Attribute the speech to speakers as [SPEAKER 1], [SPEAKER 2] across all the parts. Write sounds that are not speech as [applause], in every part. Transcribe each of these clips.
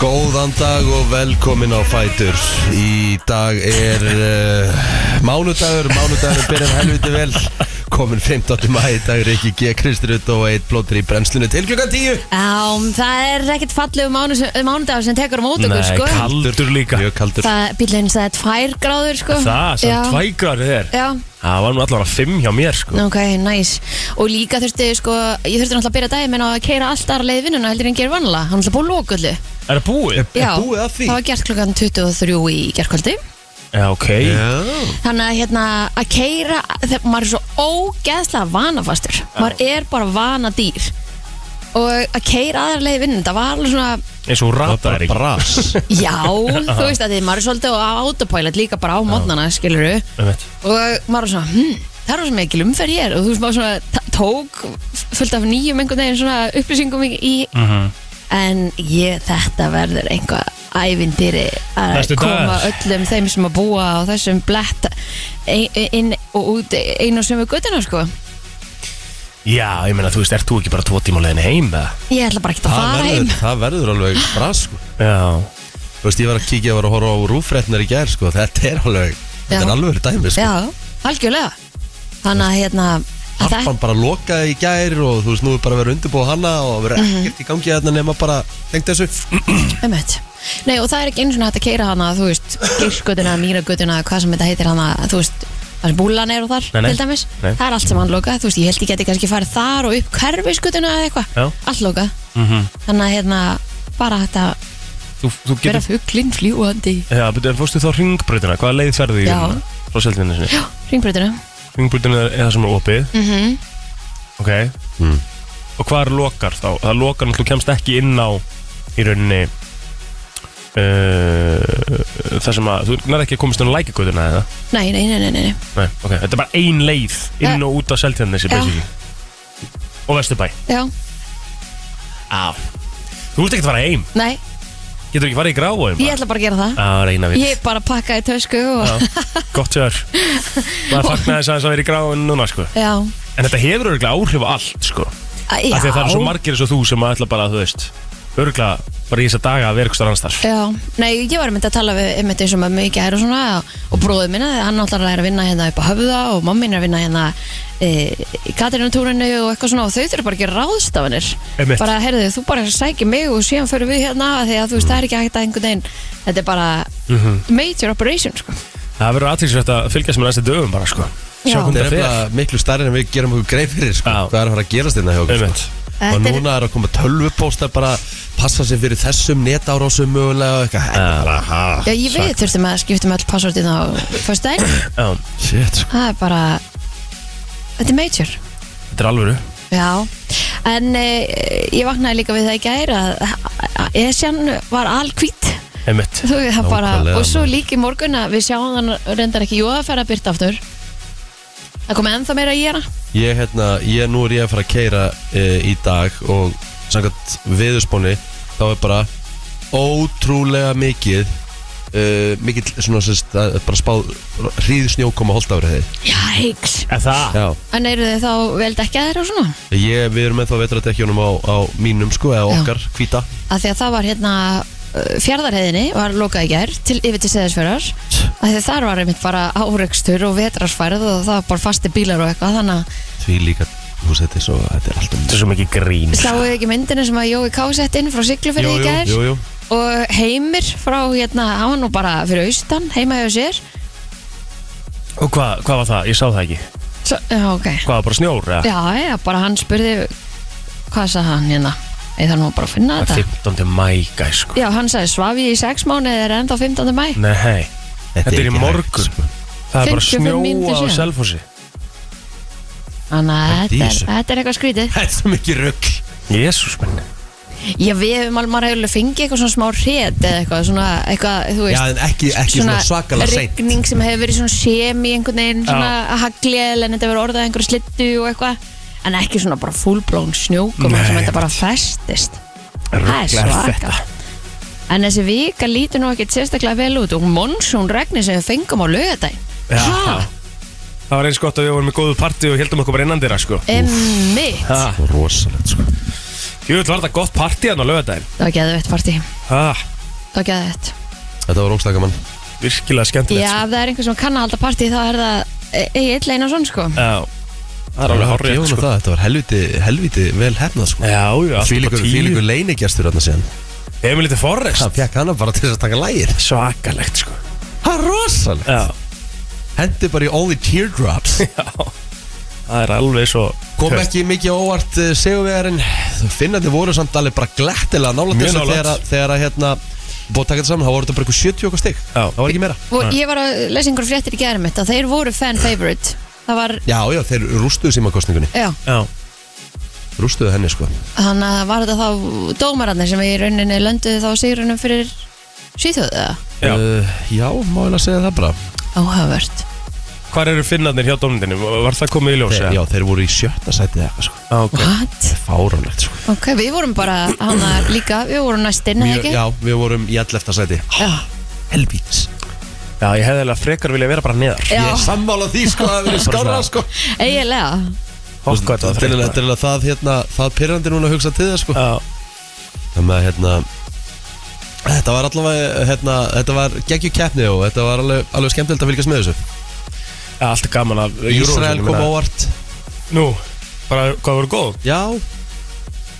[SPEAKER 1] Góðan dag og velkomin á Fætur Í dag er uh, mánudagur, mánudagur byrjar helviti vel Komin 15. maður í dag er ekki G. Kristurut og eitt blóttur í brennslunni til klukkan 10
[SPEAKER 2] Já, það er ekkert fallegu mánu, mánudag sem tekur á mót okkur, sko.
[SPEAKER 3] kaldur líka
[SPEAKER 1] Mjög kaldur
[SPEAKER 2] Það, bílinn sagði tvær gráður, sko.
[SPEAKER 3] Það,
[SPEAKER 2] Já.
[SPEAKER 3] sem tvægrar þér
[SPEAKER 2] Já,
[SPEAKER 3] Það var nú allavega fimm hjá mér sko
[SPEAKER 2] ok, næs. Og líka þurfti, sko, ég þurfti náttúrulega að byrja daginn minn á að keira allt aðra leið í vinnuna heldur en gerir vanlega. Hann ætla búið lókullu.
[SPEAKER 3] Er það búið?
[SPEAKER 1] Er búið að því?
[SPEAKER 2] það var gert klukkan 23 í gerkvöldi.
[SPEAKER 3] Já, ok
[SPEAKER 1] Já,
[SPEAKER 2] Þannig að, hérna, að keira, þegar maður er svo ógeðslega vanafastur. Maður er bara vanadýr. Og að keira aðra leið í vinnuna, það var alveg svona,
[SPEAKER 3] Eins og hún ratar
[SPEAKER 1] bara
[SPEAKER 3] ekki
[SPEAKER 1] bras
[SPEAKER 2] já, þú veist að því maður er svolítið á autopilot líka bara á mótnana, skilur
[SPEAKER 3] Einmitt.
[SPEAKER 2] og maður var svona hm, það er rosa mikil umferð hér og þú veist maður svona t- tók fullt af nýjum einhvern veginn svona upplýsingum í, í en ég þetta verður einhvað ævindýri að
[SPEAKER 3] Næstu
[SPEAKER 2] koma
[SPEAKER 3] dagar.
[SPEAKER 2] öllum þeim sem að búa á þessum blett ein- inn og út einu sem við göttina sko
[SPEAKER 3] Já, ég meina, þú veist, ert þú ekki bara tvo tíma á leiðinni heim eða?
[SPEAKER 2] ég ætla bara ekki að
[SPEAKER 1] það
[SPEAKER 2] fara heim
[SPEAKER 1] verður, það verður alveg bras sko.
[SPEAKER 3] Já
[SPEAKER 1] Þú veist, ég var að kíkja, ég var að horfa á rúfréttnar í gær sko. Þetta er alveg,
[SPEAKER 2] Já.
[SPEAKER 1] þetta er alveg dæmi sko.
[SPEAKER 2] já, algjörlega þannig að hérna að það-
[SPEAKER 1] Harpan bara lokaði í gær og þú veist, nú er bara að vera undirbúið hana og vera
[SPEAKER 2] Mhm.
[SPEAKER 1] ekkert í gangi þarna nema bara tengt þessu
[SPEAKER 2] Einmitt. Nei og það er ekki eins og hægt að keira hana þú veist, kirkgötuna, mýragötuna hvað sem þetta heitir hana, þú veist þar sem búlan er og þar,
[SPEAKER 3] Nei, nei.
[SPEAKER 2] til dæmis
[SPEAKER 3] Nei.
[SPEAKER 2] það er allt sem hann lokað, þú veist, ég held ég geti kannski farið þar og upp kerfisgötuna eða
[SPEAKER 3] Já.
[SPEAKER 2] eitthvað allt lokað,
[SPEAKER 3] mm
[SPEAKER 2] þannig að hérna bara hægt að
[SPEAKER 3] Þú, þú
[SPEAKER 2] vera
[SPEAKER 3] getur
[SPEAKER 2] fugglinn fljúandi
[SPEAKER 3] Já, betur, fórstu þá ringbrautina? Hvaða leið ferðu í?
[SPEAKER 2] Já.
[SPEAKER 3] hérna? Frá seldvinni sinni
[SPEAKER 2] já, ringbrötuna
[SPEAKER 3] Ringbrautina er það sem er opið
[SPEAKER 2] mm -hmm.
[SPEAKER 3] Ok
[SPEAKER 1] Mm.
[SPEAKER 3] Og hvað er lokar þá? Það lokar náttúrulega kemst ekki inn á Í rauninni uh, Það sem að Þú nærði ekki að komast inn á lækjagötuna eða?
[SPEAKER 2] nei, nei, nei, nei, nei, nei.
[SPEAKER 3] Nei, ok Þetta er bara ein leið Inn
[SPEAKER 2] Ja.
[SPEAKER 3] og út á seldvinni
[SPEAKER 2] Ja.
[SPEAKER 3] Og vesturbæ
[SPEAKER 2] já,
[SPEAKER 3] Já Þú vilt ekki fara heim
[SPEAKER 2] nei,
[SPEAKER 3] Getur ekki farið í gráu heim
[SPEAKER 2] ég ætla bara að gera það
[SPEAKER 3] Já, reyna við
[SPEAKER 2] ég bara pakkaði tösku og
[SPEAKER 3] Já,
[SPEAKER 2] [laughs]
[SPEAKER 3] gott sér maður fagnaði þess aðeins að vera í gráin núna sko.
[SPEAKER 2] já,
[SPEAKER 3] en þetta hefur örgulega áhrif á allt sko.
[SPEAKER 2] Æ,
[SPEAKER 3] af því að það eru svo
[SPEAKER 2] já.
[SPEAKER 3] margir eins og þú sem að ætla bara að þú veist örgulega bara í þessa daga að vera eitthvað annars þar
[SPEAKER 2] Já, nei, ég var myndið að tala við um þetta eins og mamma í gær og svona og bróðið minna, hann náttúrulega er að vinna hérna upp á höfða og mamma mín er að vinna hérna e, í Katarínutúrinu og eitthvað svona og þau þurfa bara að gera ráðstafanir
[SPEAKER 3] Einmitt.
[SPEAKER 2] bara, heyrðu, þú bara sækir mig og síðan förum við hérna af því að þú veist, það er ekki hægt að einhvern veginn þetta er bara major operation sko.
[SPEAKER 3] það verður aðtilsvægt að fylgjast með næstu dögum bara sko. sjá
[SPEAKER 2] Já.
[SPEAKER 3] hvernig
[SPEAKER 1] Þetta er
[SPEAKER 3] það fer
[SPEAKER 1] nefnilega miklu starri en við gerum okkur greið fyrir sko.
[SPEAKER 3] Já.
[SPEAKER 1] Hvað er að fara að gerast hérna hjá okkur
[SPEAKER 3] Einmitt.
[SPEAKER 1] sko. Og
[SPEAKER 2] Þetta er-
[SPEAKER 1] núna er að koma tölvupóstar bara Passa sig fyrir þessum netárásum mögulega og eitthvað Þetta er bara, ha,
[SPEAKER 2] Já, ég veit, þurftum að skiptum öll passvortin á fyrst daginn,
[SPEAKER 3] Já,
[SPEAKER 1] Shit, sko.
[SPEAKER 2] það er bara þetta er major
[SPEAKER 3] þetta er alvöru
[SPEAKER 2] Já, en e, ég vaknaði líka við það í gær að að Esjan var alhvít
[SPEAKER 3] einmitt
[SPEAKER 2] þú veist það bara,
[SPEAKER 1] Nákvæmlega,
[SPEAKER 2] og svo
[SPEAKER 1] maður.
[SPEAKER 2] líka í morgun að við sjáum hann reyndar ekki jóðaferð að byrta aftur það kom ennþá meira í hana
[SPEAKER 1] Ég, hérna, ég, nú er ég að fara að keira e, í dag Og samkvæmt viðuspóni Þá er bara ótrúlega mikið e, Mikið, svona, sérst, það er bara spáð Hríð snjókoma holdafrið þeir
[SPEAKER 2] Já, heiks
[SPEAKER 3] En það,
[SPEAKER 1] Já
[SPEAKER 2] En eru þið þá vel dekkjaðir og svona?
[SPEAKER 1] Ég, við erum ennþá vetradekkjónum á, á mínum sko, eða
[SPEAKER 2] Já.
[SPEAKER 1] okkar, hvíta
[SPEAKER 2] Af því að það var hérna fjardarheiðinni var lokað í gær til yfir til seðisfjörðar af því þar var einmitt bara áreikstur og vetrarsfærð og það var bara fasti bílar og eitthvað þannig að
[SPEAKER 1] Því líka, þú veist, þetta er svo, þetta er um alltaf
[SPEAKER 3] þetta er svo mikið grín
[SPEAKER 2] sáu þið ekki myndinu sem að Jói Ká sett inn frá Siglufjörði í gær
[SPEAKER 1] jú, jú.
[SPEAKER 2] og heimir frá hérna, hann var nú bara fyrir austan heima hjá sér
[SPEAKER 3] Og hvað, hvað var það? Ég sá það ekki
[SPEAKER 2] Svo, já, ok
[SPEAKER 3] Hvað var bara snjór? eða?
[SPEAKER 2] Já, já, bara hann spurði hvað sagði hann hérna ég þarf nú bara að finna
[SPEAKER 3] Það er
[SPEAKER 2] þetta
[SPEAKER 3] 15. mæ, gæs sko.
[SPEAKER 2] Já, hann sagði svaf ég í sex mánuði eða er ennþá 15. mæ
[SPEAKER 1] Mm.
[SPEAKER 3] Nei, þetta er í
[SPEAKER 1] ekki
[SPEAKER 3] morgun
[SPEAKER 1] hægt,
[SPEAKER 3] [laughs]
[SPEAKER 1] sko.
[SPEAKER 3] Það er bara
[SPEAKER 2] 55 mínútur
[SPEAKER 3] snjóa á
[SPEAKER 2] síðan.
[SPEAKER 3] selfossi
[SPEAKER 2] Þannig að
[SPEAKER 1] Þetta
[SPEAKER 2] þetta
[SPEAKER 1] í
[SPEAKER 2] er,
[SPEAKER 1] þessu.
[SPEAKER 2] þetta er eitthvað skrítið
[SPEAKER 1] Þetta er svo mikið rugg
[SPEAKER 3] Jésús menni
[SPEAKER 2] Já, við hefum alveg maður hefur fengið eitthvað svona smá hrét eða eitthvað svona, eitthvað, þú
[SPEAKER 1] Já,
[SPEAKER 2] veist
[SPEAKER 1] en ekki, ekki svona, svakalega seint
[SPEAKER 2] rigning sem hefur verið svona semi einhvern veginn svona haglið en þetta hefur orðað að einhverju slittu og eitthvað en ekki svona bara fullblón snjókum sem
[SPEAKER 3] Nei,
[SPEAKER 2] þetta
[SPEAKER 3] einmitt.
[SPEAKER 2] bara festist Það er
[SPEAKER 3] Rugl er
[SPEAKER 2] svaka En þessi vika lítur nú ekkert sérstaklega vel út og monsun regni sem við fengum á lögadaginn
[SPEAKER 3] Já.
[SPEAKER 2] Ha?
[SPEAKER 3] Það var eins gott að við vorum með góðu partí og heldum okkur bara innan dýra sko
[SPEAKER 2] Emmitt
[SPEAKER 3] Ha,
[SPEAKER 1] Rosalegt, sko
[SPEAKER 3] Jú, þetta var þetta gott partí hann á Ah, lögadaginn
[SPEAKER 2] Það var geðveitt partí
[SPEAKER 3] Það
[SPEAKER 2] það var gæðið þetta
[SPEAKER 1] Þetta var ógstaka mann
[SPEAKER 3] Virkilega
[SPEAKER 2] Já,
[SPEAKER 3] skemmtilegt sko.
[SPEAKER 2] ef það er einhver sem kann að halda partí þá er það Egil Einarsson sko
[SPEAKER 3] Já, það er alveg
[SPEAKER 1] Ég
[SPEAKER 3] horrið
[SPEAKER 1] vona
[SPEAKER 3] sko.
[SPEAKER 1] það, Þetta var helviti, helviti vel hefnað sko.
[SPEAKER 3] Já, já, allt upp á
[SPEAKER 1] Fýlíkur,
[SPEAKER 3] tíu
[SPEAKER 1] fýlíkur leinigjastur þarna síðan
[SPEAKER 3] Emil litið Forrest
[SPEAKER 1] Það fekk hana bara til þess að taka lægir
[SPEAKER 3] Svakalegt sko
[SPEAKER 1] Það er rosalegt
[SPEAKER 3] Já,
[SPEAKER 1] Hendi bara í all the
[SPEAKER 3] [laughs]
[SPEAKER 1] teardrops
[SPEAKER 3] já Það er alveg svo
[SPEAKER 1] Kom
[SPEAKER 3] Þú veist,
[SPEAKER 1] ekki mikið á óvart uh, segjuvegarinn Finnandi voru samt alveg bara glættilega nálægt
[SPEAKER 3] Mjög
[SPEAKER 1] þessu
[SPEAKER 3] nálægt.
[SPEAKER 1] Þegar, að- þegar að hérna Búið að taka þetta saman, þá voru þetta bara eitthvað 70 okkar stig
[SPEAKER 3] Já.
[SPEAKER 1] Það var ekki meira
[SPEAKER 2] Og ég var að lesa einhver fréttir í gæðum mitt að þeir voru fan favorite Það var,
[SPEAKER 1] Já, já, þeir rústuðu símakostningunni
[SPEAKER 2] já,
[SPEAKER 3] Já,
[SPEAKER 1] Rústuðu henni sko
[SPEAKER 2] þannig að var þetta þá dómararnir sem í rauninni lönduðu þá sigrunum fyrir Svíþjóðu eða?
[SPEAKER 3] já
[SPEAKER 1] uh, já má ég að segja það bara
[SPEAKER 2] Áhugavert
[SPEAKER 3] Hvar eru finnarnir hjá dómnindinu? Var það komið í ljós?
[SPEAKER 1] þeir,
[SPEAKER 3] eða?
[SPEAKER 1] Eh, Já, þeir voru í sjötta sæti eða eitthvað sko
[SPEAKER 3] Já, ok
[SPEAKER 2] What?
[SPEAKER 1] Fáránlegt sko
[SPEAKER 2] Ok, við vorum bara hana líka, við vorum næstinn, eða
[SPEAKER 1] Mjög,
[SPEAKER 2] ekki?
[SPEAKER 1] Já, við vorum í all eftir sæti
[SPEAKER 2] Já.
[SPEAKER 1] Helvítis
[SPEAKER 3] Já, ég hefði alveg frekar vilja vera bara neðar
[SPEAKER 1] Ég
[SPEAKER 2] Já,
[SPEAKER 1] er sammála því sko að við erum skárra sko
[SPEAKER 2] eiginlega.
[SPEAKER 3] Hokka
[SPEAKER 1] Þetta
[SPEAKER 3] þetta var
[SPEAKER 1] er
[SPEAKER 3] frekar
[SPEAKER 1] eiginlega- þetta er eiginlega það hérna Það pyrrandi núna að hugsa til það sko
[SPEAKER 3] Já,
[SPEAKER 1] Þannig að hérna Þetta var allavega, hérna, þetta var geggju keppni og þetta var alveg, alveg skemmtilegt að fylgjast með þessu
[SPEAKER 3] já, allt er gaman af
[SPEAKER 1] Ísrael kom ávart
[SPEAKER 3] Nú, bara hvað voru góð?
[SPEAKER 1] Já,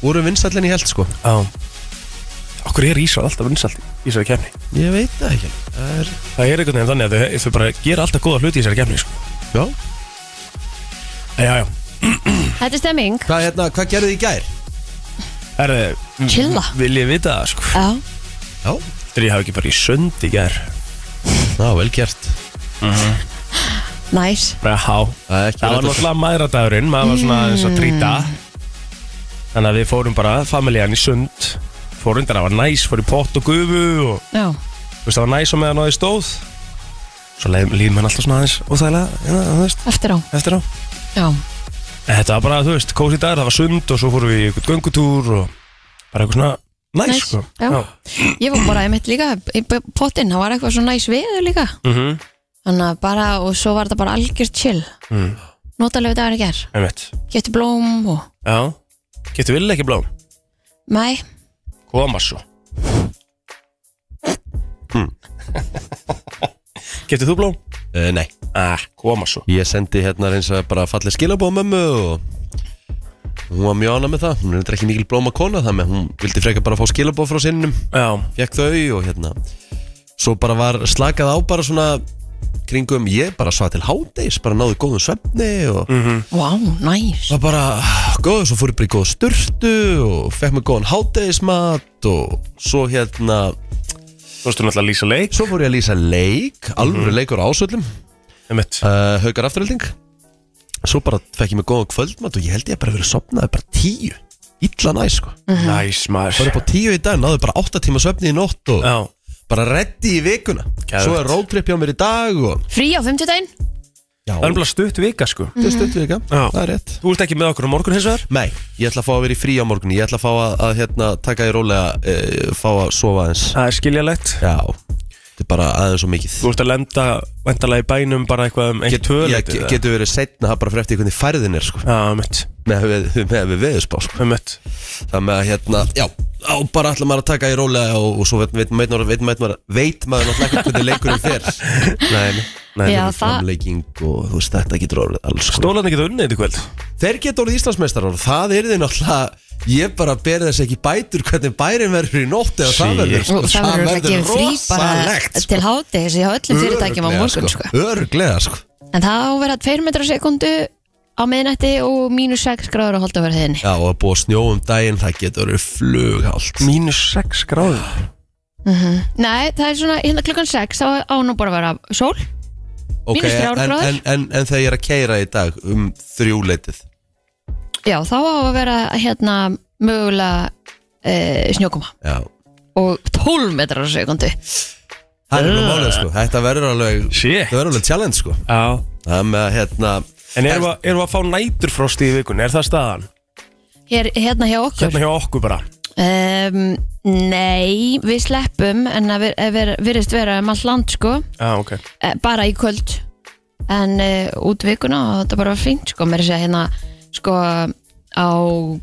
[SPEAKER 1] voru vinsallin í held sko
[SPEAKER 3] Já Okkur er Ísrael alltaf vinsalt í Ísrael kemni
[SPEAKER 1] Ég veit það ekki Það er,
[SPEAKER 3] Það er einhvern veginn þannig að þau, þau bara gera alltaf góða hluti í Ísrael kemni sko.
[SPEAKER 1] já
[SPEAKER 3] Já, já
[SPEAKER 2] Þetta er stemming.
[SPEAKER 1] Hvað, hérna, hvað gerðu þið í gær?
[SPEAKER 3] Herði,
[SPEAKER 2] Chilla.
[SPEAKER 3] Vil ég vita það sko
[SPEAKER 2] Mhm. Já.
[SPEAKER 1] Já,
[SPEAKER 3] Þegar ég hafi ekki bara í sund í ger
[SPEAKER 1] já, vel gert
[SPEAKER 2] Næs.
[SPEAKER 3] Já,
[SPEAKER 1] Það er ekki
[SPEAKER 3] það var
[SPEAKER 1] rétt að-
[SPEAKER 3] náttúrulega mæðradagurinn Maður var svona eins að trýta Þannig að við fórum bara familjan í sund Fórum þar, það var næs, fór í pott og gufu og
[SPEAKER 2] Já.
[SPEAKER 3] þú veist, það var næs og meðan á því stóð svo leið, líð mann alltaf svona aðeins óþægilega, hérna, þú veist,
[SPEAKER 2] Eftir á.
[SPEAKER 3] eftir á
[SPEAKER 2] Já.
[SPEAKER 3] en þetta var bara, þú veist, kósi dagur, það var sund og svo fórum við í eitthvað göngutúr og bara eitthvað svona næs,
[SPEAKER 2] Næs,
[SPEAKER 3] sko
[SPEAKER 2] já. Ég var bara einmitt líka í potinn, það var eitthvað svo næs veður líka.
[SPEAKER 3] Mhm,
[SPEAKER 2] Þannig að bara, og svo var þetta bara algjör chill.
[SPEAKER 3] Mm.
[SPEAKER 2] Notalegu dagur í ger.
[SPEAKER 3] einmitt
[SPEAKER 2] Getur blóm og...
[SPEAKER 3] já, getur vil ekki blóm
[SPEAKER 2] Nei,
[SPEAKER 3] koma svo Hm. getur þú blóm?
[SPEAKER 1] Uh, nei,
[SPEAKER 3] ah, koma svo
[SPEAKER 1] ég sendi hérna eins og bara fallið skilabóð mömmu og hún var mjög ánað með það hún er þetta ekki mikil blóma kona það með hún vildi frekar bara fá skilabóð frá sinnum
[SPEAKER 3] já,
[SPEAKER 1] fekk þau og hérna svo bara var slakað á bara svona kringum ég bara svað til hádegis bara náði góðum svefni og
[SPEAKER 3] Mhm.
[SPEAKER 2] vá, næs.
[SPEAKER 1] var bara góð svo fór ég bara í góð sturtu og fekk mig góðan hádegismat og svo hérna
[SPEAKER 3] þú veist, þú náttúrulega að lýsa leik
[SPEAKER 1] svo fór ég að lýsa leik alveg
[SPEAKER 3] Mhm.
[SPEAKER 1] leikur á ásöldum
[SPEAKER 3] einmitt,
[SPEAKER 1] uh, haugar afturhalding svo bara fekk ég mig góðan kvöldmat og ég held ég að bara verið sopnaði bara tíu illa næ sko
[SPEAKER 3] næs
[SPEAKER 1] fór upp
[SPEAKER 3] maður
[SPEAKER 1] á tíu í dag náði bara 8 tíma svefni í nótt og
[SPEAKER 3] já,
[SPEAKER 1] bara reddi í vikuna
[SPEAKER 3] Geðvegt.
[SPEAKER 1] svo er roadtrip hjá mér í dag og
[SPEAKER 2] Frí á fimmtudaginn?
[SPEAKER 1] Já,
[SPEAKER 3] það er bara stutt vika, sko
[SPEAKER 1] þetta er stutt vika,
[SPEAKER 3] Já.
[SPEAKER 1] það er rétt
[SPEAKER 3] Þú ert ekki með okkur á morgun hins vegar?
[SPEAKER 1] Nei, ég ætla að fá að vera í frí á morgun Ég ætla að fá að, að hérna, taka í rólega e, Fá að sofa aðeins
[SPEAKER 3] Það er skiljalegt
[SPEAKER 1] Já, þetta er bara aðeins og mikið
[SPEAKER 3] Þú ert að lenda vandalega í bænum bara eitthvað um
[SPEAKER 1] Ég
[SPEAKER 3] eitt höfuleiti
[SPEAKER 1] ge- getur verið setna bara fyrir eftir hvernig færðin er sko,
[SPEAKER 3] Já, mitt,
[SPEAKER 1] með, með, með við veðurspá sko.
[SPEAKER 3] mitt
[SPEAKER 1] Það með að hérna, já Á, bara ætla maður að taka í rólega og, og svo veit, veit, veit, veit, veit maður veit maður náttúrulega ekki hvernig leikurinn fer
[SPEAKER 2] [laughs]
[SPEAKER 3] Nei, nei
[SPEAKER 2] Já, það-
[SPEAKER 1] framlegging og þú veist þetta getur orðið alls sko.
[SPEAKER 3] Stólarni getur unnið þetta í kvöld
[SPEAKER 1] Þeir geta orðið Íslandsmeistarar og það er þið náttúrulega Ég bara ber þess ekki bætur hvernig bærin verður í nótt eða það
[SPEAKER 3] Sí.
[SPEAKER 1] verður sko.
[SPEAKER 2] Og það verður að gefa frí bara
[SPEAKER 1] rosalegt, sko.
[SPEAKER 2] til hátegi sig á öllum fyrirtækjum á
[SPEAKER 1] Örugglega,
[SPEAKER 2] morgun, sko.
[SPEAKER 1] Örugglega sko
[SPEAKER 2] En það á að vera 2 metrar sekundu á miðnætti og mínus 6 gráður á holdaverðinni.
[SPEAKER 1] Já og að búa snjó um daginn það getur verið flughált
[SPEAKER 3] Mínus 6 gráður
[SPEAKER 2] Nei, það er svona hérna klukkan 6 á, á nú bara að vera sól.
[SPEAKER 1] Ok,
[SPEAKER 2] Mínus þrjár
[SPEAKER 1] en, en,
[SPEAKER 2] gráður.
[SPEAKER 1] en, en, þegar ég er að keira í dag um þrjúleitið
[SPEAKER 2] Já, þá á að vera hérna mögulega e, snjókoma
[SPEAKER 1] Já
[SPEAKER 2] og 12 metrar á sekundu.
[SPEAKER 1] Það er nú málið sko, þetta verður alveg
[SPEAKER 3] Shit.
[SPEAKER 1] Það verður alveg challenge sko
[SPEAKER 3] Já
[SPEAKER 1] Það með að hérna
[SPEAKER 3] En erum við, erum við að fá næturfrost í vikunni? Er það staðan?
[SPEAKER 2] Hér, hérna hjá okkur.
[SPEAKER 3] Hérna hjá okkur bara
[SPEAKER 2] Um, nei, við sleppum en það vir- vir- virðist vera um allt land sko,
[SPEAKER 3] Já, ok
[SPEAKER 2] eh, bara í kvöld en uh, út vikuna og þetta bara var fínt sko, mér er að segja hérna sko á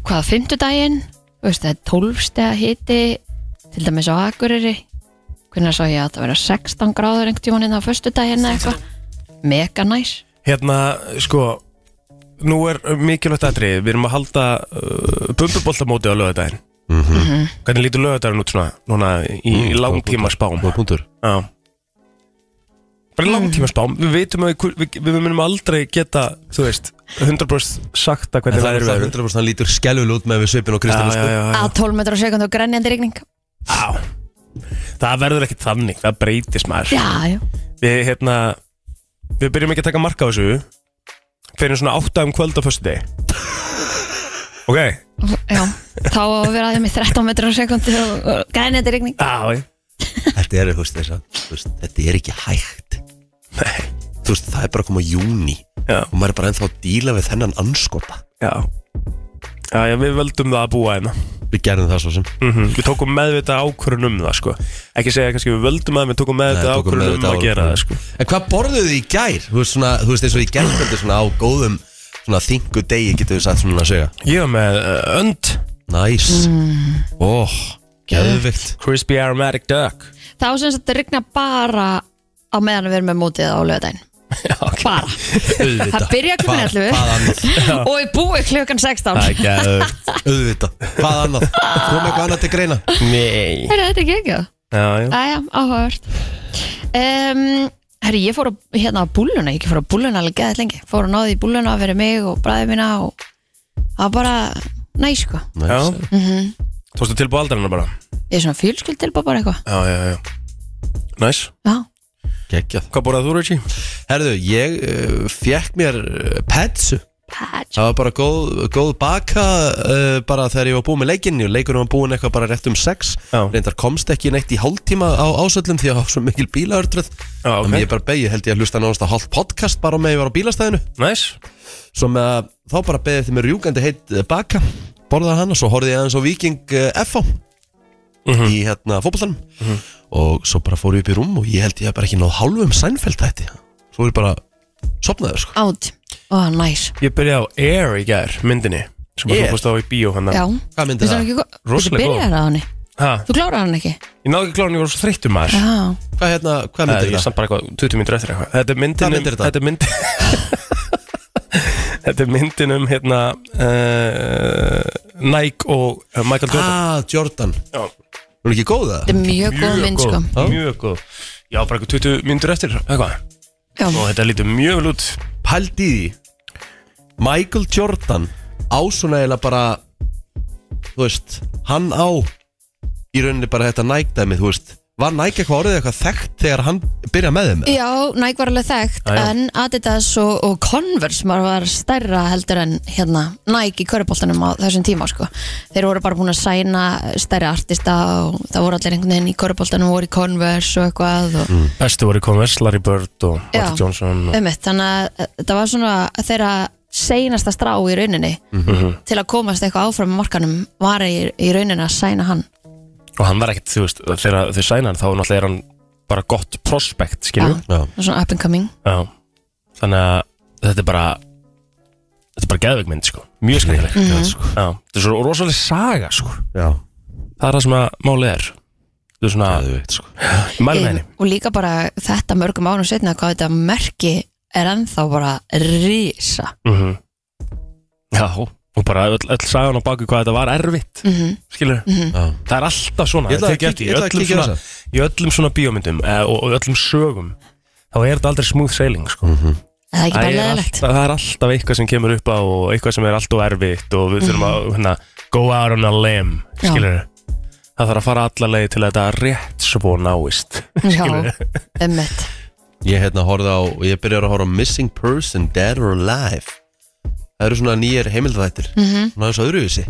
[SPEAKER 2] hvað, fimmtudaginn, þú veist það er tólfstega hiti til dæmis á Akureyri hvernig sá ég að það vera 16 gráður einhvern tímann hérna á föstu daginn eitthvað mega næs
[SPEAKER 3] Hérna, sko Nú er mikilvægt aðrið Við erum að halda uh, bumbuboltamóti á lögadaginn
[SPEAKER 1] Mhm.
[SPEAKER 3] Hvernig lítur lögadaginn út svona Núna í
[SPEAKER 1] Mm,
[SPEAKER 3] mm, langtíma spám
[SPEAKER 1] Góð punktur
[SPEAKER 3] Já Bara í langtíma spám Við veitum að við, við, við munum aldrei geta Þú veist, 100% sagt
[SPEAKER 1] En
[SPEAKER 3] að hvernig
[SPEAKER 1] það er
[SPEAKER 3] verður verður
[SPEAKER 1] 100% hann lítur skelvul út með við svipin og Kristján
[SPEAKER 3] Já,
[SPEAKER 1] og
[SPEAKER 3] já,
[SPEAKER 1] sko
[SPEAKER 3] já, já.
[SPEAKER 2] að 12 metrar á sekund og grænjandi rigning
[SPEAKER 3] Á. Það verður ekki þannig, það breytist maður
[SPEAKER 2] já, já,
[SPEAKER 3] Við, hérna, við byrjum ekki að taka marka á þessu Fyrir svona 8 um kvöld á föstu deg Ok
[SPEAKER 2] já þá á að vera að með 13 metrar á sekund og og grænjandi rigning
[SPEAKER 3] Á,
[SPEAKER 1] Þetta er, þú veist, þess að þú veist, Þetta er ekki hægt Þú veist, það er bara að koma júni
[SPEAKER 3] já,
[SPEAKER 1] Og maður er bara ennþá að díla við þennan anskota
[SPEAKER 3] já. já, já, við völdum það að búa hérna
[SPEAKER 1] Við gerðum það svo sem
[SPEAKER 3] mm Við tókum meðvitað ákvörun um það sko. Ekki segja kannski við völdum það Við tókum meðvitað
[SPEAKER 1] tókum
[SPEAKER 3] ákvörun um
[SPEAKER 1] meðvitað
[SPEAKER 3] að
[SPEAKER 1] ákvörðun.
[SPEAKER 3] gera það sko.
[SPEAKER 1] En hvað borðuðu þið í gær? Þú veist, svona, þú veist eins og í gærkvöldi svona á góðum svona þingu degi getur við sagt svona að segja
[SPEAKER 3] Ég var með uh, önd
[SPEAKER 1] Næs Óh, geðvikt
[SPEAKER 3] Crispy Aromatic Duck
[SPEAKER 2] þá sem sagt að rigna bara á meðan við erum með mótið á löðdæn
[SPEAKER 3] [laughs] Já, ok.
[SPEAKER 2] bara, það byrja klukkan 11
[SPEAKER 1] Hvað
[SPEAKER 2] [laughs]
[SPEAKER 1] annað?
[SPEAKER 2] og ég búi klukkan 16 Æ.
[SPEAKER 3] Það er gæðugt
[SPEAKER 1] Auðvitað Hvað annað? Kom eitthvað annað til greina?
[SPEAKER 3] [laughs] Nei
[SPEAKER 2] þetta er ekki ekki
[SPEAKER 3] Já, já
[SPEAKER 2] aðja, áhört um, herri, ég fór á, hérna á búluna ég ekki fór á búluna alveg geðið lengi fór að náði í búluna fyrir mig og bræði mína og það var bara næs sko
[SPEAKER 3] Já.
[SPEAKER 1] Næs
[SPEAKER 3] Tókstu tilbúið aldarinn bara
[SPEAKER 2] ég er svona fjölskyld tilbúið bara eitthvað
[SPEAKER 3] Já, já, já Næs
[SPEAKER 2] já,
[SPEAKER 1] Geggjað
[SPEAKER 3] Hvað borðað þú, Reggie?
[SPEAKER 1] Herðu, ég uh, fjekk mér uh, petsu
[SPEAKER 2] patch
[SPEAKER 1] Það var bara góð, góð baka uh, bara þegar ég var búinn með leikinni og leikunum var búinn eitthvað bara rétt um sex
[SPEAKER 3] Já.
[SPEAKER 1] reyndar komst ekki neitt í hálftíma á ásöllum því að það var svo mikil bílaörtröð
[SPEAKER 3] Já, ok.
[SPEAKER 1] en ég bara beigði held ég að hlusta náðast að hálf podcast bara með ég var á bílastæðinu
[SPEAKER 3] Næs
[SPEAKER 1] svo með að þá bara beigði eftir mér rjúkandi heitt eh, baka borðaði hana, svo horfði ég aðeins á Viking eh, FH
[SPEAKER 3] Mhm.
[SPEAKER 1] í hérna fótbollanum og svo bara fór ég upp í rúm og ég held ég að bara ekki náð hálfum sænfælt þetta svo er ég bara sopnaður sko
[SPEAKER 2] át, og næs
[SPEAKER 3] Ég byrjaði á Air í gær, myndinni sem bara
[SPEAKER 1] Air?
[SPEAKER 3] hljópast á í bíó hann
[SPEAKER 2] já,
[SPEAKER 1] Hvað myndi
[SPEAKER 2] Finnst
[SPEAKER 1] það?
[SPEAKER 2] hún ekki góð?
[SPEAKER 3] Rosalega
[SPEAKER 2] Þú byrjar að hann
[SPEAKER 3] Ha,
[SPEAKER 2] þú klárar hann ekki
[SPEAKER 3] ég náði ekki kláðin, ég var svo þreyttum maður
[SPEAKER 2] já,
[SPEAKER 1] Hvað, hérna, hvað
[SPEAKER 3] Það
[SPEAKER 1] myndi
[SPEAKER 3] er ég
[SPEAKER 1] það?
[SPEAKER 3] samt bara eitthvað 20 mínútur eftir eitthvað Þetta er myndin
[SPEAKER 1] Hvað
[SPEAKER 3] um
[SPEAKER 1] mynd er þetta?
[SPEAKER 3] Þetta er myndin [laughs] Þetta er myndin um hérna uh, Nike og uh, Michael Jordan
[SPEAKER 1] Ah, Jordan
[SPEAKER 3] Já,
[SPEAKER 1] Hún er ekki góð það?
[SPEAKER 2] þetta er mjög góð mynd sko
[SPEAKER 1] Já.
[SPEAKER 3] Mjög góð Já, bara eitthvað 20 mínútur eftir eitthvað
[SPEAKER 2] já,
[SPEAKER 3] Og þetta lítur mjög vel út
[SPEAKER 1] Pældi í því Michael Jordan á svona eiginlega bara Þú veist, hann á Í rauninni bara þetta nægdæmi, þú veist Var næg eitthvað orðið eitthvað þekkt þegar hann byrjaði með þeim?
[SPEAKER 2] já næg var alveg þekkt
[SPEAKER 3] Já, já.
[SPEAKER 2] en Adidas og, og Converse maður var stærra heldur en hérna, næg í köruboltanum á þessum tíma sko. þeir voru bara búin að sæna stærri artista og það voru allir einhvern veginn í köruboltanum voru í Converse og eitthvað og,
[SPEAKER 3] Bestu voru Converse, Larry Bird og
[SPEAKER 2] Já.
[SPEAKER 3] Walter Johnson og...
[SPEAKER 2] Einmitt, þannig að eh, þetta var svona þeirra seinasta strá í rauninni
[SPEAKER 3] Mhm.
[SPEAKER 2] til að komast eitthvað áfram í markanum var í, í rauninni að sæna hann
[SPEAKER 3] og hann var ekkert, þú veist, þegar þau sæna hann þá náttúrulega er hann bara gott prospect, skilju
[SPEAKER 1] Já,
[SPEAKER 2] svona up and coming
[SPEAKER 3] Já. Þannig að þetta er bara þetta er bara geðveik mynd, sko mjög skemmtileg
[SPEAKER 1] já, sko.
[SPEAKER 3] Já. Þetta er svo rosalega saga, sko
[SPEAKER 1] já
[SPEAKER 3] það er það sem að málið er Þetta er svona,
[SPEAKER 1] geðveikt, sko.
[SPEAKER 3] ég mæli með henni
[SPEAKER 2] og líka bara þetta mörgum ánum setna hvað þetta merki er ennþá bara risa
[SPEAKER 3] mm Já, og bara öll, öll sagan á baku hvað þetta var erfitt
[SPEAKER 2] mm
[SPEAKER 3] skilur,
[SPEAKER 1] Já.
[SPEAKER 3] það er alltaf svona
[SPEAKER 1] Ég ætla að
[SPEAKER 3] tekið eftir
[SPEAKER 1] kíkja- ég
[SPEAKER 3] í
[SPEAKER 1] ætla að
[SPEAKER 3] öllum
[SPEAKER 1] kíkja á
[SPEAKER 3] svona- í öllum svona bíómyndum eh, og, og öllum sögum þá er þetta aldrei smooth sailing, sko
[SPEAKER 2] það er ekki bara
[SPEAKER 3] Það er
[SPEAKER 2] leðilegt
[SPEAKER 3] alltaf- Það er alltaf eitthvað sem kemur upp á og eitthvað sem er alltaf erfitt og við
[SPEAKER 1] Mhm.
[SPEAKER 3] þurfum að hérna, go out on a limb
[SPEAKER 2] Já.
[SPEAKER 3] skilur það þarf að fara alla leið til að þetta rétt svo náist
[SPEAKER 2] já, emmitt
[SPEAKER 1] Ég hérna horfði á Ég byrjaði að horfa á Missing Person, Dead or Alive Það eru svona nýjar heimildavættir mm -hmm. Svona þessu öðruvísi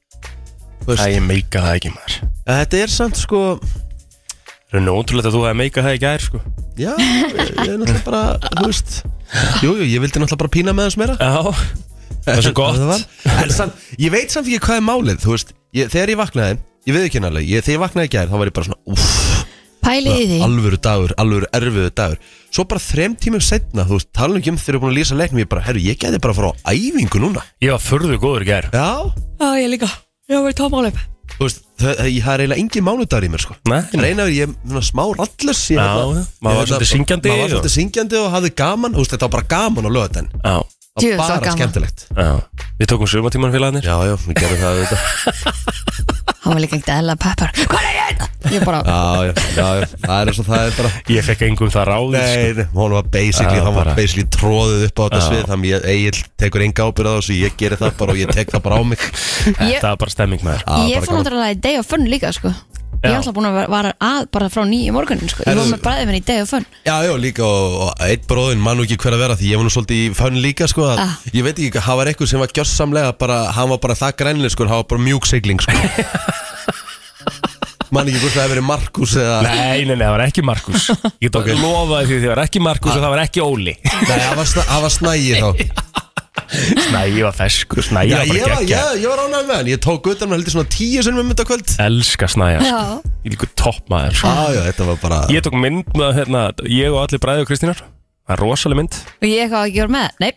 [SPEAKER 1] Þú veist,
[SPEAKER 3] Það ég meika það ekki maður
[SPEAKER 1] að þetta er samt sko
[SPEAKER 3] Það er nú ótrúlegt að þú hefði meika það ekki gær sko
[SPEAKER 1] Já, ég, ég er náttúrulega bara Þú veist Jú, jú, ég vildi náttúrulega bara pína með þess meira
[SPEAKER 3] Já, það er svo gott
[SPEAKER 1] Það var. En samt, ég veit samt ekki hvað er málið Þú veist, ég, þegar ég vaknaði Ég veið ekki nálega, ég, þegar ég vaknaði í gær Þá var ég bara svona, úff
[SPEAKER 2] pælið í því
[SPEAKER 1] Alvöru dagur, alvöru erfiðu dagur Svo bara þrem tímum setna, þú veist Talum ekki um þegar ég er búin að lýsa leiknum Ég bara, herru, ég gæti bara að fara á æfingu núna
[SPEAKER 3] Ég var förðu góður í gær
[SPEAKER 1] Já,
[SPEAKER 2] já, ég líka, já, við tómálum
[SPEAKER 1] þú veist, það, það, það er eiginlega engin mánudagur í mér sko
[SPEAKER 3] Nei,
[SPEAKER 1] Það er eina verið, ég er svona smá rallus
[SPEAKER 3] Já, já. Maður var svolítið syngjandi
[SPEAKER 1] Maður var
[SPEAKER 3] og-
[SPEAKER 1] svolítið syngjandi og hafði gaman Þú veist, þetta var bara gaman á lögatenn
[SPEAKER 3] Já,
[SPEAKER 1] Það
[SPEAKER 2] Djú,
[SPEAKER 1] var
[SPEAKER 2] það var
[SPEAKER 1] bara
[SPEAKER 2] gaman.
[SPEAKER 1] skemmtilegt
[SPEAKER 3] já Við tókum sumatíman félagarnir
[SPEAKER 1] Já, já, við gerum það auðvitað
[SPEAKER 2] Hann var líka ekkert eðla peppar Hvað er ég? Ég bara,
[SPEAKER 1] Já, já, já, já, það er eins og það er bara
[SPEAKER 3] Ég fekk engum það ráð
[SPEAKER 1] Nei, nei, hún var basically,
[SPEAKER 3] Sko. Já,
[SPEAKER 1] hann var
[SPEAKER 3] bara-
[SPEAKER 1] basically tróðið upp á þetta
[SPEAKER 3] Já.
[SPEAKER 1] svið Þannig ég, Egil tekur enga ábyrð á þessu, ég gerir það bara og ég tek það bara á mig
[SPEAKER 2] ég,
[SPEAKER 3] Það var bara stemming með þér
[SPEAKER 1] Já,
[SPEAKER 2] ég
[SPEAKER 1] bara
[SPEAKER 2] fór náttúrulega í day of fun líka sko. Ég
[SPEAKER 3] Já.
[SPEAKER 2] er alltaf búin að vara að bara frá nýju morgunin sko. Ég
[SPEAKER 1] Herðu-
[SPEAKER 2] var með bræðið minn í day of fun
[SPEAKER 1] Já, já, líka og, og eitt bróðin mann nú ekki hver að vera því ég var nú svolítið í fönn líka sko að,
[SPEAKER 2] Ah.
[SPEAKER 1] Ég veit ekki, hann var eitthvað sem var gjörsamlega bara, hann var bara það grænlega sko, hann var bara mjúk sigling [laughs] sko Man ekki hvort það hefur verið Markus eða
[SPEAKER 3] Nei, nei, nei, það var ekki
[SPEAKER 1] [laughs]
[SPEAKER 3] Markus Ég tók okay. lofaði því því það var ekki Markus
[SPEAKER 1] Ah.
[SPEAKER 3] og það var ekki Óli
[SPEAKER 1] Nei, hann var, sna- hann var snægi þá
[SPEAKER 3] Snægi var feskur, Snægi
[SPEAKER 1] Já,
[SPEAKER 3] var
[SPEAKER 1] ég
[SPEAKER 3] bara
[SPEAKER 1] var,
[SPEAKER 3] geggja
[SPEAKER 1] ég, ég var ánægð með hann, ég tók utan með heldur svona tíu sem við mynda kvöld
[SPEAKER 3] Elska Snæja sko.
[SPEAKER 2] Já.
[SPEAKER 3] Ég líku toppmaður sko.
[SPEAKER 1] Já, já, þetta var bara
[SPEAKER 3] Ég tók mynd með hérna, ég og allir bræði og Kristínar Það er rosaleg mynd
[SPEAKER 2] Og ég eitthvað ekki voru með Nei,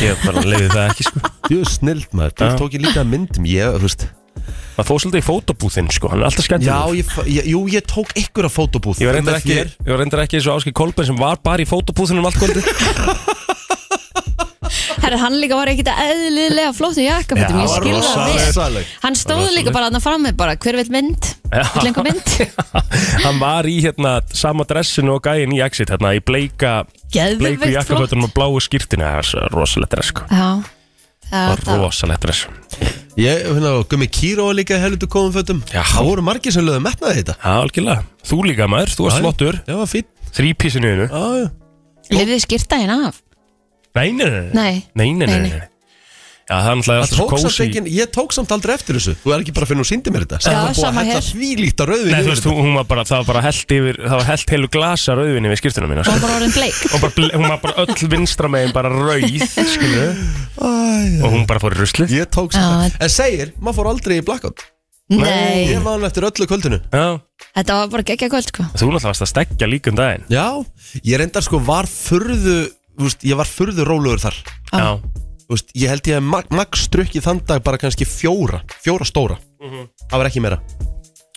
[SPEAKER 3] Ég bara leiði það ekki sko
[SPEAKER 1] Jú, snild maður, þú
[SPEAKER 3] Já.
[SPEAKER 1] tók ég líka af myndum ég, þú veist
[SPEAKER 3] Það fór svolítið í fótobúðinn sko, hann er alltaf
[SPEAKER 1] Já,
[SPEAKER 3] skemmtilegur
[SPEAKER 1] ég, fa- ég, jú, ég tók ykkur af fótobúð
[SPEAKER 3] Ég var reyndar
[SPEAKER 1] Með
[SPEAKER 3] ekki,
[SPEAKER 1] þér.
[SPEAKER 3] ég var reyndar ekki eins og Áski Kolben sem var bara í fótobúðinu um allt kvöldi
[SPEAKER 1] [laughs]
[SPEAKER 2] herri, hann líka var ekkit eðlilega flott í jakkafötum
[SPEAKER 3] Já,
[SPEAKER 2] Ég skil það
[SPEAKER 1] rosaleg.
[SPEAKER 2] vel
[SPEAKER 1] Rosaleg.
[SPEAKER 2] Hann stóð líka bara að fram með bara Hver vil mynd?
[SPEAKER 3] [laughs] Já.
[SPEAKER 2] Vill einhver mynd?
[SPEAKER 3] Hann var í hérna sama dressinu og gæin í exit hérna í bleika bleiku
[SPEAKER 2] Geðveikt flott
[SPEAKER 3] jakkafötunum og bláu skýrtinu Það var svo rosalegt dress sko
[SPEAKER 2] Já, það,
[SPEAKER 3] Það var
[SPEAKER 2] það,
[SPEAKER 3] rosalegt dress
[SPEAKER 1] Ég, hérna, og Gummi Kíró var líka helviti komum fötum
[SPEAKER 3] Já.
[SPEAKER 1] Það voru margir sem lögðu metnaði þetta
[SPEAKER 3] Já, algjörlega Þú líka maður, þú
[SPEAKER 1] Já,
[SPEAKER 3] varst
[SPEAKER 1] já.
[SPEAKER 3] flottur
[SPEAKER 1] Já, var fín
[SPEAKER 3] Þrýpísinu innu
[SPEAKER 1] Já, já
[SPEAKER 2] lifði skýrta hérna af
[SPEAKER 3] Nei, nei, nei
[SPEAKER 2] Nei.
[SPEAKER 3] Nei, nei, nei,
[SPEAKER 2] Nei,
[SPEAKER 3] nei. Já, það er náttúrulega
[SPEAKER 1] Það
[SPEAKER 3] alltaf svo
[SPEAKER 1] tók samt
[SPEAKER 3] kósi
[SPEAKER 1] ekki, ég tók samt aldrei eftir þessu Þú er ekki bara að finna hún síndi mér þetta
[SPEAKER 2] Já,
[SPEAKER 1] Það var búið að
[SPEAKER 2] sama
[SPEAKER 1] hella
[SPEAKER 2] hér.
[SPEAKER 1] þvílíkt á rauðvín
[SPEAKER 3] Nei, þú veist, hún- hún var bara, það var bara held yfir, það var held heilu glasa rauðvinni við skýrtuna mína
[SPEAKER 2] Og
[SPEAKER 3] sko.
[SPEAKER 2] hann bara orðin bleik
[SPEAKER 3] og bara, ble- hún var bara öll vinstra megin bara rauð, skilu og hún bara fór í ruslið
[SPEAKER 1] Ég tók
[SPEAKER 2] Já.
[SPEAKER 1] samt En segir, maður fór aldrei í blackout
[SPEAKER 2] Nei,
[SPEAKER 1] Ég man eftir öllu kvöldinu
[SPEAKER 3] Já,
[SPEAKER 2] þetta var bara geggja kvöld sko
[SPEAKER 3] þú náttúrulega varst að stekja líka um daginn
[SPEAKER 1] Já, ég reyndar sko var furðu þú veist, Ég var furðu rólugur þar
[SPEAKER 2] Já.
[SPEAKER 3] Já,
[SPEAKER 1] Þú veist, Ég held ég hef mag max drukkið þann dag bara kannski fjóra Fjóra stóra
[SPEAKER 3] Mhm.
[SPEAKER 1] Það var ekki meira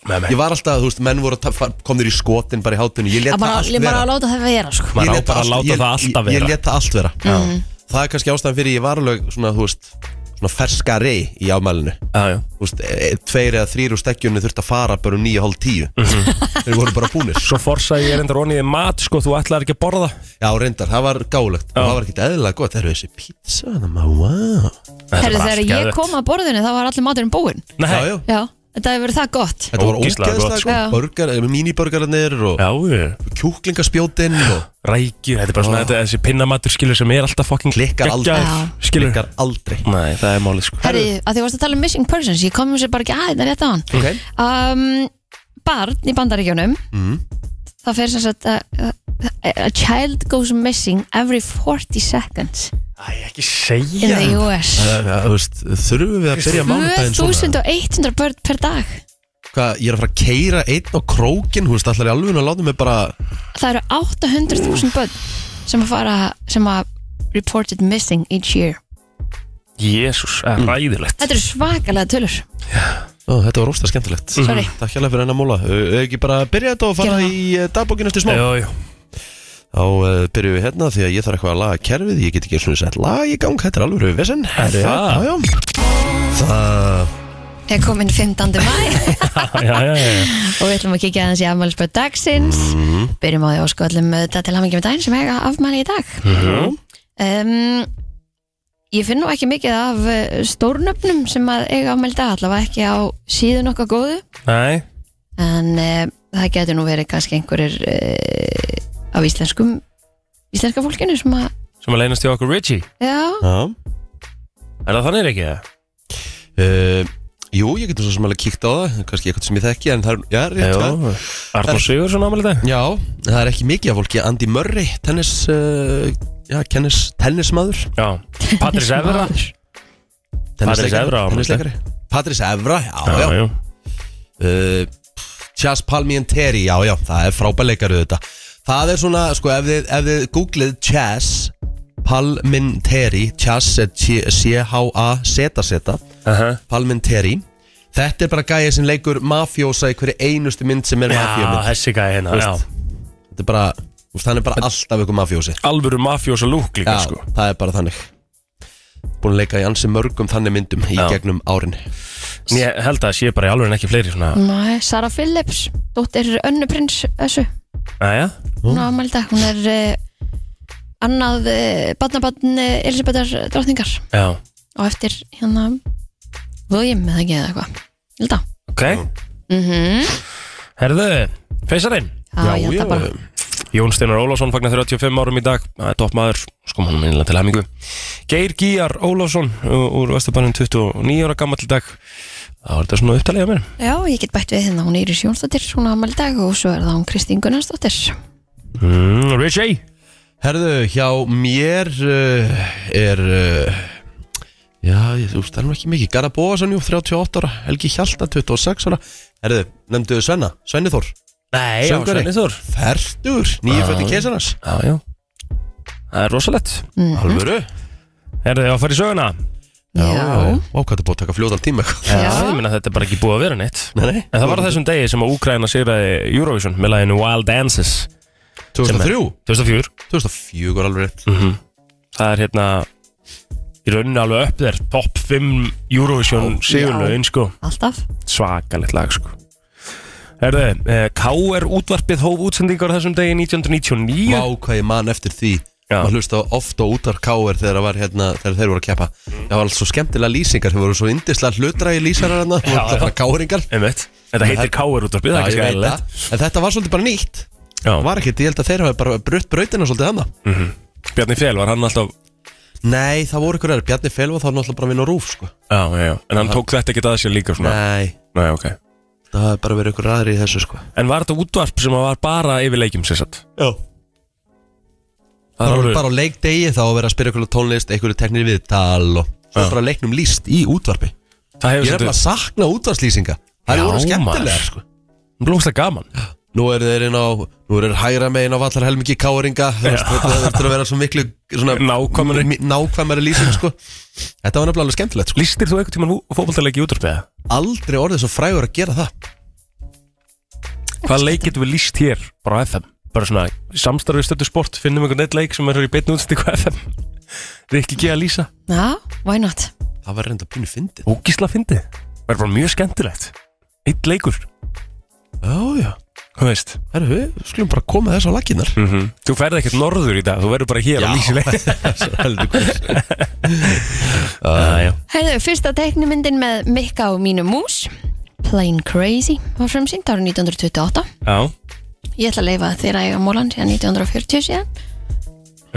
[SPEAKER 3] með
[SPEAKER 1] Ég
[SPEAKER 3] mig
[SPEAKER 1] var alltaf, þú veist, menn voru að ta- fa- komnir í skotin bara í hátinu Ég let
[SPEAKER 2] Að
[SPEAKER 1] það
[SPEAKER 2] bara-
[SPEAKER 1] allt
[SPEAKER 2] Ég bara
[SPEAKER 1] vera
[SPEAKER 2] að láta það vera sko
[SPEAKER 1] Ég
[SPEAKER 3] Maður á
[SPEAKER 1] lét
[SPEAKER 3] bara að
[SPEAKER 1] allt-
[SPEAKER 3] láta
[SPEAKER 1] ég-
[SPEAKER 3] það alltaf
[SPEAKER 1] ég- Ég
[SPEAKER 3] vera
[SPEAKER 1] let það allt vera Mm.
[SPEAKER 3] Já,
[SPEAKER 1] Það er kannski ástæðan fyrir ég var alveg svona, þú veist Svona ferskari í afmælinu
[SPEAKER 3] já, já
[SPEAKER 1] Þú veist, e- e- Tveir eða þrýr úr stekkjunni þurft að fara bara um nýja hálf tíu Þeir voru bara búnir
[SPEAKER 3] Mhm. Svo forsaði ég reyndar onnið mat, sko, þú ætlaði ekki að borða
[SPEAKER 1] Já, reyndar, það var gálegt
[SPEAKER 3] Já.
[SPEAKER 1] Það var ekkert eðlilega gott, það eru þessi pizza Það maður, wow
[SPEAKER 3] Þetta
[SPEAKER 2] Herri,
[SPEAKER 3] var
[SPEAKER 2] þegar
[SPEAKER 3] allt
[SPEAKER 2] ég
[SPEAKER 3] geðveikt.
[SPEAKER 2] kom að borðinu þá var allir maturinn búinn
[SPEAKER 3] Nei,
[SPEAKER 1] Já, já,
[SPEAKER 2] Já, þetta hefur verið það gott
[SPEAKER 1] þetta var ógeðslega
[SPEAKER 3] Ógeðslega gott,
[SPEAKER 1] gott
[SPEAKER 2] sko. Já.
[SPEAKER 1] Burger, mínibörgarnir og
[SPEAKER 3] já, já.
[SPEAKER 1] kjúklingaspjótin og
[SPEAKER 3] rækjur, þetta er bara svona
[SPEAKER 1] Ó.
[SPEAKER 3] þetta, þessi pinnamatur skilur sem er alltaf fucking
[SPEAKER 1] Klikkar aldrei.
[SPEAKER 3] geggjaður, skilur
[SPEAKER 1] klikkar aldrei
[SPEAKER 3] Nei, það er málið sko
[SPEAKER 2] Herri, að því varst að tala um missing persons Ég kom sér bara ekki aðeins rétt á hann
[SPEAKER 1] Ok
[SPEAKER 2] um, Barn í bandaríkjónum
[SPEAKER 1] mm.
[SPEAKER 2] Það fer sem sagt að að- A child goes missing every 40 seconds
[SPEAKER 3] Æ, ekki
[SPEAKER 2] in
[SPEAKER 3] segja
[SPEAKER 2] the US
[SPEAKER 1] Það- það- Eh, Þú veist, þurfum við að byrja mánudaginn svona
[SPEAKER 2] 2100 börn per dag
[SPEAKER 1] Hvað, ég er að fara að keira einn á krókin Þú veist, allar í alveg að láta mig bara
[SPEAKER 2] Það eru 800.000 börn sem að fara sem að reported missing each year
[SPEAKER 1] Mm.
[SPEAKER 3] Jésús, það er ræðilegt
[SPEAKER 2] Þetta eru svakalega tölur
[SPEAKER 1] Ó, Þetta var ósta skemmtilegt
[SPEAKER 2] Mhm.
[SPEAKER 1] Mm,
[SPEAKER 2] Sorry.
[SPEAKER 1] Takk hérlega fyrir hennar móla Eða ekki bara að byrja þetta og fara
[SPEAKER 2] Gerðu það.
[SPEAKER 1] í dagbókinu eftir smá
[SPEAKER 3] Jó, jó
[SPEAKER 1] Þá uh, byrjum við hérna því að ég þarf eitthvað að laga kerfið Ég get ekki svona sett lag í gang Þetta er alveg rauð vesinn
[SPEAKER 3] Er það?
[SPEAKER 1] Já, já Það
[SPEAKER 2] Ég kom inn 15. mæ
[SPEAKER 3] Já, já, já, já
[SPEAKER 2] og við ætlum að kíkja aðeins í afmælisbörn dagsins byrjum á því að sko öllum þetta til hamingi með daginn sem eiga afmæli í dag um, ég finn nú ekki mikið af eh, stórnöfnum sem að eiga afmæli í dag allavega ekki á síðun okkar góðu
[SPEAKER 3] Nei,
[SPEAKER 2] en um, það getur nú verið kannski einhverjir uh, af íslenskum íslenska fólkinu sem að
[SPEAKER 3] sem að leynast hjá okkur Richie
[SPEAKER 2] já,
[SPEAKER 1] Já
[SPEAKER 3] Er það þannig ekki það?
[SPEAKER 1] Uh, jú, ég getur svo sem alveg kíkt á það Kanski eitthvað sem ég þekki En það er, já, rétt hvað
[SPEAKER 3] Jó Arnur Sigursson ámæli dag
[SPEAKER 1] Já, það er ekki mikið af fólki Andy Murray, tennis uh, Já, kennis, tennismadur
[SPEAKER 3] Já Patrís Evra Patrice Evra á
[SPEAKER 1] Tennisleikari Patrís Evra, já, já, já.
[SPEAKER 3] já
[SPEAKER 1] Uh, Chas Palmienteri, já, já Það er frábæleikari þetta Það er svona, sko, ef þið, ef þið googlið Chas Palminteri Chas er C- C-H-A-Z-Z
[SPEAKER 3] Aha.
[SPEAKER 1] Palminteri Þetta er bara gæja sem leikur mafjósa í hverju einustu mynd sem er
[SPEAKER 3] Já,
[SPEAKER 1] mafjómynd
[SPEAKER 3] þessi gæði hérna já.
[SPEAKER 1] Þetta er bara, þú veist, hann er bara alltaf ykkur mafjósi
[SPEAKER 3] Alvöru mafjósa lúk líka
[SPEAKER 1] Já,
[SPEAKER 3] sko
[SPEAKER 1] það er bara þannig Búin að leika í ansi mörgum þannig myndum í
[SPEAKER 3] Já.
[SPEAKER 1] gegnum árin
[SPEAKER 3] En Ég held að það sé bara í alvöru en ekki fleiri svona
[SPEAKER 2] Næ, Sara Phillips, dóttir Önnu Prins Össu,
[SPEAKER 3] Æja,
[SPEAKER 2] hún á afmælda hún er uh, annað uh, badnabann uh, Elisabethar drottningar
[SPEAKER 3] já,
[SPEAKER 2] og eftir hérna William eða ekki eða eitthvað ég held að
[SPEAKER 3] ok Herðu, feysarinn
[SPEAKER 2] Já, ég held að bara
[SPEAKER 3] Jón Steinar Ólafsson fagnar 35 árum í dag Það er toppmaður, sko hann minnilega til hemingu Geir Gíjar Ólafsson ú- úr Vestabænum 29 ára gammal í dag Það var þetta svona upptalið á mér
[SPEAKER 2] Já, ég get bætt við hérna, hún er Íris Jónsdóttir, hún á afmæli í dag og svo er það hún Kristín Gunnarsdóttir.
[SPEAKER 3] mm, Richie
[SPEAKER 1] Herðu, hjá mér uh, er uh, Já, ég, þú veist, það er nú ekki mikið Garðar Bóasson, jú, 38 ára Helgi Hjalta, 26 ára Herðu, nefndu Svenna, Svenni Þór
[SPEAKER 3] Nei,
[SPEAKER 1] Söngvari.
[SPEAKER 3] Svenni Þór
[SPEAKER 1] Fertur, nýjufætti
[SPEAKER 3] Já.
[SPEAKER 1] keisarnas
[SPEAKER 3] Já, já Það er rosalett
[SPEAKER 1] Alvöru
[SPEAKER 3] Er það að fara í söguna?
[SPEAKER 1] Ó, hvað það er búið að taka fljóðan tíma
[SPEAKER 2] Já.
[SPEAKER 3] Ég minna þetta er bara ekki búið að vera neitt
[SPEAKER 1] [laughs] Nei, nei
[SPEAKER 3] En það var á þessum degi sem að Úkraina sigraði Eurovision með laginu Wild Dances
[SPEAKER 1] 2003
[SPEAKER 3] 2004
[SPEAKER 1] 2004 alveg rétt
[SPEAKER 3] Mhm. það er hérna í rauninu alveg upp þér top 5 Eurovision sigurlaun sko
[SPEAKER 2] Alltaf.
[SPEAKER 3] svakalegt lag sko Herðu, eh, K.R. útvarpið hóf útsendingar á þessum degi 1999
[SPEAKER 1] Vá hvað ég man eftir því
[SPEAKER 3] Já.
[SPEAKER 1] Maður hlusta ofta á útar káir þegar, það var, hérna, þegar þeir voru að keppa Það var alls svo skemmtilega lýsingar Þeir voru svo indislega hlutra í lýsarar hérna Það
[SPEAKER 3] já.
[SPEAKER 1] voru bara káringar
[SPEAKER 3] Einmitt. Þetta heitir K.R. útvarpið, það er ekki skæðilegt
[SPEAKER 1] En þetta var svolítið bara nýtt Það var ekkert, ég held að þeir hafa bara brutt brautina svolítið hana
[SPEAKER 3] Bjarni Fjell var hann alltaf
[SPEAKER 1] Nei, það voru ykkur er Bjarni Felva þá var náttúrulega bara að vinna á rúf sko.
[SPEAKER 3] já, já, já. en hann tók þetta ekkert að sér líka svona.
[SPEAKER 1] Nei,
[SPEAKER 3] Nei, ok
[SPEAKER 1] það hafa bara verið ykkur aðri í þessu sko.
[SPEAKER 3] En var þetta útvarp sem var bara yfir leikjum sér satt?
[SPEAKER 1] Já Það var bara á leikdegi þá að vera að spyrja ykkur tónlist, ykkur teknir viðtal og svo
[SPEAKER 3] Já.
[SPEAKER 1] bara leiknum líst í útvarpi
[SPEAKER 3] Það hefur
[SPEAKER 1] Ég er bara að
[SPEAKER 3] svolítið
[SPEAKER 1] sakna útvarslýsinga Það
[SPEAKER 3] Já,
[SPEAKER 1] eru voru skemmtilegar
[SPEAKER 3] maður.
[SPEAKER 1] sko.
[SPEAKER 3] blómslega gaman
[SPEAKER 1] Nú eru þeir inn á Nú eru þeir hægra megin á vallar helmingi káringa Það þurftur að vera svo miklu svona,
[SPEAKER 3] Nákvæmari.
[SPEAKER 1] mi- Nákvæmari lýsing sko. Þetta var nefnilega alveg skemmtilegt sko.
[SPEAKER 3] Lýstir þú einhvern tímann fótboltaleiki í útvarpið? eða?
[SPEAKER 1] Aldrei orðið svo frægur að gera það
[SPEAKER 3] Hvaða leik getum við líst hér bara á FM? Bara svona samstarfið stöttu sport, finnum einhvern eitt leik sem er í beinni útstíku á FM [laughs] Rikki G. að lýsa,
[SPEAKER 2] Já, why not?
[SPEAKER 1] Það var reynda pínu fyndið
[SPEAKER 3] ógísla fyndið Það er bara mjög skemmtilegt Eitt leikur,
[SPEAKER 1] Já, já
[SPEAKER 3] hvað veist
[SPEAKER 1] Herru, við skulum bara koma þess á laginnar
[SPEAKER 3] Þú ferði ekkert norður í dag, þú verður bara hér að lýsa leik
[SPEAKER 1] [laughs]
[SPEAKER 3] ah, já.
[SPEAKER 2] Herðu, fyrsta teiknumyndin með Mikka og mínu mús, Plain Crazy, var fremsýnd árið 1928.
[SPEAKER 3] já.
[SPEAKER 2] Ég ætla að leifa þeirra eiga mólan síðan 1940 síðan.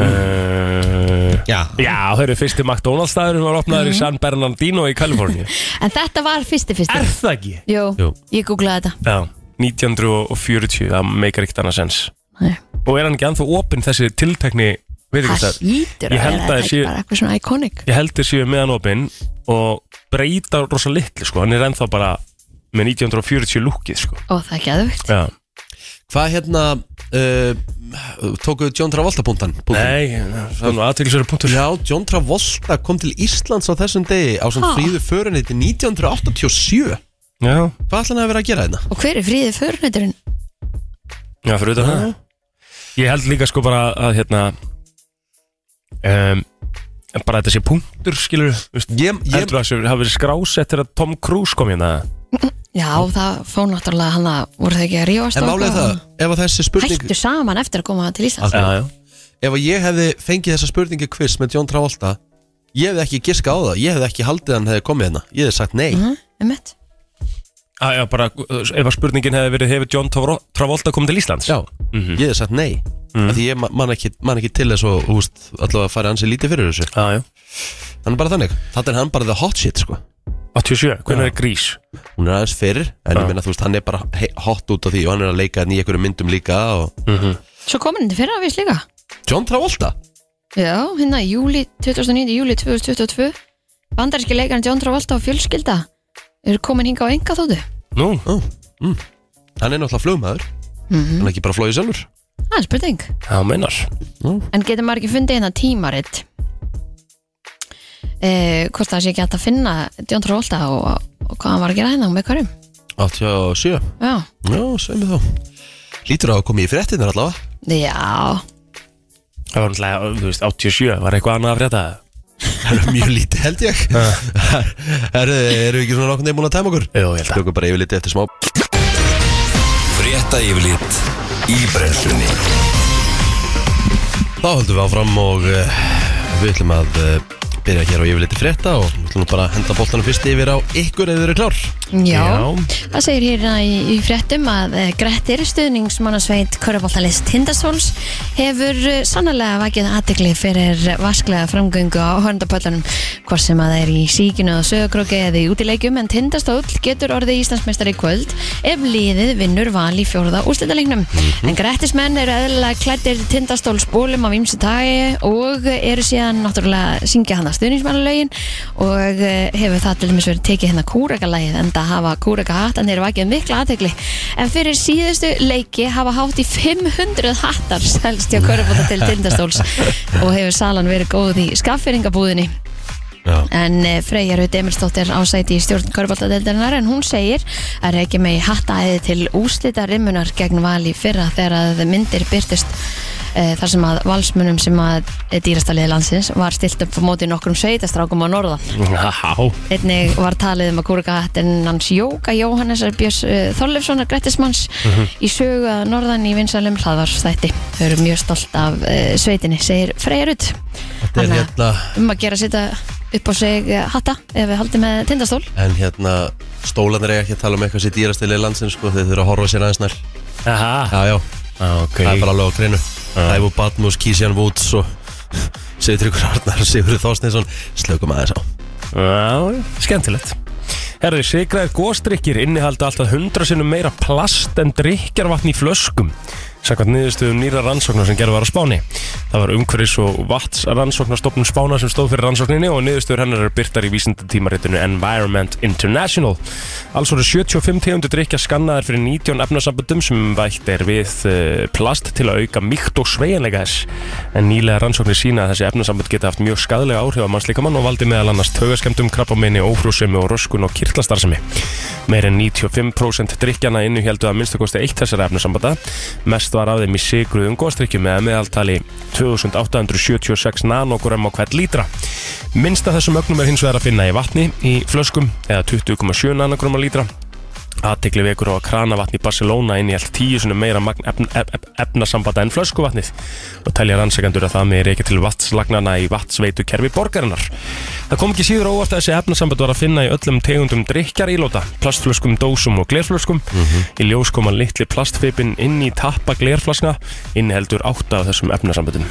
[SPEAKER 3] Uh,
[SPEAKER 1] Já
[SPEAKER 3] já, þau eru fyrsti McDonalds staðurinn var opnaður í San Bernardino í Kaliforníu
[SPEAKER 2] En þetta var fyrsti fyrsti.
[SPEAKER 3] Er það ekki?
[SPEAKER 2] Jú,
[SPEAKER 1] Jú.
[SPEAKER 2] ég googlaði þetta.
[SPEAKER 3] Já, 1940, það meikar ekkert annað sens
[SPEAKER 2] Nei.
[SPEAKER 3] Og er hann ekki anþá opinn þessi tiltekni
[SPEAKER 2] Það
[SPEAKER 3] veitingastæður?
[SPEAKER 2] hýtur
[SPEAKER 3] Ég
[SPEAKER 2] að
[SPEAKER 3] held
[SPEAKER 2] vera
[SPEAKER 3] að
[SPEAKER 2] þetta
[SPEAKER 3] það
[SPEAKER 2] ekki
[SPEAKER 3] sé-
[SPEAKER 2] bara eitthvað svona iconic.
[SPEAKER 3] Ég held þessi við meðan opinn og breyta rosa litlu sko Hann er ennþá bara með 1940 lúkið sko
[SPEAKER 2] Ó, það er geðvögt.
[SPEAKER 3] Já.
[SPEAKER 1] Hvað hérna uh, Tókuðu John Travolta púntan
[SPEAKER 3] Nei, það er nú aðtilsverið punktur
[SPEAKER 1] Já, John Travolta kom til Íslands á þessum degi á sem
[SPEAKER 2] Ha?
[SPEAKER 1] fríðu föruniti 1987
[SPEAKER 3] Já,
[SPEAKER 1] Hvað ætla hann að vera að gera hérna?
[SPEAKER 2] Og hver er fríðið förunætturinn?
[SPEAKER 3] já fyrir utan það Ég held líka sko bara að hérna um, bara þetta sé punktur skilur Vist,
[SPEAKER 1] Ég, ég,
[SPEAKER 3] Heldur það sem hafi verið skrásett þegar Tom Cruise kom hérna
[SPEAKER 2] Já, það fór náttúrulega hann að voru þau ekki að rífast
[SPEAKER 1] en
[SPEAKER 2] og
[SPEAKER 1] málega
[SPEAKER 2] eitthvað?
[SPEAKER 1] það, ef að þessi spurning
[SPEAKER 2] Hættu saman eftir að koma til Íslands
[SPEAKER 1] Akkurat.
[SPEAKER 3] já
[SPEAKER 1] Ef að ég hefði fengið þessa spurningi quiz með John Travolta Ég hefði ekki giska á það, ég hefði ekki haldið að hann hefði komið hérna Ég hefði sagt nei
[SPEAKER 2] Mhm, einmitt.
[SPEAKER 3] Ah, já, bara, uh, ef að spurningin hefði verið hefur John Tavro- Travolta komið til Íslands
[SPEAKER 1] Já,
[SPEAKER 3] Mhm.
[SPEAKER 1] ég hefði sagt nei mm. Því ég ma- man ekki, man ekki til þess og úst, allavega farið hans í lítið fyrir þessu
[SPEAKER 3] já, já.
[SPEAKER 1] Hann er bara þannig, þetta er hann bara the hot shit sko
[SPEAKER 3] 87, hvernig er grís?
[SPEAKER 1] Hún er aðeins fyrir, en ég meina þú veist, hann er bara he- hot út af því og hann er að leika hérna í einhverjum myndum líka og
[SPEAKER 2] Svo komin þetta fyrir aðvís líka
[SPEAKER 1] John Travolta
[SPEAKER 2] Já, hérna í júli 2009, júli 2022 Bandaríski leikarinn John Travolta og fjölskylda eru komin hinga á enga þóttu
[SPEAKER 3] Nú,
[SPEAKER 1] oh, mm. Hann er náttúrulega flugmaður Hann er ekki bara flóið sjálfur
[SPEAKER 2] Það er spurning
[SPEAKER 3] það meinar
[SPEAKER 2] En getur maður ekki fundið hérna tímaritt eh, Hvort það sé ekki hægt að finna John Travolta og, og hvað hann var að gera hérna og með hverjum
[SPEAKER 1] 87
[SPEAKER 2] Já,
[SPEAKER 1] Já, segjum við þá Lítur á að koma í fréttinnar allavega
[SPEAKER 2] já,
[SPEAKER 3] Það var náttúrulega, þú veist, 87, var eitthvað annað að frétta það?
[SPEAKER 1] Það er mjög lítið held ég [laughs] Herru, Erum við ekki svona nokkurn veginn búin að tæma okkur?
[SPEAKER 3] Jú, ég held að.
[SPEAKER 1] Tökum bara yfir litið eftir smá
[SPEAKER 4] Frétta yfirlit í brennslunni
[SPEAKER 1] Þá höldum við áfram og uh, við ætlum að uh, byrja hér á yfirleiti frétta og við ætlum nú bara að henda boltanum fyrst yfir á ykkur eða þau eru klár
[SPEAKER 2] já
[SPEAKER 3] Já.
[SPEAKER 2] Það segir hérna í, í fréttum að eh, Grettir stuðningsmannasveit Köruboltalist Tindastóls hefur eh, sannlega vakið aðtegli fyrir vasklega framgöngu á horndapöllanum hvort sem að það er í síkinu og sögurkróki eða í útileikjum en Tindastól getur orðið Íslandsmeistar í kvöld ef liðið vinnur val í fjórða úrslitaleiknum en Grettismenn eru eðlilega klættir Tindastóls bólum af ýmsu tagi og eru síðan náttúrulega syngja hann að stuðningsmannalögin og eh, hefur það til dæmis verið tekið hérna kúrakalægið en það hafa kúraka hattanir vakið mikla aðtegli en fyrir síðustu leiki hafa hátt í 500 hattar selst hjá Körubóta til Tindastóls og hefur salan verið góð í skaffiringabúðinni
[SPEAKER 1] Já.
[SPEAKER 2] en eh, Freyja Rutt Emilsdóttir ásæti í stjórn Körbáltadeildarinnar en hún segir að reykja megi hattaæði til úslita rimmunar gegn val í fyrra þegar að myndir byrtist eh, þar sem að valsmunum sem að dýrastaliði landsins var stilt upp á móti nokkrum sveitastrákum á norðan
[SPEAKER 3] Já.
[SPEAKER 2] einnig var talið um að kúrka hattinn hans Jóka Jóhannesar Björs uh, Þorleifssonar Grettismanns
[SPEAKER 1] Mhm.
[SPEAKER 2] í sögu að norðan í vinsalum hlaðvarsþætti þau eru mjög stolt af uh, sveitinni segir Freyja Rutt
[SPEAKER 1] Þetta er
[SPEAKER 2] Hanna.
[SPEAKER 1] hérna,
[SPEAKER 2] um að gera að setja upp á sig eh, hatta ef við haldum með tindastól
[SPEAKER 1] en hérna stólanir eiga ekki að tala um eitthvað sér dýrastili landsins sko, þeir þurfa að horfa sér aðeins nær
[SPEAKER 3] Aha.
[SPEAKER 1] Já, já,
[SPEAKER 3] Ok.
[SPEAKER 1] það er bara alveg á greinu Ævo Batmus, Kísjan Woods og [laughs] Sigurður Arnar, Sigurður Þorstinsson Slökum aðeins á
[SPEAKER 3] Já, já, skemmtilegt. Herri, sigraðir góstrykkir innihalda alltaf 100 sinnum meira plast en drikjarvatn í flöskum samkvæmt niðurstöðum nýra rannsóknar sem gerðu var á Spáni. Það var umhverfis og vats rannsóknarstofnun Spána sem stóð fyrir rannsókninni og niðurstöður hennar eru byrtar í vísindatímaritinu Environment International. Alls voru 75 tegundu drikja skannaðar fyrir 19 efnasambundum sem vætt er við eh, plast til að auka mýkt og sveigjanleika þess. En nýlega rannsóknir sína að þessi efnasambund geta haft mjög skadlega áhrif á mannslíkamann og valdi meðal annars taugaskemdum, krabbameini, ófrúsemi og röskun og kirtlastarðsemi. Meir en 95% drikkjana innuhjeldu að minnstakosti eitt þessara efnasambanda. Mest var af þeim í sigruðum góðstrykkjum með meðaltali 2876 nanogram á hvert lítra. Minnsta þessum ögnum er hins vegar að finna í vatni í flöskum eða 20,7 nanogram á lítra Aðtekli vekur á að kranavatn í Barcelona innihjalt tíu svona meira magn efn, ef, ef, efnasambata en flöskuvatnið og telja rannsakendur að það með reykja til vatnslagnana í vatnsveitu kerfi borgarinnar. Það kom ekki síður á óvart að þessi efnasambat var að finna í öllum tegundum drikjarílóta, plastflöskum, dósum og glerflöskum. Í ljós koma litli plastfipin inn í tappa glerflaskna inniheldur átta af þessum efnasambatum.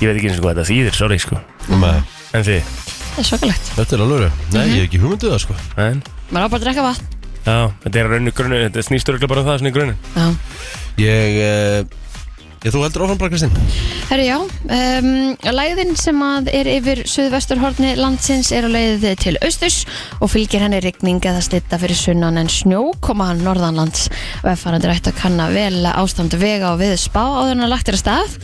[SPEAKER 3] Ég veit ekki eins og hvað þetta þýðir, sorry sko.
[SPEAKER 1] Nei.
[SPEAKER 3] En þið?
[SPEAKER 2] það er svakalegt,
[SPEAKER 1] Þetta er alveg, nei, ég hef ekki hugmynduð það sko
[SPEAKER 3] En?
[SPEAKER 2] maður á bara að drekka vatn
[SPEAKER 3] Já, þetta er raunni grunni, þetta snýstur ekki bara um það svona í grunni.
[SPEAKER 2] já.
[SPEAKER 1] Ég, eh, ég þú heldur áfram bara Kristinn
[SPEAKER 2] Herri já, um, læðin sem að er yfir suðvesturhorni landsins er á leið til austurs og fylgir henni rigning eða slitta fyrir sunnan en snjó koma hann norðanlands vegfarandir ættu að kanna vel ástand vega og við spá áður en að lagt er að stað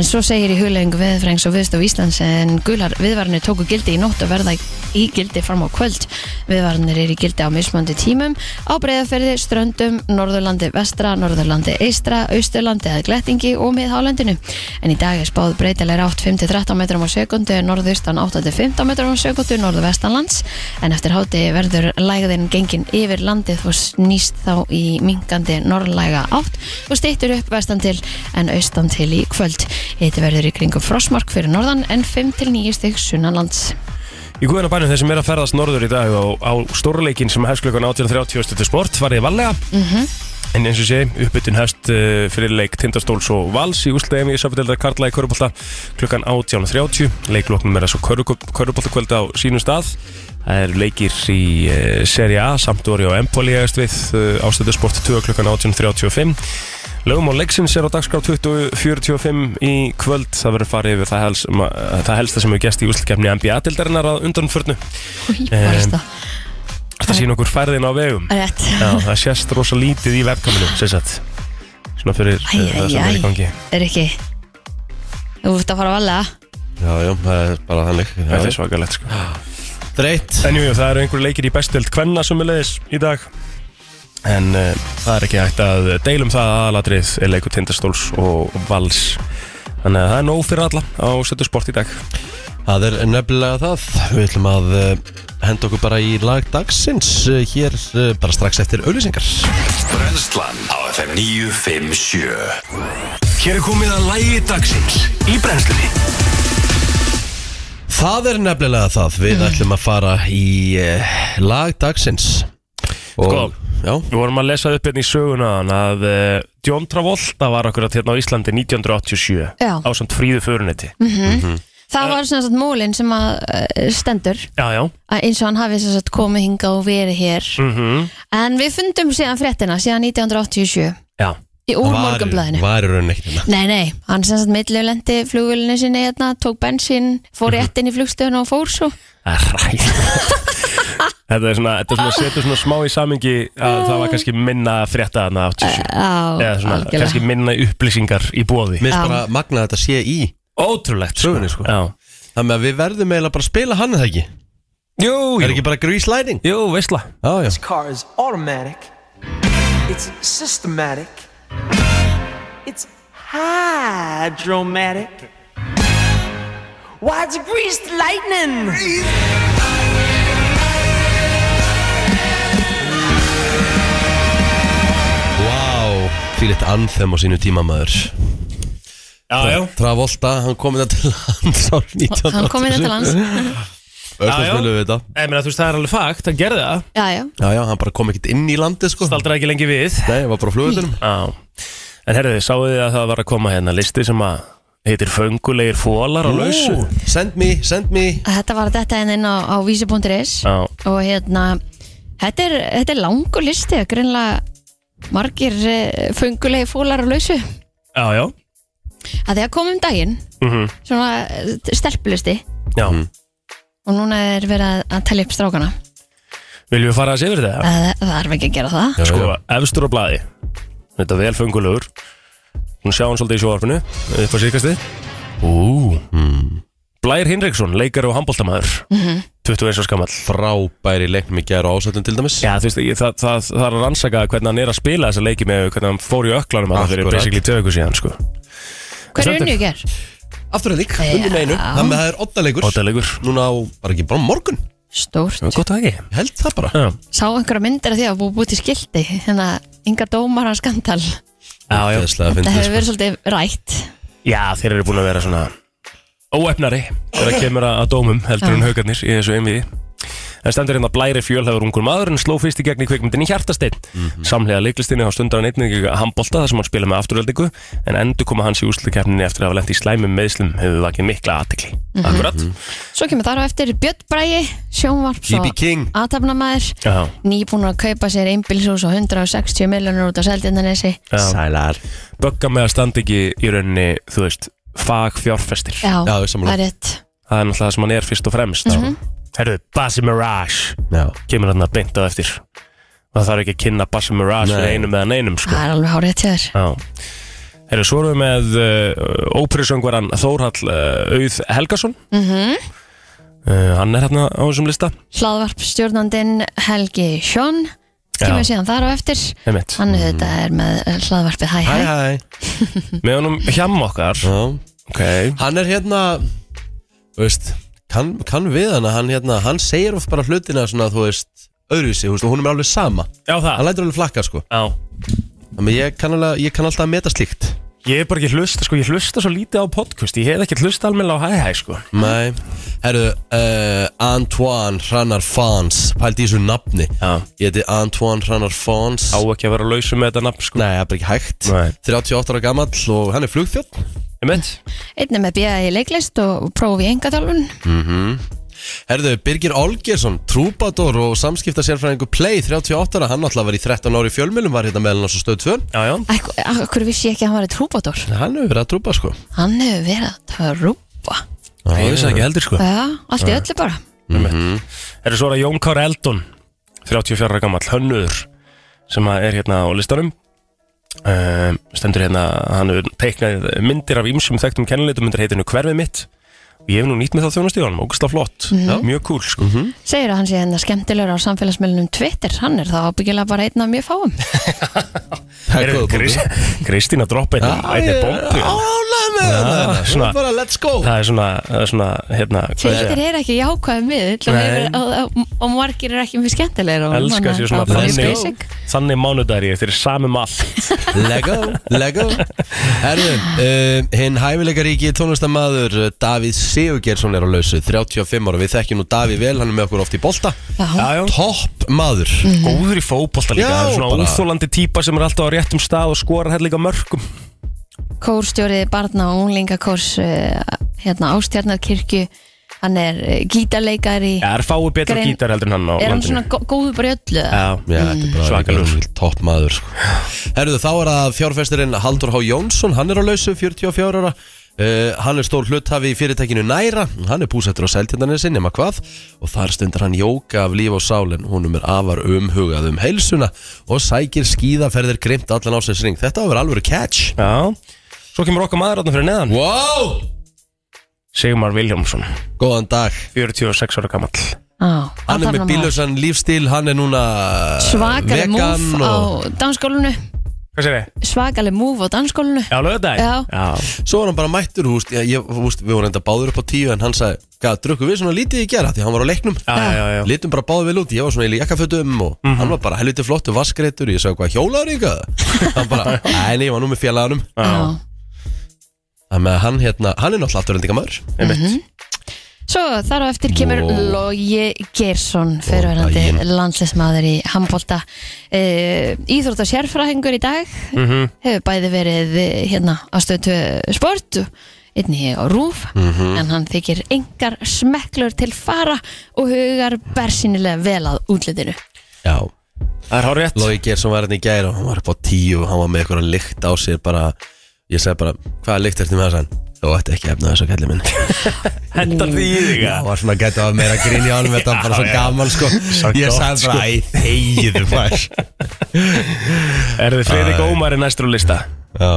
[SPEAKER 2] en svo segir í huglegingu veðfrængs og viðstof Íslands en gular viðvarnir tóku gildi í nótt og verða í gildi fram á kvöld viðvarnir er í gildi á mismöndi tímum á breyðaferði, ströndum, norðurlandi vestra, norðurlandi eistra, austurlandi eða glettingi og miðhálendinu en í dag er spáð breytilega átt 5-13 metrum á sekundu, norðustan 8-15 metrum á sekundu, norðvestanlands en eftir háti verður lægðin gengin yfir landið og snýst þá í minkandi norðlæga átt og stýttur upp vestan til en austan til í kvöld. Þetta verður í kringum frosmark fyrir norðan en 5-9 stygg sunnanlands.
[SPEAKER 3] Í guðan bænum þeir sem er að ferðast norður í dag á, á stórleikin sem hefst klukkan 18.30 stötu sport farið vallega en eins og sé uppbytun hefst uh, fyrir leik Tindastóls og Vals í úslegum í Söfndeldar Karla í Körubólta klukkan 18.30 leikloknum er að svo Körubólta kvölda á sínum stað það eru leikir í uh, Serie A samt orði á Empoli eðast við uh, ástötu sport 2 klukkan 18.35 Lögum á leiksins er á dagskrá 2045 í kvöld. Það verður farið yfir það, helst, ma- það helsta sem hefur gæst í úslutkefni NBA-dildarinnar að undanförnu.
[SPEAKER 2] Í barasta.
[SPEAKER 3] Það sín okkur færðin á vegum.
[SPEAKER 2] Rétt.
[SPEAKER 3] Já, það sést rosa lítið í verkaminu, sem sagt. Svona fyrir
[SPEAKER 2] Æ,
[SPEAKER 3] eh, það
[SPEAKER 2] æ,
[SPEAKER 3] sem er í
[SPEAKER 2] æ.
[SPEAKER 3] gangi.
[SPEAKER 2] Er ekki? Þú ert að fara að valega?
[SPEAKER 1] Já, já, það er bara þannig
[SPEAKER 3] Þetta er svakalegt, sko.
[SPEAKER 1] Dreitt
[SPEAKER 3] En jú, jú, það eru einhverju leikir í bestöld kvenna sem er leiðis í dag En uh, það er ekki hægt að deilum það aðalatrið er leikur tindastóls og vals Þannig að það er nóg fyrir alla á setu sport í dag
[SPEAKER 1] Það er nefnilega það Við ætlum að eh, henda okkur bara í lag dagsins eh, Hér eh, bara strax eftir auðlýsingar
[SPEAKER 4] Brenslan á FM 957 Hér er komið að lægi dagsins í brennslunni
[SPEAKER 1] Það er nefnilega það Við
[SPEAKER 3] Mhm.
[SPEAKER 1] ætlum að fara í uh, lag dagsins
[SPEAKER 3] Sko.
[SPEAKER 1] Já,
[SPEAKER 3] Við vorum að lesa upp hérna í söguna að uh, John Travolta var akkur að hérna á Íslandi 1987
[SPEAKER 2] Já. Mm.
[SPEAKER 3] á samt fríðu föruneti
[SPEAKER 2] Það var sem sagt múlin sem að eh, stendur
[SPEAKER 3] Já, já
[SPEAKER 2] að eins og hann hafi sem sagt komið hingað og verið hér
[SPEAKER 3] -hmm.
[SPEAKER 2] en við fundum síðan fréttina síðan 1987
[SPEAKER 3] Já,
[SPEAKER 2] í úr
[SPEAKER 1] var-
[SPEAKER 2] morgunblæðinu
[SPEAKER 1] Var í rauninni ekkert hérna.
[SPEAKER 2] Nei, nei, hann sem sagt millilendi flugvölinu sinni hérna, tók bensín,
[SPEAKER 3] Mhm.
[SPEAKER 2] fór rétt inn í flugstöðun og fór svo
[SPEAKER 3] það er ræð
[SPEAKER 2] [laughs]
[SPEAKER 3] Þetta er svona, þetta er svona setur svona smá í samingi að það var kannski minna að frétta þarna
[SPEAKER 2] Á,
[SPEAKER 3] 87 eða svona
[SPEAKER 2] algjörlega.
[SPEAKER 3] kannski minna upplýsingar í bóði
[SPEAKER 1] Mér
[SPEAKER 2] Já.
[SPEAKER 1] finnst bara magnað að þetta sé í
[SPEAKER 3] Ótrúlegt
[SPEAKER 1] Sögunni, sko.
[SPEAKER 3] Já.
[SPEAKER 1] Þannig að við verðum eiginlega bara að spila hann eða ekki
[SPEAKER 3] Jú,
[SPEAKER 1] Er
[SPEAKER 3] jú,
[SPEAKER 1] ekki bara grease lighting?
[SPEAKER 3] jú, veistla
[SPEAKER 1] Já, já
[SPEAKER 5] This car is automatic. It's systematic. It's hydromatic. Why it's greased lightning?
[SPEAKER 1] Vá, fylgt anþem á sínu tímamaður
[SPEAKER 3] Já, já,
[SPEAKER 1] Travolta, hann kom þetta til lands árið 1987
[SPEAKER 2] Hann kom inn til hans
[SPEAKER 1] Öllum
[SPEAKER 3] hérna Já, já.
[SPEAKER 1] spilum við þetta
[SPEAKER 3] ég meina þú veist það er alveg fakt, hann gerði það
[SPEAKER 2] Já, já,
[SPEAKER 1] Já, já, hann bara kom ekkert inn í landið sko
[SPEAKER 3] Staldraði ekki lengi við
[SPEAKER 1] Nei, hann var bara á flugvöldunum
[SPEAKER 3] Já, en herðu, sáðu þið að það var að koma hérna listi sem að heitir Föngulegir fólar á lausu
[SPEAKER 1] Send me, send me
[SPEAKER 2] þetta var þetta enn inn á, á vísi.is
[SPEAKER 3] Já,
[SPEAKER 2] og hérna þetta er, þetta er langur listi og greinlega margir eh, föngulegi fólar á lausu að
[SPEAKER 3] já, já
[SPEAKER 2] því að komum daginn
[SPEAKER 3] Mhm.
[SPEAKER 2] svona eh, stelpulisti
[SPEAKER 3] Já,
[SPEAKER 2] og núna er verið að, að telja upp strákana
[SPEAKER 3] viljum við fara að segja yfir þetta?
[SPEAKER 2] það, það er ekki að gera það
[SPEAKER 1] Já,
[SPEAKER 3] Sko,
[SPEAKER 1] já.
[SPEAKER 3] efstur á blaði Þetta er vel föngulegur Hún sjá hann svolítið í sjóarfinu upp á síðkasti Ú Mhm. Blær Hinriksson, leikari og handbóltamaður Mhm. 21 og skamall
[SPEAKER 1] Frábæri leiknum í gæru ásættum til dæmis
[SPEAKER 3] Já, þú veist, ég, það, það, það er að rannsaka hvernig hann er að spila þessa leiki með hvernig hann fór í öklanum að það fyrir
[SPEAKER 1] Akkurat.
[SPEAKER 3] basically tögu síðan, sko
[SPEAKER 2] hver
[SPEAKER 3] Stendur.
[SPEAKER 2] er unni í ger?
[SPEAKER 1] Afturhaldík,
[SPEAKER 2] Já.
[SPEAKER 1] undir neinu Þannig að það er oddaleikur
[SPEAKER 3] Ótalegur
[SPEAKER 1] Núna á, bara ekki, bara á morgun
[SPEAKER 2] stórt
[SPEAKER 3] Gott að ekki
[SPEAKER 1] Ég Held það bara
[SPEAKER 3] Já,
[SPEAKER 2] sá einhverja myndir af því að búið búið til skildi þannig að yngar dómar hans skandal
[SPEAKER 3] já, já.
[SPEAKER 1] Ógeðslega
[SPEAKER 2] það
[SPEAKER 1] fyndið,
[SPEAKER 2] hefur
[SPEAKER 1] sko.
[SPEAKER 2] verið svolítið rætt
[SPEAKER 3] já þeir eru búin að vera svona óefnari þegar kemur að að dómum heldur en haugarnir í þessu einviði En stendur hérna blæri fjölhæður ungur maður en sló fyrst í gegn í kvikmyndinni Hjartasteinn. Samlega leiklistinni á stundar hann einnig handbolta þar sem hann spila með afturöldingu en endur koma hans í úslukeppninni eftir að hafa lent í slæmum meðslum hefur vakið mikla aðtekli. Akkurat?
[SPEAKER 2] svo kemur þar á eftir Björn Bræi sjónvarps
[SPEAKER 1] B.B. King.
[SPEAKER 2] og aðtapnamaður
[SPEAKER 3] Já,
[SPEAKER 2] nýbúin að kaupa sér einbilshús og 160 miljonur út á Seldindanesi
[SPEAKER 3] já.
[SPEAKER 1] Sælar
[SPEAKER 3] Bögga með að standa ekki í rauninni, þú veist, fagfjárfestir.
[SPEAKER 2] Já,
[SPEAKER 1] Já, ég sammála.
[SPEAKER 2] það er rétt
[SPEAKER 3] Það er náttúrulega það sem hann er fyrst og fremst. Mm Herðu, Basi Mirage
[SPEAKER 1] Já
[SPEAKER 3] kemur hann að beinta eftir. Það þarf ekki að kynna Basi Mirage fyrir
[SPEAKER 1] Nei.
[SPEAKER 3] einum eða neinum, sko.
[SPEAKER 2] Það er alveg hár rétt hjá þér
[SPEAKER 3] Já Erum svo erum við með uh, óperusöngvaran Þórhall uh, Auð Helgason uh, Hann er hérna á þessum lista
[SPEAKER 2] Hlaðvarpstjórnandinn Helgi Sjón
[SPEAKER 3] Já.
[SPEAKER 2] kemur síðan þar á eftir
[SPEAKER 3] Einmitt.
[SPEAKER 2] Hann þetta er með eh, hlaðvarpið Hæ Hæ
[SPEAKER 1] Mm. Hæ, hæ
[SPEAKER 3] Með honum hjá okkar
[SPEAKER 1] Já
[SPEAKER 3] okay.
[SPEAKER 1] Hann er hérna Þú veist Kann, kann við hann að hann hérna Hann segir of bara hlutina svona, þú veist Öðruvísi, þú veist, og hún er alveg sama
[SPEAKER 3] Já
[SPEAKER 1] Hann
[SPEAKER 3] það
[SPEAKER 1] lætur alveg flakka, sko
[SPEAKER 3] Já.
[SPEAKER 1] Þannig að ég kann, alveg, ég kann alltaf að meta slíkt
[SPEAKER 3] Ég er bara ekki hlusta sko, ég hlusta svo lítið á podcast Ég hef ekki hlusta almennilega á hæ hæ sko
[SPEAKER 1] Nei Herru, uh, Antoine Hrannar Fons Pældi í þessu nafni
[SPEAKER 3] Já.
[SPEAKER 1] Ég heiti Antoine Hrannar Fons
[SPEAKER 3] Á ekki að vera lausum með þetta nafn sko
[SPEAKER 1] Nei, það er bara ekki hægt
[SPEAKER 3] Nei.
[SPEAKER 1] 38 ára gamall og hann er flugþjótt
[SPEAKER 3] Einmitt
[SPEAKER 2] Einn er með bíða í leiklist og prófi í engatálfun
[SPEAKER 1] Herðu, Birgir Olgersson, trúbador og samskipta sérfræðingu Play 38 ára Hann alltaf var í 13 ári í fjölmjölum Var hérna meðlan á stöð 2
[SPEAKER 3] Já já
[SPEAKER 2] Akkur vissi ég ekki að hann var í trúbátor
[SPEAKER 1] Hann hefur verið að trúpa, sko
[SPEAKER 2] Hann hefur verið að það rúpa
[SPEAKER 3] Ég vissi það ekki heldur sko
[SPEAKER 2] Já, allt í öllu bara
[SPEAKER 3] Erum Mhm. svo að Jón Kár Eldon 34 ára gammal hönnur sem að er hérna á listanum Ehm, um, stendur hérna hann hefur teiknað myndir af ýmsum þekktum kennileitum undir heitinu Hverfið mitt Ég hef nú nýtt með það þjónustíðanum, ógust af flott
[SPEAKER 2] Mhm.
[SPEAKER 3] Mjög cool sko
[SPEAKER 1] Mhm.
[SPEAKER 2] Segir að hann sé hennar skemmtilegur á samfélagsmiðlunum Twitter, hann er þá ábyggilega bara einn af mjög fáum.
[SPEAKER 1] Það er
[SPEAKER 3] Erum
[SPEAKER 1] góð
[SPEAKER 3] Krist-
[SPEAKER 1] punktur.
[SPEAKER 3] Kristín að droppa einni
[SPEAKER 1] Já,
[SPEAKER 3] einni
[SPEAKER 1] ég-
[SPEAKER 3] bombu
[SPEAKER 1] Ánægð með
[SPEAKER 3] Já,
[SPEAKER 1] þetta. Hún
[SPEAKER 3] Ah, svona-
[SPEAKER 1] er bara let's go
[SPEAKER 3] Það er svona, það er svona hérna, hvað ég
[SPEAKER 2] Twitter er ekki jákvæðið miðl og,
[SPEAKER 3] Nei.
[SPEAKER 2] hefur- og, og, og margir er ekki mjög skemmtilegur. og
[SPEAKER 3] Elskar
[SPEAKER 2] manna-
[SPEAKER 3] sér svona
[SPEAKER 2] það er mjög
[SPEAKER 1] þannig.
[SPEAKER 2] basic.
[SPEAKER 3] Þannig mánudar ég, þeir er sami mall
[SPEAKER 1] Lego, Lego Herðu, uh, hinn hæfileikaríki tónlistamadur eh, Davíð Sigurgjersson er á lausu 35 ára, við þekkjum nú Davíð vel hann er með okkur oft í bolta
[SPEAKER 2] Já.
[SPEAKER 1] Topp maður
[SPEAKER 3] Góður í fótbolta líka,
[SPEAKER 1] Já,
[SPEAKER 3] það er svona
[SPEAKER 1] bara-
[SPEAKER 3] óþólandi típa sem er alltaf á réttum stað og skorar hér líka mörgum
[SPEAKER 2] kórstjóri barna og unglingakórs uh, hérna Ástjarnarkirkju hann er uh, gítarleikari
[SPEAKER 3] Já, er fáið betra
[SPEAKER 2] Grein-
[SPEAKER 3] gítar heldur en hann á
[SPEAKER 2] er hann
[SPEAKER 3] landinu
[SPEAKER 2] svona gó- góður bara í öllu eða?
[SPEAKER 3] Já,
[SPEAKER 1] Já, þetta er bara
[SPEAKER 3] Svakalegur.
[SPEAKER 1] líka topp maður sko. Herðu, þá er að fjárfestirinn Haldur H. Jónsson, hann er á lausu 44 ára Uh, hann er stór hluthafi í fyrirtækinu Næra hann er búsettur á seltjöndanesi nema hvað og þar stundar hann jóka af líf og sálin húnum er afar umhugað um heilsuna og sækir skíðaferðir grimt allan ásins ring, þetta var alveg catch
[SPEAKER 3] Já, svo kemur okkar maður átna fyrir neðan
[SPEAKER 1] wow,
[SPEAKER 3] Sigmar Viljámsson,
[SPEAKER 1] góðan dag
[SPEAKER 3] 46 ára gamall
[SPEAKER 2] Á,
[SPEAKER 1] hann er
[SPEAKER 2] áfram
[SPEAKER 1] með
[SPEAKER 2] maður.
[SPEAKER 1] bílösan lífstíl hann er núna eh,
[SPEAKER 3] eh,
[SPEAKER 2] svakaleg
[SPEAKER 1] vegan
[SPEAKER 2] múf á
[SPEAKER 1] og...
[SPEAKER 2] dansskólinu
[SPEAKER 3] Hvað sér þið?
[SPEAKER 2] svakaleg múf á dansskólinu
[SPEAKER 3] Já, lögðaði?
[SPEAKER 2] Já.
[SPEAKER 3] Já,
[SPEAKER 1] Svo var hann bara mættur, húst, ég, ég, húst, við vorum enda báður upp á tíu En hann sagði, hvað, drukku við svona lítið í gera Því hann var á leiknum
[SPEAKER 3] já, já, já, já.
[SPEAKER 1] Lítum bara báður vel út, ég var svona í jakkafötum Og hann var bara helviti flottu vaskreitur Ég sagði, hvað, hjólaður ykkar? hann [laughs] bara, nei, nei, ég var nú með félaganum
[SPEAKER 2] Já.
[SPEAKER 1] Þannig að hann, hérna, hann er náttúrulega afturhendingamöður
[SPEAKER 3] einmitt
[SPEAKER 2] svo þar á eftir kemur
[SPEAKER 1] Wow.
[SPEAKER 2] Logi Gersson fyrirverandi
[SPEAKER 1] daginn.
[SPEAKER 2] landslismadur í handbólta uh, íþrótt og sérfræðingur í dag hefur bæði verið eh, hérna á stöðtu sport einnig á rúf en hann þykir engar smekklur til fara og hugar bersinilega vel að útlitinu
[SPEAKER 1] Já,
[SPEAKER 3] Það er hár rétt
[SPEAKER 1] Lói Geir sem var hérna í gæra Og hann var upp á tíu og hann var með eitthvað lykt á sér bara, Ég sagði bara, hvaða lykt ertu með þessan? Þú ætti ekki efna þessu kallið minn
[SPEAKER 3] Hendar því í þig
[SPEAKER 1] [laughs] Það var svona gæti að meira grín í ánum Þetta var bara svo
[SPEAKER 3] Já, já.
[SPEAKER 1] gaman sko
[SPEAKER 3] Svo
[SPEAKER 1] Ég
[SPEAKER 3] gott,
[SPEAKER 1] sagði bara, æ, þegiðu maður
[SPEAKER 3] Er þið Fredrik Ómar er næstur á lista?
[SPEAKER 1] Já.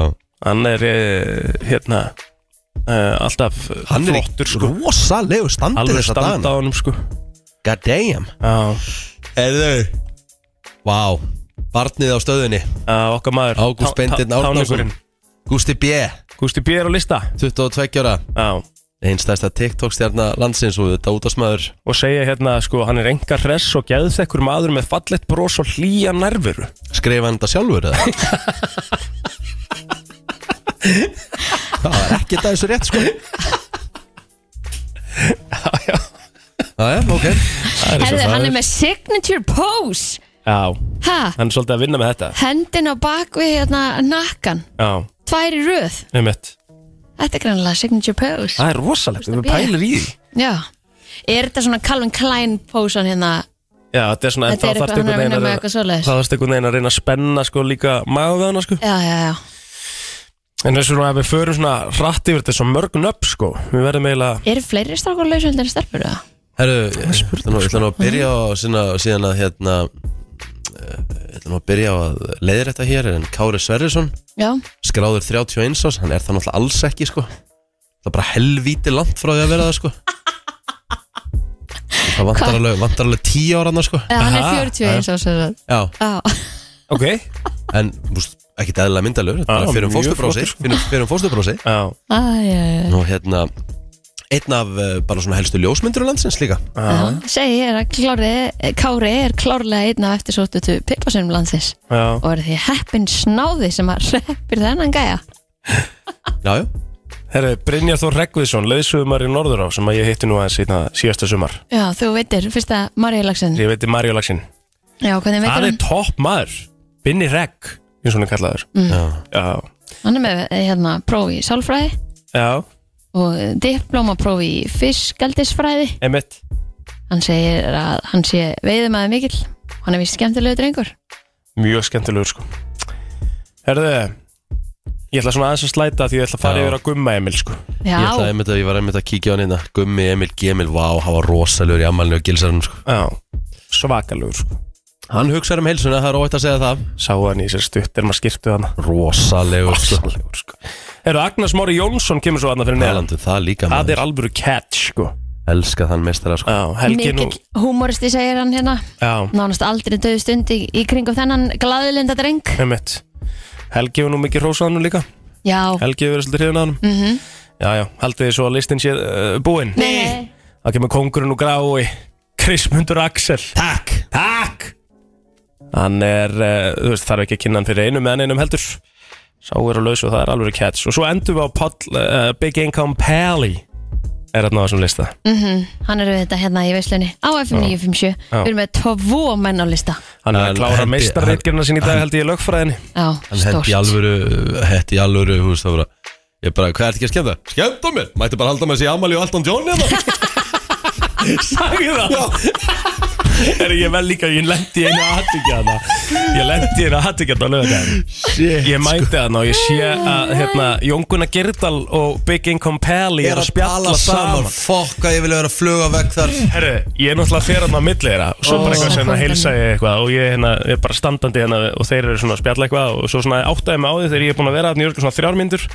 [SPEAKER 3] Hann er, eh, hérna, eh, alltaf eh,
[SPEAKER 1] Hann er
[SPEAKER 3] flottur
[SPEAKER 1] flottur
[SPEAKER 3] sko
[SPEAKER 1] rosalegu standi
[SPEAKER 3] Alveg
[SPEAKER 1] þessa
[SPEAKER 3] standa
[SPEAKER 1] dagana
[SPEAKER 3] á honum sko
[SPEAKER 1] God damn
[SPEAKER 3] Já,
[SPEAKER 1] Erðu Vá, barnið á stöðunni
[SPEAKER 3] já, okkar maður
[SPEAKER 1] Ágúst
[SPEAKER 3] Tá- tá-
[SPEAKER 1] Benedikt Árnason.
[SPEAKER 3] táningurinn.
[SPEAKER 1] Gusti B,
[SPEAKER 3] Gústi B er á lista
[SPEAKER 1] 22 ára
[SPEAKER 3] Já
[SPEAKER 1] Einn stærsta TikTok stjarnar landsins og þetta útastmaður
[SPEAKER 3] Og segja hérna, sko, hann er enga hress og geðþekkur maður með fallett bros og hlýja nærveru
[SPEAKER 1] Skrifa hann þetta sjálfur
[SPEAKER 3] [laughs]
[SPEAKER 1] eða? Það var ekki þetta þessu rétt sko Já,
[SPEAKER 3] já.
[SPEAKER 1] Já, já, ok
[SPEAKER 2] Herðu, hann er með signature pose
[SPEAKER 3] Já,
[SPEAKER 2] ha,
[SPEAKER 3] hann er svolítið að vinna með þetta
[SPEAKER 2] hendin á bakvið hérna nakkan,
[SPEAKER 3] Já,
[SPEAKER 2] tvær í röð
[SPEAKER 3] einmitt
[SPEAKER 2] þetta er grannlega signature pose
[SPEAKER 3] Það er rosalegt, við
[SPEAKER 2] B.
[SPEAKER 3] pælir í því
[SPEAKER 2] já, er þetta svona Calvin Klein posan hérna,
[SPEAKER 3] Já, þetta er svona, en
[SPEAKER 2] þetta er
[SPEAKER 3] þá
[SPEAKER 2] eitthvað
[SPEAKER 3] þarfst
[SPEAKER 2] hann er að vinna
[SPEAKER 3] einhvern veginn
[SPEAKER 2] með
[SPEAKER 3] að
[SPEAKER 2] eitthvað svoleiðis
[SPEAKER 3] þá þarfst einhvern veginn að reyna að spenna sko líka maðurveðana sko
[SPEAKER 2] já, já, já,
[SPEAKER 3] En þessu svona að við förum svona rætt yfir þetta svo mörg nöpp sko Við verðum eiginlega
[SPEAKER 2] eru fleiri strákur lausöldir en stelpur það?
[SPEAKER 1] Herru, ég ætla nú- ég ætla nú að byrja á sína, síðan að hérna eh, ég ætla nú að byrja á að leiðir þetta hér en Kári Sverrisson
[SPEAKER 2] já,
[SPEAKER 1] skráður 31 ás, hann er það náttúrulega alls ekki sko það er bara helvíti langt frá því að vera það sko það vantar alveg, vantar alveg 10 ára annars sko
[SPEAKER 2] Já, hann er
[SPEAKER 3] Aha,
[SPEAKER 2] 40 eins og sér að
[SPEAKER 1] já,
[SPEAKER 2] Já,
[SPEAKER 3] Ok
[SPEAKER 1] en búst, ekki eðlilega myndalur þetta er
[SPEAKER 3] Já,
[SPEAKER 1] bara fyrir um
[SPEAKER 3] mjög
[SPEAKER 1] fóstubrósi
[SPEAKER 3] flottur, sko.
[SPEAKER 1] fyrir, fyrir um fóstubrósi
[SPEAKER 3] Já,
[SPEAKER 2] Æ, já, já,
[SPEAKER 1] og hérna einn af eh, bara svona helstu ljósmyndur á landsins líka
[SPEAKER 3] Ah.
[SPEAKER 2] já Segir ég að klári, Kári er klárlega einn af eftir sóttutu pippasunum landsins
[SPEAKER 3] já
[SPEAKER 2] og er því heppin snáði sem að [laughs] reppir þennan gæja
[SPEAKER 1] já, já,
[SPEAKER 3] Herri, Brynjar Þór Reggviðsson, lauðsögumar í Norðurá sem að ég hitti nú aðeins hérna síðasta sumar
[SPEAKER 2] Já, þú veitir, fyrsta Maríulagsinn
[SPEAKER 3] Ég veiti Mario Laxin
[SPEAKER 2] Já, hvernig
[SPEAKER 3] Hann
[SPEAKER 2] veitir
[SPEAKER 3] er
[SPEAKER 2] hann?
[SPEAKER 3] topp maður Binni Regg, eins og hann er kallaður
[SPEAKER 1] Mm.
[SPEAKER 3] Já,
[SPEAKER 2] Hann er með eh, hérna próf í sálfræði
[SPEAKER 3] já,
[SPEAKER 2] og eh, diplómapróf í fiskaldisfræði
[SPEAKER 3] emitt
[SPEAKER 2] Hann segir að hann sé veiðumæður mikill Hann er vist skemmtilegu drengur
[SPEAKER 3] Mjög skemmtilegur sko Herðu Ég ætla svona aðeins að slæta því ég ætla að fara
[SPEAKER 1] Já.
[SPEAKER 3] yfir að gumma Emil sko
[SPEAKER 2] Já,
[SPEAKER 1] Ég, ætlaði einmitt að, ég var einmitt að kíkja á hann hérna Gummi, Emil, Gemil, vá, hann var rosalur í ammælinu og gilsarinn sko.
[SPEAKER 3] Já, svakalegur sko
[SPEAKER 1] Hann hugsaður um heilsuna, það er óætt að segja það
[SPEAKER 3] Sá hann í sér stutt er maður skýrtu hann
[SPEAKER 1] Rosalegur sko.
[SPEAKER 3] Svakalegur sko Eru Agnars Mári Jónsson kemur svo aðna fyrir neðan
[SPEAKER 1] Talandu það líka
[SPEAKER 3] Það
[SPEAKER 1] maður
[SPEAKER 3] er alvöru catch sko
[SPEAKER 1] Elska þann meistara sko
[SPEAKER 3] Já, Helgi er nú
[SPEAKER 2] Mikill húmoristi segir hann hérna
[SPEAKER 3] Já,
[SPEAKER 2] Nánast aldrei döðu stund í, í kringum þennan glaðilinda dreng
[SPEAKER 3] einmitt Helgi er nú mikið hrósaðan nú líka
[SPEAKER 2] Já,
[SPEAKER 3] Helgi hefur verið svolítið hrifin að hann mm -hmm. Já, já, haldið þið svo að listin sé uh, búinn
[SPEAKER 2] nei,
[SPEAKER 3] Það kemur kongurinn og grái Krismundur Axel Takk Takk Hann er, uh, þú veist, þarf ekki að kynna hann fyrir einum meðan einum heldur Sá er að lausa og það er alveg catch Og svo endum við á Pall, uh, Big Income Pally Er þarna á þessum lista
[SPEAKER 2] hann eru þetta hérna í veislunni á FM 957
[SPEAKER 3] Já.
[SPEAKER 2] Við erum með tvo menn á lista
[SPEAKER 3] Hann er
[SPEAKER 1] Hann
[SPEAKER 3] að klára
[SPEAKER 1] hendi-
[SPEAKER 3] meistarreitgerna sín í dag held ég í lögfræðinni
[SPEAKER 2] Já,
[SPEAKER 1] Hann hett í
[SPEAKER 2] stórt
[SPEAKER 1] alvöru Hett í alvöru Þú veist það bara Ég bara, hvað ert ekki að skemmta? Skemmta mér? Mætti bara halda með þessi Amali og Alton John hérna
[SPEAKER 3] Sagði það Er ég vel líka, ég lendi einu að hattingja þarna Ég lendi einu að hattingja þarna á lögadaginn
[SPEAKER 1] Shit sko.
[SPEAKER 3] Ég mæti þarna og ég sé að hérna, Jónguna Girdal og Big Income Pally er að spjalla saman
[SPEAKER 1] Fokk að ég vilja vera að fluga vekk þar
[SPEAKER 3] Herru, ég er náttúrulega fyrir hann á milli þeirra og svo bara eitthvað sem að heilsa ég eitthvað og ég, hérna, ég er bara standandi hérna og þeir eru svona að spjalla eitthvað og svo svona áttaði mig á því þegar ég er búin að vera hérna í örgum svona þrjármyndur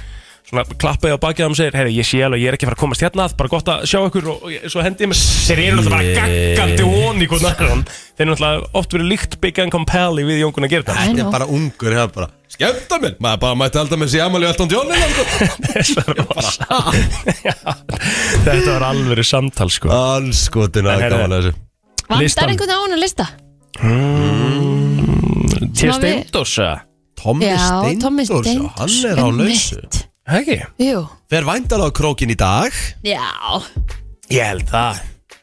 [SPEAKER 3] svona klappaði á bakið á þeim og segir herru, ég sé alveg, ég er ekki að fara að komast hérna að bara gott að sjá ykkur og, og ég- svo hendi ég mig þeir eru náttúrulega bara gaggandi von í hvernig annan þeir eru náttúrulega oft verið líkt Big and Compelli við Jónguna Girdal [laughs]
[SPEAKER 1] Þetta
[SPEAKER 2] Æ,
[SPEAKER 1] er
[SPEAKER 2] nú.
[SPEAKER 1] [laughs] bara ungur hérna bara Skemmta mér Maður bara mætti halda með þessi Amali og Alton John hérna sko.
[SPEAKER 3] [laughs] þetta var alveg samtal sko
[SPEAKER 1] Allskotin
[SPEAKER 3] En
[SPEAKER 1] að
[SPEAKER 3] herri,
[SPEAKER 1] gaman að þessu
[SPEAKER 3] listan.
[SPEAKER 2] Vandar einhvern á hann á lista
[SPEAKER 3] Til
[SPEAKER 2] Má við-
[SPEAKER 3] Steindós eða?
[SPEAKER 1] Tommi
[SPEAKER 2] Já, Tommi
[SPEAKER 1] Steindórs
[SPEAKER 2] Steindors
[SPEAKER 1] Hann er á lausu
[SPEAKER 3] Ekki?
[SPEAKER 2] Jú,
[SPEAKER 1] Fer vændalega á krókin í dag
[SPEAKER 2] já
[SPEAKER 3] Ég held það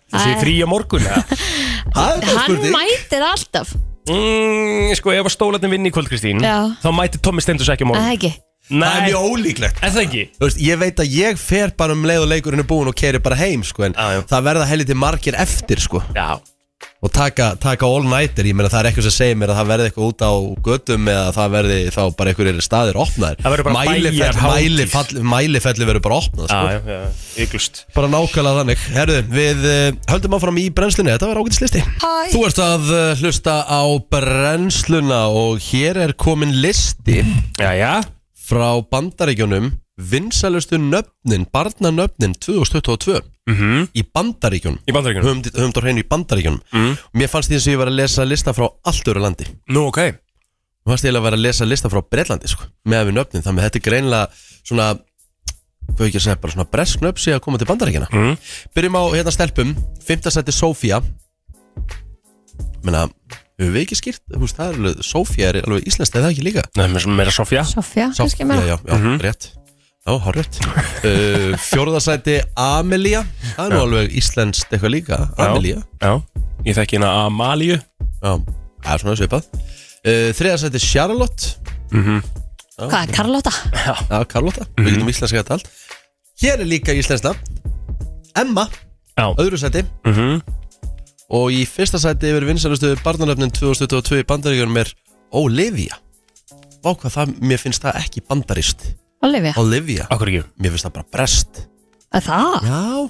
[SPEAKER 3] Þú sé
[SPEAKER 2] Æ.
[SPEAKER 3] frí á morgun eða?
[SPEAKER 1] Það er bara
[SPEAKER 2] Hann
[SPEAKER 1] spurning
[SPEAKER 2] mætir alltaf
[SPEAKER 3] Mm, sko, ef að stólarnir vinni í kvöld, Kristín
[SPEAKER 2] Já.
[SPEAKER 3] Þá mæti Tommi Steindus ekki
[SPEAKER 2] Að Það
[SPEAKER 3] á morgun
[SPEAKER 2] ekki
[SPEAKER 1] Það er
[SPEAKER 3] Nei,
[SPEAKER 1] mjög ólíklegt
[SPEAKER 3] er það ekki?
[SPEAKER 1] Þú veist, ég veit að ég fer bara um leið og leikurinn er búin og keri bara heim sko, en
[SPEAKER 3] Já, já.
[SPEAKER 1] það verða helviti margir eftir sko,
[SPEAKER 3] Já
[SPEAKER 1] og taka, taka all-nighter ég meina það er eitthvað sem segir mér að það verði eitthvað út á götum eða það verði þá bara einhverjir staðir opnaðir
[SPEAKER 3] Það verður bara
[SPEAKER 1] mælifell,
[SPEAKER 3] bæjarhátíð.
[SPEAKER 1] mælifell, mælifelli verður bara opnað sko.
[SPEAKER 3] Já, já, já, yglust
[SPEAKER 1] bara nákvæmlega þannig herðu, við uh, höldum áfram í brennslunni þetta var ágætis listi þú ert að uh, hlusta á brennsluna og hér er komin listi
[SPEAKER 3] Já, já
[SPEAKER 1] frá bandaríkjunum vinsælustu nöfnin, barnanöfnin 2022 í bandaríkjunum
[SPEAKER 3] Í bandaríkjunum
[SPEAKER 1] höfum höfum þetta á hreinu í bandaríkjunum mér fannst því eins og ég var að lesa lista frá allt öru landi mér
[SPEAKER 3] Nú, ok
[SPEAKER 1] fannst ég eiginlega að vera að lesa lista frá Breitlandi sko, með við nöfnin, þannig að þetta er greinlega svona, hvað á ég ekki að segja bara svona bresk nöfn sé að koma til bandaríkjana
[SPEAKER 3] Mm.
[SPEAKER 1] byrjum á hérna stelpum, fymta seti Sofía menna, höfum við ekki skýrt þú veist, það er alveg, Sofía er alveg íslenskt eða ekki líka
[SPEAKER 3] Nei, mér meira Sofja
[SPEAKER 2] Sofja,
[SPEAKER 1] Sá,
[SPEAKER 2] kannski
[SPEAKER 1] já,
[SPEAKER 2] meira
[SPEAKER 1] já, já,
[SPEAKER 3] Mhm.
[SPEAKER 1] rétt Já, hárétt [laughs] uh, Fjórðasæti Amelia Það er nú alveg íslenskt eitthvað líka Amelia
[SPEAKER 3] Já Ég þekki hérna Amalíu
[SPEAKER 1] Já, það er svona svipað uh, Þriðasæti Charlotte
[SPEAKER 2] Hvað, Karlóta?
[SPEAKER 1] Já, Carlota, við
[SPEAKER 3] Mhm.
[SPEAKER 1] getum íslenska þetta allt Hér er líka íslensna Emma,
[SPEAKER 3] Já
[SPEAKER 1] öðru sæti
[SPEAKER 3] Mhm.
[SPEAKER 1] Og í fyrsta sæti yfir vinsalustu barnaröfnin 2022 í bandaríkjunum er Olivia Vá hvað það, mér finnst það ekki bandarist
[SPEAKER 2] Olivia
[SPEAKER 1] Olivia,
[SPEAKER 3] Akkur ekki
[SPEAKER 1] mér finnst það bara brest
[SPEAKER 2] Að Það?
[SPEAKER 1] Já,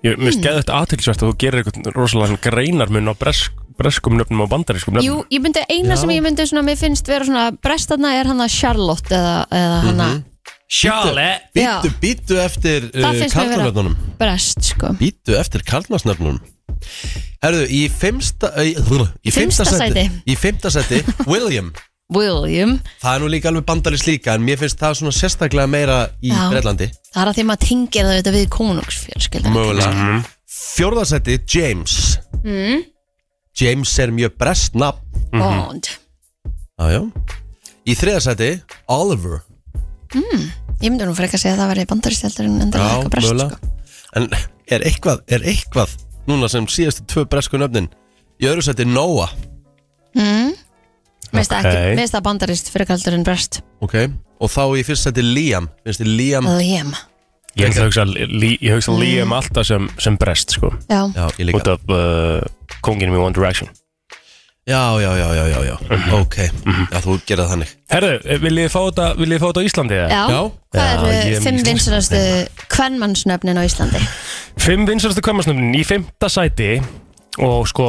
[SPEAKER 3] Ég mér
[SPEAKER 2] Hmm.
[SPEAKER 3] finnst geðið þetta aðtilsvært að þú gerir eitthvað rosalega svona greinarmun á bresk, breskum nöfnum og bandarískum
[SPEAKER 2] Jú,
[SPEAKER 3] nöfnum
[SPEAKER 2] ég myndi eina sem ég myndi svona, mér finnst vera svona brestanna er hann að Charlotte eða, eða hann að
[SPEAKER 3] Sjale
[SPEAKER 2] Já.
[SPEAKER 1] Býttu, býttu eftir
[SPEAKER 2] Það
[SPEAKER 1] uh,
[SPEAKER 2] finnst mér vera.
[SPEAKER 1] karlnafnunum
[SPEAKER 2] brest, sko
[SPEAKER 1] Býttu eftir karlnafnunum Herðu, í fimmsta Í, í fimmsta
[SPEAKER 2] Fimmsta
[SPEAKER 1] sæti
[SPEAKER 2] sæti.
[SPEAKER 1] Í fimmsta sæti, William
[SPEAKER 2] William,
[SPEAKER 1] Það er nú líka alveg bandarins líka En mér finnst það svona sérstaklega meira í
[SPEAKER 2] Já.
[SPEAKER 1] Breitlandi
[SPEAKER 2] það er að því maður tingir það auðvitað við konungsfjölskyldan
[SPEAKER 1] Mögulega Fjórða sæti, James
[SPEAKER 2] Mm.
[SPEAKER 1] James er mjög brest nafn
[SPEAKER 2] Bond
[SPEAKER 1] Já, já Í þriða sæti, Oliver
[SPEAKER 2] Ég myndi nú frekar að segja að það væri bandarist heldur en endilega eitthvað brest,
[SPEAKER 1] mögulega.
[SPEAKER 2] sko
[SPEAKER 1] En er eitthvað, er eitthvað Núna sem síðastu tvö bresku nöfnin Í öðru sæti, Noah
[SPEAKER 2] Mér finnst það
[SPEAKER 3] Ok.
[SPEAKER 2] ekki- mér finnst það bandarist frekar heldur en brest
[SPEAKER 1] Ok, og þá í fyrst sæti Liam Finnst þið Liam
[SPEAKER 2] Það er hjem
[SPEAKER 3] Ég hugsa- hugsa Li- ég hugsa Liam alltaf sem, sem brest sko
[SPEAKER 2] Já,
[SPEAKER 1] Já, ég líka
[SPEAKER 3] Út af uh, konginum í One Direction
[SPEAKER 1] Já, já, já, já, já, já Ok,
[SPEAKER 3] Mhm.
[SPEAKER 1] já, þú gerða þannig
[SPEAKER 3] Herðu, eh, viljið þið fá þetta, viljið þið fá þetta á Íslandi eða?
[SPEAKER 2] já.
[SPEAKER 1] Já.
[SPEAKER 2] Hvað
[SPEAKER 3] Já, ég
[SPEAKER 2] eru
[SPEAKER 3] er
[SPEAKER 2] fimm
[SPEAKER 3] mjög
[SPEAKER 2] vinsalastu kvennmannsnöfnin á Íslandi?
[SPEAKER 3] Fimm vinsalastu kvömmasnöfnin í fimmta sæti og sko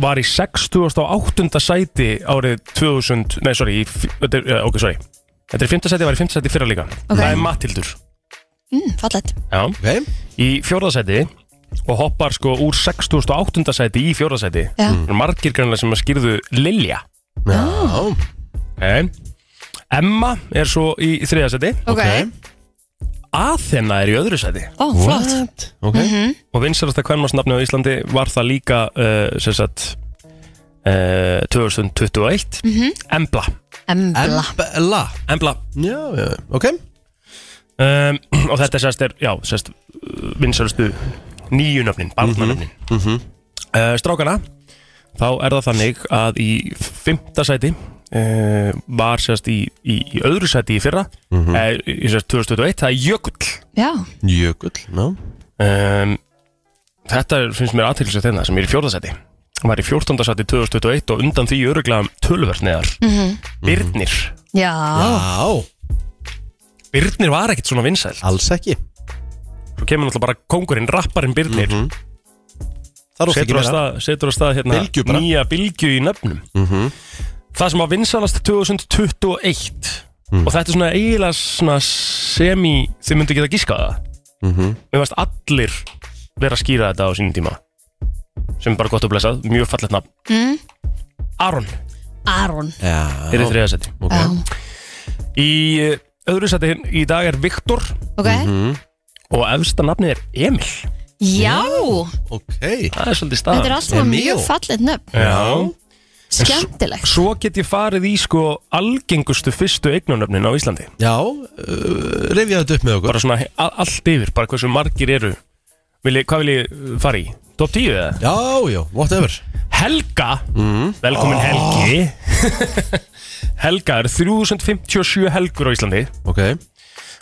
[SPEAKER 3] var í 68. sæti árið 2000, nei sorry, í, f- þetta er- eh, ok sorry Þetta er í 5. seti, var í 5. seti fyrra líka
[SPEAKER 2] Ok.
[SPEAKER 3] Það er Matildur
[SPEAKER 2] mm, Fallet
[SPEAKER 3] Já.
[SPEAKER 1] Ok,
[SPEAKER 3] Í 4. seti og hoppar sko úr 68. seti í 4. seti
[SPEAKER 2] Já.
[SPEAKER 3] Það eru Margir grannlega sem að skýrðu Lilja
[SPEAKER 1] já,
[SPEAKER 3] okay. Emma er svo í 3. seti
[SPEAKER 2] Ok,
[SPEAKER 1] Ok.
[SPEAKER 3] Athena er í öðru seti
[SPEAKER 2] ó, flott
[SPEAKER 1] ok
[SPEAKER 3] og vinsarasta kvennmannsnafni á Íslandi var það líka uh, sem sagt uh, 2021 Embla
[SPEAKER 2] Embla
[SPEAKER 1] Embla
[SPEAKER 3] Embla
[SPEAKER 1] Já, já, ok
[SPEAKER 3] um, [clears throat] og þetta sérst er, já, sérst vinsarastu nýju nöfnin, barnanöfnin mm strákana þá er það þannig að í fymta sæti uh, var sérst í, í, í öðru sæti í fyrra mm -hmm. í sérst 2021, það er Jökull
[SPEAKER 2] Já,
[SPEAKER 1] Jökull, já
[SPEAKER 3] um, Þetta er- finnst mér aðtilsvægt þeirna sem er í fjórðasæti Hann var í fjórtandasæti 2021 og undan því öruglega tölverð neðar Birnir
[SPEAKER 2] já,
[SPEAKER 1] Já,
[SPEAKER 3] Mhm. Birnir var ekkert svona vinsæl
[SPEAKER 1] alls ekki
[SPEAKER 3] Svo kemur náttúrulega bara kongurinn, rapparinn Birnir
[SPEAKER 1] Það er oft ekki
[SPEAKER 3] setur, á
[SPEAKER 1] meira
[SPEAKER 3] stað, setur á stað hérna
[SPEAKER 1] Bylgju bara. Mhm.
[SPEAKER 3] nýja bylgju í nöfnum Það sem var vinsælast 2021
[SPEAKER 1] Mhm.
[SPEAKER 3] Og þetta er svona eiginlega svona semi Þið myndu geta gískað það
[SPEAKER 1] Mhm.
[SPEAKER 3] Mér varst allir vera að skýra þetta á sínum tíma Sem er bara gott að blessað, mjög fallet nafn
[SPEAKER 2] Mm.
[SPEAKER 3] Aron
[SPEAKER 2] Aron
[SPEAKER 1] Já,
[SPEAKER 3] er í þriðasetti
[SPEAKER 1] ok
[SPEAKER 2] Já,
[SPEAKER 3] Í eh, öðru seti í dag er Viktor
[SPEAKER 2] ok
[SPEAKER 3] Og efsta nafnið er Emil
[SPEAKER 2] Já,
[SPEAKER 1] Ok,
[SPEAKER 3] Það er svolítið
[SPEAKER 2] þetta
[SPEAKER 3] staðan
[SPEAKER 2] er alltaf
[SPEAKER 1] Emil.
[SPEAKER 2] mjög fallet nöfn
[SPEAKER 3] Já,
[SPEAKER 2] Skemmtilegt
[SPEAKER 3] svo get ég farið í sko algengustu fyrstu eignunöfnin á Íslandi
[SPEAKER 1] já uh, Rifja þetta upp með okkur
[SPEAKER 3] bara svona he- a- allt yfir, bara hversu margir eru vil ég, Hvað vil ég uh, fara í? Top 10 eða?
[SPEAKER 1] Já, já, whatever
[SPEAKER 3] Helga,
[SPEAKER 6] Mm.
[SPEAKER 3] velkomin Helgi [laughs] Helga er 3057 helgur á Íslandi
[SPEAKER 1] Ok,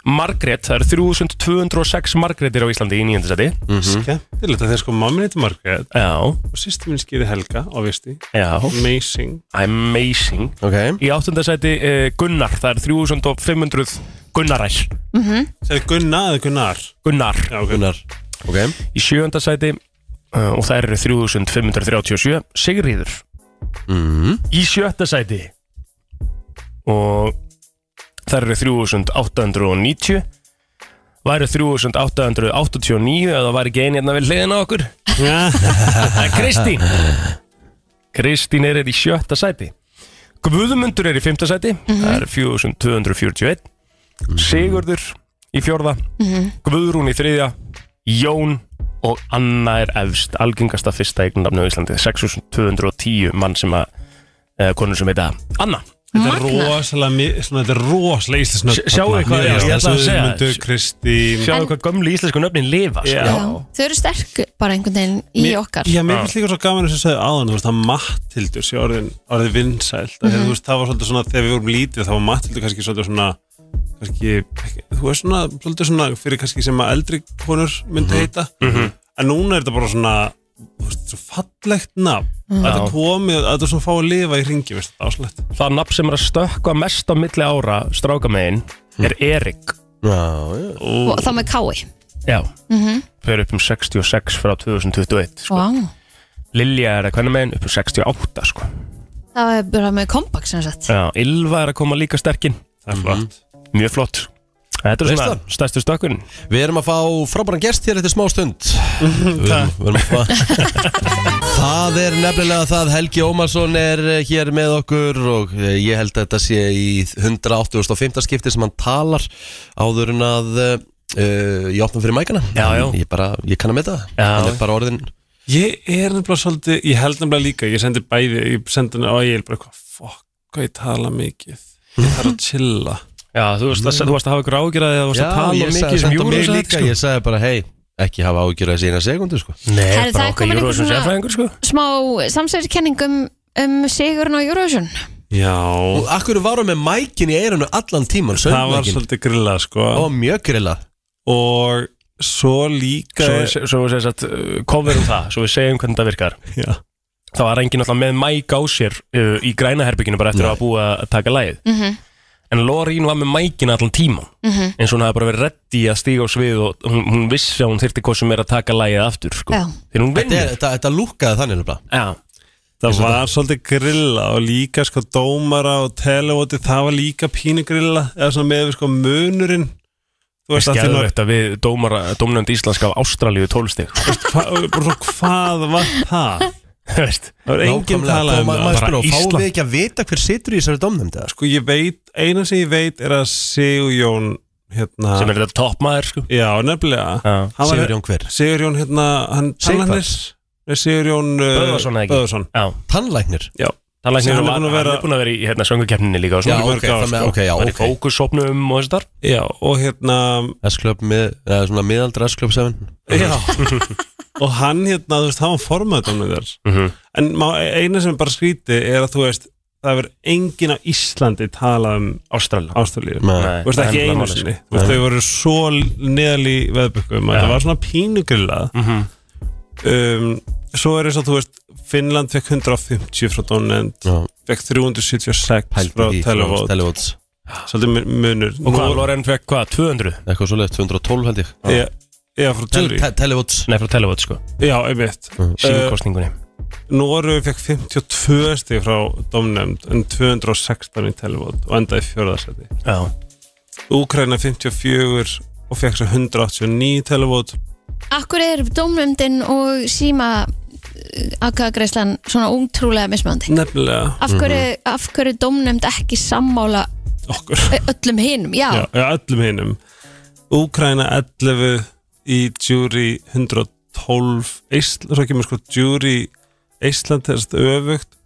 [SPEAKER 3] Margrét, það eru 3206 Margrétir á Íslandi í nýjöndisæti
[SPEAKER 6] Mm. Skemmtilegt að þeir sko mamma neytti Margrét
[SPEAKER 3] Já,
[SPEAKER 6] og sýsti minn skýði Helga, obviously.
[SPEAKER 3] já,
[SPEAKER 6] Amazing.
[SPEAKER 3] amazing
[SPEAKER 1] ok
[SPEAKER 3] Í áttundasæti uh, Gunnar, það er 3500 Gunnarar
[SPEAKER 6] Mm-hmm. Segðu Gunna eða Gunnar?
[SPEAKER 3] Gunnar
[SPEAKER 6] Já, ok.
[SPEAKER 1] Gunnar Ok,
[SPEAKER 3] Í sjöundasæti uh, og það eru 3537 Sigriður
[SPEAKER 1] mm.
[SPEAKER 3] Í sjöttasæti og það eru 3890 væri 3889 eða væri ekki einn hérna við hliðina á okkur Það er Kristín Kristín er í sjötta sæti Guðmundur er í fymta sæti Það er 4241 Sigurður í fjórða Guðrún í þriðja Jón og Anna er efst algengasta fyrsta eignamnu á Íslandi 6210 mann sem að eh, konur sem heita Anna
[SPEAKER 6] Þetta er rosalega, mi- svona, þetta er rosalega íslensnöfn.
[SPEAKER 3] Sj- sjáðu hvað- já, ég ætla að segja það.
[SPEAKER 6] Söðmundur, Kristín.
[SPEAKER 3] Sjáðu hvað gömlu íslensku nöfnin lifa sko.
[SPEAKER 2] Já, þau eru sterk bara einhvern veginn í
[SPEAKER 6] Mér-
[SPEAKER 2] okkar
[SPEAKER 6] Já, mér finnst líka svo gaman þess að segja áðan, þú veist, það Mattildur sé orðin, orðið vinsælt. Mm -hmm. Þú veist, það var svolítið svona, þegar við vorum lítið, þá var Mattildur kannski svolítið svona, kannski, ekki- þú veist svona, svolítið svona fyrir kannski sem að eldri konur myndu heita. En núna er þetta bara svona, þú veist, svo fallegt nafn. Að þetta
[SPEAKER 3] Já.
[SPEAKER 6] komið, að þetta svona fá að lifa í ringi, veist, þetta áslegt.
[SPEAKER 3] Það nafn sem er að stökkva mest á milli ára strákamegin er Erik
[SPEAKER 1] Já, já
[SPEAKER 2] og þá með kái
[SPEAKER 3] Já Fer upp um 66 frá 2021 sko.
[SPEAKER 2] wow.
[SPEAKER 3] Lilja er að hvernig megin upp um 68 sko.
[SPEAKER 2] Það er bara með kompakt sem sagt
[SPEAKER 3] Já, Ylva er að koma líka sterkinn
[SPEAKER 6] Það er flott.
[SPEAKER 3] Mjög flott Þetta er
[SPEAKER 1] Veist
[SPEAKER 3] svona
[SPEAKER 1] það?
[SPEAKER 3] stærstu stökkun
[SPEAKER 1] Við erum að fá frábæran gest hér eftir smá
[SPEAKER 3] [laughs]
[SPEAKER 1] stund Við erum- við erum að fá- Það er nefnilega það Helgi Ómarsson er eh, hér með okkur og eh, ég held að þetta sé í 185. skipti sem hann talar áður en að uh, ég opna fyrir mækana
[SPEAKER 3] Já, já.
[SPEAKER 1] En Ég, bara, ég kann að meta það
[SPEAKER 3] Já.
[SPEAKER 1] Hann er bara orðin
[SPEAKER 6] Ég er nefnilega svolítið, ég held nefnilega líka, ég sendi bæði, ég sendi henni á ég er bara eitthvað, fuck, hvað ég tala mikið, ég þarf að chilla.
[SPEAKER 3] Já, þú veist að, þú varst að hafa ykkur ágjörði að þú varst að tala
[SPEAKER 1] ég
[SPEAKER 3] mikið
[SPEAKER 1] sagði samt
[SPEAKER 3] sem sko.
[SPEAKER 1] á mig
[SPEAKER 3] Júruvísum
[SPEAKER 1] líka Ég sagði bara, hei, ekki hafa ágjur að sína sekundu sko.
[SPEAKER 3] Nei,
[SPEAKER 2] Herri, það er
[SPEAKER 3] bara okkar
[SPEAKER 2] komin einhver
[SPEAKER 3] Júruvísum
[SPEAKER 2] svona-
[SPEAKER 3] sérfræðingur sko.
[SPEAKER 2] Smá samsæðiskenningum um Sigurinn og Eurovision
[SPEAKER 6] Já,
[SPEAKER 1] Og akkur varum með mækin í eirunu allan tíman
[SPEAKER 6] það var
[SPEAKER 1] Söngmækin
[SPEAKER 6] svolítið grilla, sko,
[SPEAKER 1] og mjög grillað
[SPEAKER 6] og svo líka,
[SPEAKER 3] Svo, við- svo við segjum að kofurum það Svo við segjum hvernig það virkar
[SPEAKER 6] já,
[SPEAKER 3] Það var enginn alltaf með mæk á sér uh, í grænaherbygginu bara eftir að hafa búið að taka lægið
[SPEAKER 2] Mhm.
[SPEAKER 3] En Lorín var með mækin allan tíman
[SPEAKER 2] Mhm.
[SPEAKER 3] eins og hún hafði bara verið reddi að stíga á svið og hún, hún vissi að hún þyrfti hvað sem er að taka lægið aftur sko.
[SPEAKER 2] Já.
[SPEAKER 3] Þegar hún
[SPEAKER 1] Þetta, er-
[SPEAKER 3] vinnur
[SPEAKER 1] þetta, þetta lúkkaði þannig nefnilega
[SPEAKER 3] Já,
[SPEAKER 6] Það var svolítið grilla og líka sko dómara og televoti, það var líka pínu grilla eða svona með við sko munurinn Þú veist að því maður,
[SPEAKER 3] Skelvett að við dómara, dómnönd íslenska af Ástralíu 12 stig sko.
[SPEAKER 6] þú veist, hva, bara svona, hvað var það?
[SPEAKER 3] Þú veist,
[SPEAKER 6] Það var enginn talað um það
[SPEAKER 3] bara
[SPEAKER 1] Fáum
[SPEAKER 3] Ísland.
[SPEAKER 1] við ekki að vita hver situr í þessari domnum
[SPEAKER 6] Sko ég veit, eina sem ég veit er að Sigjón hérna,
[SPEAKER 3] sem er þetta toppmaður sko
[SPEAKER 6] já nefnilega
[SPEAKER 3] Já.
[SPEAKER 6] Hann var-
[SPEAKER 1] Sigurjón hver?
[SPEAKER 6] Sigurjón hérna, hann
[SPEAKER 1] Sighvatsson?
[SPEAKER 6] Nei, Sigurjón
[SPEAKER 3] Böðvarsson eða ekki?
[SPEAKER 6] uh, Böðvarsson
[SPEAKER 3] Já,
[SPEAKER 1] Tannlæknir?
[SPEAKER 6] Já,
[SPEAKER 3] það
[SPEAKER 6] Sem
[SPEAKER 3] læknir
[SPEAKER 6] hann
[SPEAKER 3] hann,
[SPEAKER 6] er búinn að
[SPEAKER 3] hann
[SPEAKER 6] vera-
[SPEAKER 3] er búin að vera í hérna, söngukeppninni líka og
[SPEAKER 1] Já,
[SPEAKER 3] svona
[SPEAKER 1] ok,
[SPEAKER 6] mörg
[SPEAKER 1] þannig
[SPEAKER 6] ár, sko.
[SPEAKER 1] að, ok, já,
[SPEAKER 3] Hann er í
[SPEAKER 1] ok
[SPEAKER 3] fókussopnum og þess þar
[SPEAKER 6] já, og hérna
[SPEAKER 1] S-klöp, eða svona miðaldra S-klöp 7
[SPEAKER 6] Já [laughs] Og hann hérna, þú veist, hann var formaðdómið þar
[SPEAKER 3] Mhm.
[SPEAKER 6] En má, eina sem er bara skríti er að þú veist, það verður enginn á Íslandi talað um
[SPEAKER 3] Ástralíu
[SPEAKER 6] ástoflíður
[SPEAKER 1] Nei.
[SPEAKER 6] Þú veist, ekki einu sinni Þú veist, þau voru svo neðal í veðbökkum að
[SPEAKER 3] sko. Já.
[SPEAKER 6] það var svona pínugrillað
[SPEAKER 3] Mhm.
[SPEAKER 6] um, Svo er þess að þú veist, Finnland fekk 150 frá Donend
[SPEAKER 1] Já.
[SPEAKER 6] fekk 376 frá
[SPEAKER 1] Pældi í sko,
[SPEAKER 6] Televót
[SPEAKER 1] Televotes
[SPEAKER 6] Svolítið mun- munur
[SPEAKER 3] Og hvað, Loren fekk hvað, 200?
[SPEAKER 1] Eitthvað svoleiðið, 212 held ég
[SPEAKER 6] Já, já, frá Telri
[SPEAKER 1] Te- Televotes
[SPEAKER 3] Nei, frá Televot sko,
[SPEAKER 6] Já, einmitt
[SPEAKER 1] Mm.
[SPEAKER 6] Eh,
[SPEAKER 3] símkostningunni
[SPEAKER 6] Noregu fekk 52 stig frá domnefnd en 216 í televót og endaði fjörðarsæti.
[SPEAKER 3] Já,
[SPEAKER 6] Úkraina 54 og fekk svo 189 í televót.
[SPEAKER 2] Akkur er dómnefndin og síma aðkvæðagreislan svona ótrúlega mismöndi?
[SPEAKER 6] Nefnilega
[SPEAKER 2] Af hverju, af hverju dómnefnd ekki sammála
[SPEAKER 6] okkur.
[SPEAKER 2] öllum hinum?
[SPEAKER 6] Já,
[SPEAKER 2] Já,
[SPEAKER 6] já öllum hinnum. Úkraina 11 í djúri 112. Ísland, svo kemur sko djúri Ísland er þetta öfugt.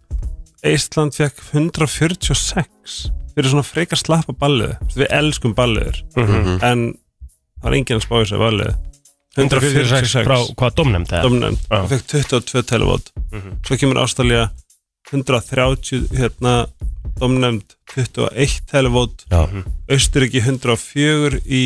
[SPEAKER 6] Ísland fekk 146 fyrir svona frekar slappa ballið. Við elskum balliður. en það var enginn að spá í þessu valið
[SPEAKER 3] 146 frá hvað domnefnd það
[SPEAKER 6] domnefnd
[SPEAKER 3] Já.
[SPEAKER 6] og fekk 22 televót svo kemur Ástralja 130 hérna domnefnd 21 televót
[SPEAKER 1] Já,
[SPEAKER 6] Austuríki 104 í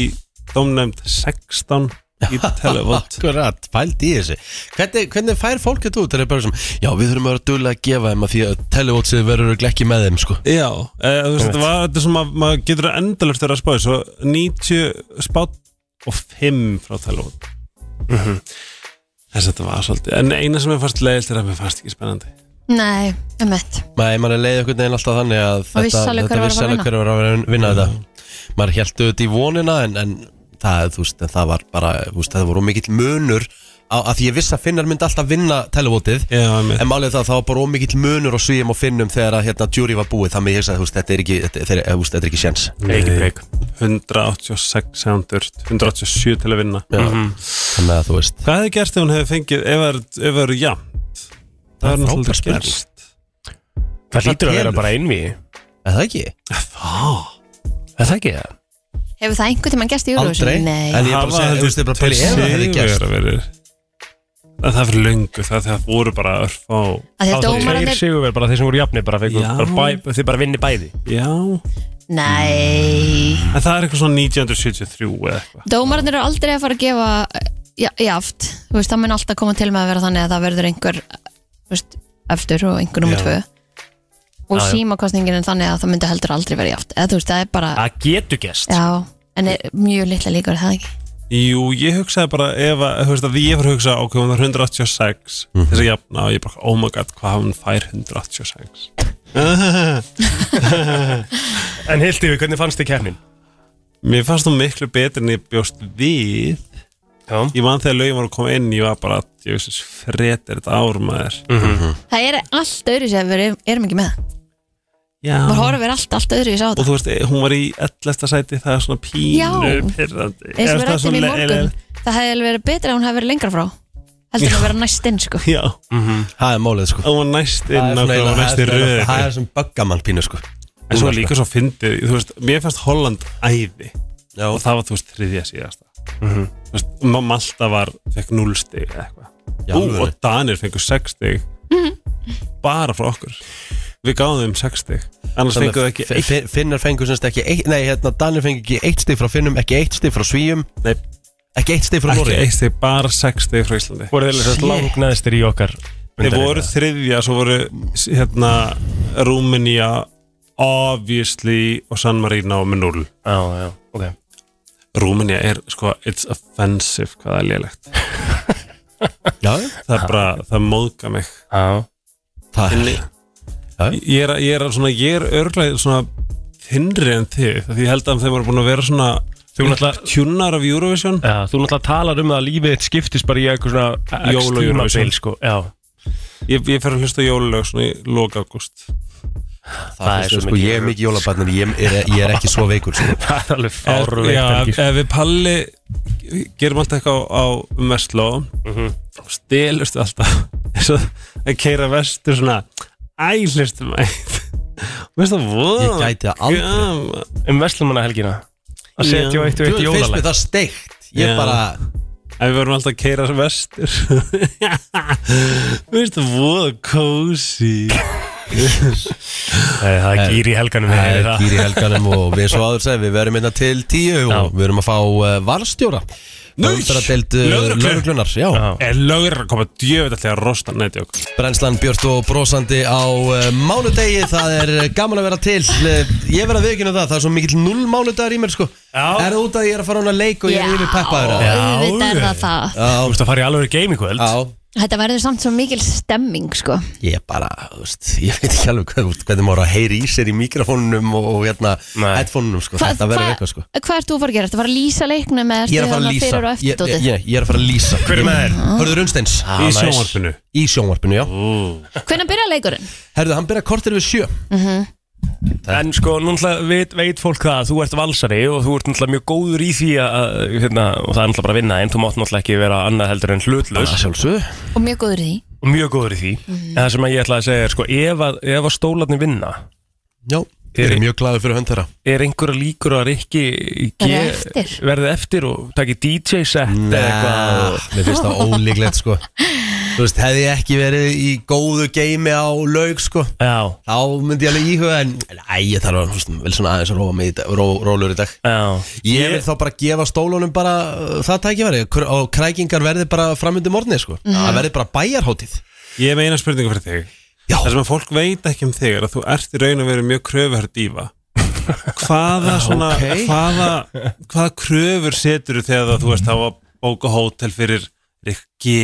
[SPEAKER 6] domnefnd 16 í
[SPEAKER 1] [laughs]
[SPEAKER 6] televót
[SPEAKER 1] akkurat, pældi í þessi Hvernig, hvernig fær fólk þetta út? Það er bara sem, já, við þurfum að vera duglega að gefa þeim að Því að Televotesið verður örugglega ekki með þeim, sko
[SPEAKER 6] Já, eða, Eh, þú veist, þetta var þetta sem að, maður getur endalöft verið að spá í svo 90 spátt og 5 frá televót
[SPEAKER 1] Mhm.
[SPEAKER 6] þess að þetta var svolítið en eina sem ég fannst leiðilt er að mér fannst ekki spennandi
[SPEAKER 2] nei, um þetta
[SPEAKER 1] Nei, maður er leið einhvern veginn alltaf þannig að
[SPEAKER 2] Og vissi alveg hver
[SPEAKER 1] þetta
[SPEAKER 2] var að
[SPEAKER 1] vissi
[SPEAKER 2] fara að
[SPEAKER 1] alveg hver var að vera að vinna
[SPEAKER 6] Mm.
[SPEAKER 1] þetta Maður heldur þetta í vonina en, en það, þú veist, en það var bara þú veist, það voru mikill munur á, að því ég vissi að finnar myndi alltaf vinna televotið
[SPEAKER 6] Já, mér
[SPEAKER 1] En málið er það að það var bara ómikill munur og svíum og finnum þegar að hérna djúri var búið Þannig ég sagði, þú veist, þetta er ekki, þetta, þeir, þú veist, þetta er ekki sjens
[SPEAKER 3] Ekki breyk
[SPEAKER 6] 186 sem dört 187 til að vinna
[SPEAKER 1] Þannig að þú veist
[SPEAKER 6] Hvað hefði gerst ef hún hefði fengið ef það er- ef það eru jafnt?
[SPEAKER 1] Það er
[SPEAKER 6] Það er
[SPEAKER 1] frábær
[SPEAKER 6] náttúrulega
[SPEAKER 1] spurning.
[SPEAKER 6] gerst
[SPEAKER 3] Það lítur að vera
[SPEAKER 1] telur.
[SPEAKER 3] bara einví
[SPEAKER 1] Er það ekki?
[SPEAKER 3] Er það ekki það?
[SPEAKER 2] Hefur það einhvern tímann gæst í Eurovision?
[SPEAKER 1] Aldrei
[SPEAKER 2] Nei
[SPEAKER 1] En ég er bara að segja, þú veist, ég er bara að pæli Ef það hefði gerst
[SPEAKER 6] gerst En það fyrir löngu það þegar voru bara örf á
[SPEAKER 2] Af því að
[SPEAKER 6] á þeim.
[SPEAKER 2] dómarar-
[SPEAKER 3] Tveir
[SPEAKER 2] Dómararnir-
[SPEAKER 3] sigur verð bara þeir sem voru jafnir bara fengu
[SPEAKER 6] Já.
[SPEAKER 3] bara bæ, Þeir bara vinni bæði
[SPEAKER 6] Já
[SPEAKER 2] Nei
[SPEAKER 6] En það er eitthvað svona 1973 eða eitthvað
[SPEAKER 2] Dómararnir eru aldrei að fara að gefa ja, jaft, þú veist, það mun alltaf koma til með að vera þannig að það verður einhver þú veist, eftir og einhver nummer
[SPEAKER 6] Já.
[SPEAKER 2] tvö og
[SPEAKER 3] Já, já.
[SPEAKER 2] símakostningin er þannig að það myndi heldur aldrei vera jaft eða þú veist, það er bara,
[SPEAKER 3] Það getur gest
[SPEAKER 2] já en er mjög litla líkur er það ekki
[SPEAKER 6] Jú, ég hugsaði bara ef að, þú veist að ég fyrir að hugsa ok, hún er 186 þess að jafna og ég bara, oh my god, hvað hún fær 186
[SPEAKER 3] En Hildi, hvernig fannst þið kefnin?
[SPEAKER 6] Mér fannst hún miklu betur en ég bjóst við
[SPEAKER 3] Já
[SPEAKER 6] Ég man þegar lögin var að koma inn Ég var bara, ég veist þessi fret er þetta ár maður
[SPEAKER 2] það er allt öðru sem við erum- erum ekki með
[SPEAKER 6] Já
[SPEAKER 2] maður horfir allt, allt öðru á
[SPEAKER 6] Og
[SPEAKER 2] þetta
[SPEAKER 6] þú veist, hún var í 11. sæti Það er svona
[SPEAKER 2] Já.
[SPEAKER 6] pínu pyrrandi
[SPEAKER 2] eins og við rættum í morgun það hefði verið betra að hún hefði verið lengra frá heldur en að vera næst inn, sko
[SPEAKER 6] [laughs] Já,
[SPEAKER 1] Það er málið, sko
[SPEAKER 6] hún var næst
[SPEAKER 1] Það er svona
[SPEAKER 6] inn og Hún
[SPEAKER 1] eiginlega-
[SPEAKER 6] var næst í
[SPEAKER 1] það er-
[SPEAKER 6] röðinni.
[SPEAKER 1] það er sem buggamann pínu, sko
[SPEAKER 6] En svo er líka svo fyndið Þú veist, mér fannst Holland æði
[SPEAKER 1] Já,
[SPEAKER 6] Og það var, þú veist, þriðja síðasta
[SPEAKER 1] Mhm.
[SPEAKER 6] Þú veist, Ma- Malta var, fekk 0 stig eða eitthvað
[SPEAKER 1] í
[SPEAKER 6] Ú,
[SPEAKER 1] alvöru.
[SPEAKER 6] og Danir fengur 6 stig
[SPEAKER 2] Mhm.
[SPEAKER 6] Bara frá okkur Við gáðum þeim 6 stig Annars
[SPEAKER 1] Þannig
[SPEAKER 6] fengur
[SPEAKER 1] að
[SPEAKER 6] það ekki
[SPEAKER 1] fi-
[SPEAKER 6] eitt
[SPEAKER 1] fi- Finnar fengur semst ekki eitt, Nei, hérna, Danir fengur ekki eitt stig frá Finnum Ekki eitt stig frá Svíum
[SPEAKER 6] Nei.
[SPEAKER 1] Ekki eitt stig frá
[SPEAKER 6] Ekki
[SPEAKER 1] Norri
[SPEAKER 6] eitt stig, bara 6 stig frá Íslandi
[SPEAKER 3] Voru þeir
[SPEAKER 2] Shit.
[SPEAKER 3] þess langnæðstir í okkar
[SPEAKER 6] Þeir
[SPEAKER 3] undanriðið?
[SPEAKER 6] voru þriðja, svo voru s- hérna Rúmenía obviously og San Marino með 0
[SPEAKER 3] Já, já, ok
[SPEAKER 6] Rúmenía er sko, it's offensive
[SPEAKER 3] [laughs]
[SPEAKER 6] hvað það er lélegt
[SPEAKER 1] Já,
[SPEAKER 6] það er bara, það móðga mig
[SPEAKER 3] Já
[SPEAKER 1] Það
[SPEAKER 6] Þinni, ég er, ég er svona, ég er örglega svona þinnri en þið, af því ég held að þeim var búin að vera svona
[SPEAKER 3] Þú náttúrulega-
[SPEAKER 6] tjúnar af Eurovision
[SPEAKER 3] Já, þú náttúrulega talar um það að lífið þitt skiptist bara í eitthvað svona
[SPEAKER 6] Jól og Eurovision.
[SPEAKER 3] tímabil, sko. Já,
[SPEAKER 6] ég, ég fer að hlusta á jólalög svona í lok ágúst
[SPEAKER 3] það er
[SPEAKER 1] Sko,
[SPEAKER 3] svo
[SPEAKER 1] sko,
[SPEAKER 3] mikið
[SPEAKER 1] ég er mikið jólabarnir, ég er, ég er ekki svo veikur sko.
[SPEAKER 3] Það er alveg
[SPEAKER 6] ef,
[SPEAKER 3] fárveikt
[SPEAKER 6] já,
[SPEAKER 3] helgi,
[SPEAKER 6] ef,
[SPEAKER 3] sko.
[SPEAKER 6] ef við palli gerum alltaf eitthvað á, á vestló mm -hmm. stelust alltaf [laughs] eins og að keira vestur svona ælistu [laughs] mætt veist það voða
[SPEAKER 1] Ég gæti það aldrei.
[SPEAKER 6] gaman.
[SPEAKER 3] Um vestlumanna helgina Að
[SPEAKER 6] Já.
[SPEAKER 3] setja á eitt og
[SPEAKER 1] Þú
[SPEAKER 3] eitt
[SPEAKER 1] finnst mér
[SPEAKER 3] jólalæg
[SPEAKER 1] það steikt Ég
[SPEAKER 6] Já.
[SPEAKER 1] bara,
[SPEAKER 6] ef við verum alltaf að keira vestur [laughs] veist það voða kósi
[SPEAKER 3] Nei, Það er gýr í helganum
[SPEAKER 1] það
[SPEAKER 3] er
[SPEAKER 1] er
[SPEAKER 3] það.
[SPEAKER 1] kýr í helganum og við svo áður segir, við verum innan til tíu
[SPEAKER 3] Já.
[SPEAKER 1] og við erum að fá uh, varstjóra
[SPEAKER 6] Nei,
[SPEAKER 1] Umferðardeild uh,
[SPEAKER 6] lögreglu.
[SPEAKER 1] lögreglunar, já.
[SPEAKER 3] Já.
[SPEAKER 6] er lögur að koma djöfitt alltaf að rosta nættjók
[SPEAKER 1] Brennslan Björn og brosandi á uh, mánudegi, það er uh, gaman að vera til uh, Ég verð að viðkynna það, það er svo mikill null mánudagur í mér sko Er
[SPEAKER 3] Já.
[SPEAKER 1] það út að ég er að fara hún að leik og Sko, ég er yfir peppaður eða?
[SPEAKER 3] Já,
[SPEAKER 2] auðvitað er
[SPEAKER 3] já.
[SPEAKER 2] það það
[SPEAKER 3] Þú
[SPEAKER 1] Já,
[SPEAKER 3] veist að fara í alveg game í kvöld
[SPEAKER 1] já
[SPEAKER 2] Þetta verður samt svo mikil stemming sko
[SPEAKER 1] Ég bara, þú veist, ég veit ekki alveg hvað, hvernig maður á að heyri í sér í mikrofónunum og, og hérna,
[SPEAKER 3] Nei.
[SPEAKER 1] headfónunum sko,
[SPEAKER 2] Hva-
[SPEAKER 1] þetta verður
[SPEAKER 2] hva-
[SPEAKER 1] eitthvað sko
[SPEAKER 2] Hvað ert þú að fara að gera? Ertu að fara að lýsa leiknum eða
[SPEAKER 1] Ég er að fara
[SPEAKER 2] ertu
[SPEAKER 1] að
[SPEAKER 2] þarna
[SPEAKER 1] lýsa
[SPEAKER 2] fyrir og eftir
[SPEAKER 1] Ég, ég,
[SPEAKER 2] dótið?
[SPEAKER 1] ég, ég er að fara að lýsa
[SPEAKER 3] Hver er með þér?
[SPEAKER 1] Hörður Unnsteins
[SPEAKER 3] Ah,
[SPEAKER 6] í
[SPEAKER 3] nice.
[SPEAKER 6] sjónvarpinu
[SPEAKER 1] Í sjónvarpinu, já
[SPEAKER 2] Hvernig byrja leikurinn?
[SPEAKER 1] Herðu, hann byrja kortir við sjö
[SPEAKER 3] En sko, náttúrulega veit, veit fólk það að þú ert valsari og þú ert náttúrulega mjög góður í því að, hérna, og það er náttúrulega bara að vinna en þú mátt náttúrulega ekki vera annað heldur en hlutlaus
[SPEAKER 1] sjálfsög
[SPEAKER 2] Og mjög góður í því
[SPEAKER 3] og mjög góður í því en það sem að ég ætla að segja er sko, ef að, ef að stólarnir vinna
[SPEAKER 1] Já, ég er mjög glaður fyrir hönd þeirra
[SPEAKER 3] er einhverja líkur að Rikki
[SPEAKER 2] Verði eftir.
[SPEAKER 3] verði eftir og taki DJ set eða eitthvað
[SPEAKER 1] Nei, Ah.
[SPEAKER 3] og-
[SPEAKER 1] mér finnst það ólíklegt sko Þú veist, hefði ég ekki verið í góðu geimi á laug sko
[SPEAKER 3] Já,
[SPEAKER 1] Þá myndi ég alveg íhuga en Æ, ég þarf að, þú veist, vel svona aðeins að róa mig í dag, ró, rólur í dag
[SPEAKER 3] já
[SPEAKER 1] Ég vil þá bara gefa stólunum bara uh, það tækifæri Kr- og krækingar verði bara framöndum orðni sko. það verði bara bæjarhótið
[SPEAKER 6] ég er með eina spurningu fyrir þig
[SPEAKER 1] Já,
[SPEAKER 6] Það sem að fólk veit ekki um þig er að þú ert í raun að vera mjög kröfuhær dífa
[SPEAKER 1] [laughs]
[SPEAKER 6] Hvaða svona
[SPEAKER 1] ok.
[SPEAKER 6] hvaða, hvaða kröfur setur þú þegar að þú veist á að bóka hótel fyrir Rikki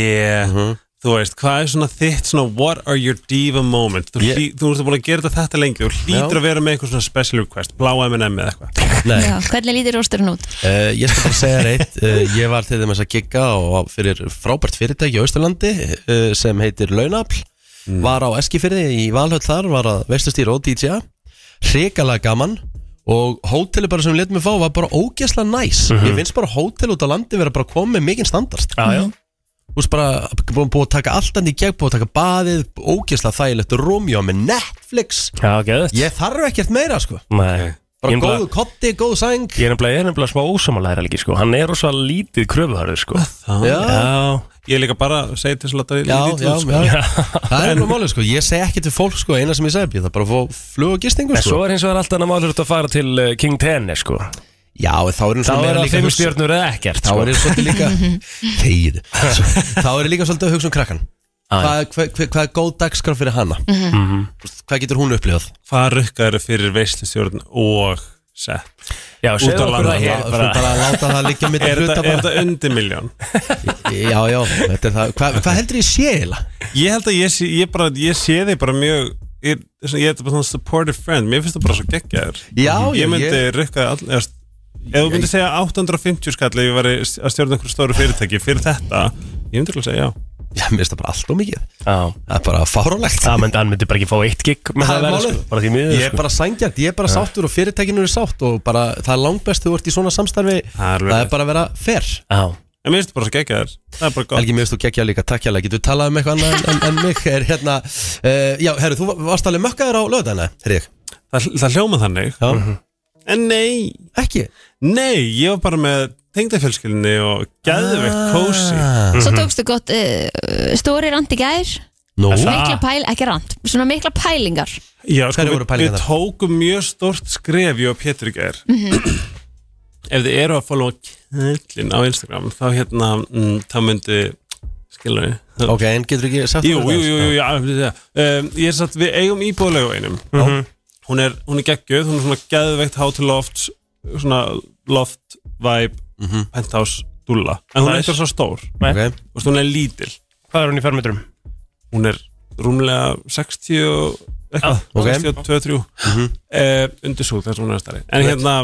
[SPEAKER 1] Mhm.
[SPEAKER 6] þú veist, hvað er svona þitt svona what are your diva moment þú,
[SPEAKER 1] Ég-
[SPEAKER 6] hlý, þú ert búin að gera þetta þetta lengi þú hlýtur
[SPEAKER 1] Já.
[SPEAKER 6] að vera með einhver svona special request blá M&M eða eitthvað
[SPEAKER 1] nei,
[SPEAKER 2] Já, Hvernig lítir rósturinn út?
[SPEAKER 1] uh, ég skal bara segja reitt uh, ég var til þess að gigga og fyrir frábært fyrirtæki á Östurlandi uh, sem heitir Launafl var á Eskifyrði í Valhöll þar var að veistustýra og DJ hrikalega gaman og hóteli bara sem við letum við fá var bara ógæsla næs ég finnst bara hótel út á landi vera bara komið mikið standard
[SPEAKER 3] Já,
[SPEAKER 2] Mhm.
[SPEAKER 3] já,
[SPEAKER 1] Þú veist bara, búin, búin að taka allt hann í gegn, búin að taka baðið, ógeðslega þægilegt Romeo með Netflix
[SPEAKER 3] já, geðvægt
[SPEAKER 1] Ég þarf ekkert meira sko
[SPEAKER 3] Nei
[SPEAKER 1] Bara
[SPEAKER 3] Ég er
[SPEAKER 1] góðu kotti, góðu sæng
[SPEAKER 3] Ég er nefnilega, ég er nefnilega smá ósamalæra líki sko Hann er rosa lítið kröfuharður sko
[SPEAKER 6] Það-
[SPEAKER 1] Já, já,
[SPEAKER 3] Já,
[SPEAKER 6] ég er líka bara að segja til svona
[SPEAKER 1] já, sko.
[SPEAKER 6] sko.
[SPEAKER 1] já,
[SPEAKER 3] [laughs]
[SPEAKER 1] Það er nú málið sko, ég segi ekki til fólk sko Eina sem ég segi, ég þarf bara að fá flug og gistingu
[SPEAKER 3] en
[SPEAKER 1] sko
[SPEAKER 3] svo er hins vegar alltaf annar málur að fara til eh, King Tennis sko
[SPEAKER 1] Já, en þá er eins
[SPEAKER 3] Þá
[SPEAKER 1] og
[SPEAKER 3] er
[SPEAKER 1] meira
[SPEAKER 3] það
[SPEAKER 1] líka að
[SPEAKER 3] fimm
[SPEAKER 1] hugsa-
[SPEAKER 3] stjörnur eða ekkert
[SPEAKER 1] Þá
[SPEAKER 3] sko
[SPEAKER 1] er ég svolítið líka
[SPEAKER 3] [laughs]
[SPEAKER 1] Þegið Þá er ég líka svolítið að hugsa um krakkan
[SPEAKER 3] Já, Ah, já. Mhm.
[SPEAKER 1] Hvað hva, hva, hva er góð dagskraf fyrir hana? Þú veist, Hvað getur hún upplifað?
[SPEAKER 6] hvað rukkaður fyrir veistlustjórn og sett
[SPEAKER 3] Já,
[SPEAKER 6] Út
[SPEAKER 3] segðu
[SPEAKER 6] á
[SPEAKER 3] okkur það
[SPEAKER 6] landa.
[SPEAKER 1] Lá-
[SPEAKER 3] hér
[SPEAKER 1] sko,
[SPEAKER 3] bara
[SPEAKER 1] bara láta það liggja mitt
[SPEAKER 6] er
[SPEAKER 1] hluta
[SPEAKER 6] þetta, er
[SPEAKER 1] bara
[SPEAKER 6] þetta undir miljón?
[SPEAKER 1] Já, já, þetta er það Hvað hva heldur ég sé eila?
[SPEAKER 6] Ég held að ég sé, ég bara, ég sé þig bara mjög Ég, svona- ég er bara svona supportive friend Mér finnst það bara svo geggjaður
[SPEAKER 1] Já,
[SPEAKER 6] Ég
[SPEAKER 1] já,
[SPEAKER 6] myndi
[SPEAKER 1] ég-
[SPEAKER 6] rukka all, eða, st- Ef þú myndi segja 850 skall Ef ég væri að stjórna einhverju stóru fyrirtæki Fyrir þetta, ég myndi alveg segja já
[SPEAKER 1] Já, mér finnst það bara allt og mikið
[SPEAKER 3] Já,
[SPEAKER 1] Það er bara fárálegt
[SPEAKER 3] það myndi, hann myndi bara ekki fá eitt gig með
[SPEAKER 1] Það
[SPEAKER 3] það
[SPEAKER 1] er
[SPEAKER 3] verið sko
[SPEAKER 1] málið.
[SPEAKER 3] Bara því miður
[SPEAKER 1] Ég er
[SPEAKER 3] sko
[SPEAKER 1] bara sangjart, ég er bara sáttur og fyrirtækinu er sátt og bara það er langbest þú ert í svona samstarfi
[SPEAKER 6] Það er alveg
[SPEAKER 1] það er
[SPEAKER 6] rétt.
[SPEAKER 1] bara að vera fair
[SPEAKER 3] Já,
[SPEAKER 6] En mér finnst það bara svo geggjaður Það er bara gott
[SPEAKER 1] Helgi, mér finnst þú gekkja líka, takk hérlega, getur talað um eitthvað annað en, en, en mig er hérna uh, Já, herru, þú varst alveg mökkaður á löðana, þegar ég
[SPEAKER 6] Það, það hljóma þannig
[SPEAKER 1] Já,
[SPEAKER 6] En nei,
[SPEAKER 1] ekki
[SPEAKER 6] nei, ég var bara með tengdafjölskylinni Og geðveikt kósi
[SPEAKER 1] Ah,
[SPEAKER 2] Svo tókstu gott uh, stóri rand í gær
[SPEAKER 1] Nú,
[SPEAKER 3] Það-
[SPEAKER 2] Mikla pæl, ekki rand Svona mikla pælingar
[SPEAKER 6] Já, sko,
[SPEAKER 1] Hverjar
[SPEAKER 6] við,
[SPEAKER 1] voru pælingarnar?
[SPEAKER 6] við tókum mjög stort skref ég og Pétur í gær ef þið eru að followa kællin á Instagram þá hérna, mm, þá myndi skilur við
[SPEAKER 1] ok, en getur ekki sagt
[SPEAKER 6] Jú,
[SPEAKER 1] okkur
[SPEAKER 6] jú,
[SPEAKER 1] aðeins?
[SPEAKER 6] jú, jú, já, já. Um, ég er satt, við eigum íbúðlegu einum hún er, hún er geggjöð, hún er svona geðveitt hátiloft, svona loft, vibe, penthouse dúlla, en hún er
[SPEAKER 3] Nice.
[SPEAKER 6] eitthvað svo stór
[SPEAKER 3] nei
[SPEAKER 1] Ok,
[SPEAKER 6] og hún er lítil
[SPEAKER 3] Hvað er hún í fermetrum?
[SPEAKER 6] hún er rúmlega 60 og eitthvað,
[SPEAKER 1] Ah, ok.
[SPEAKER 6] 62-3 eh, undir svo, þess að hún er starri en hérna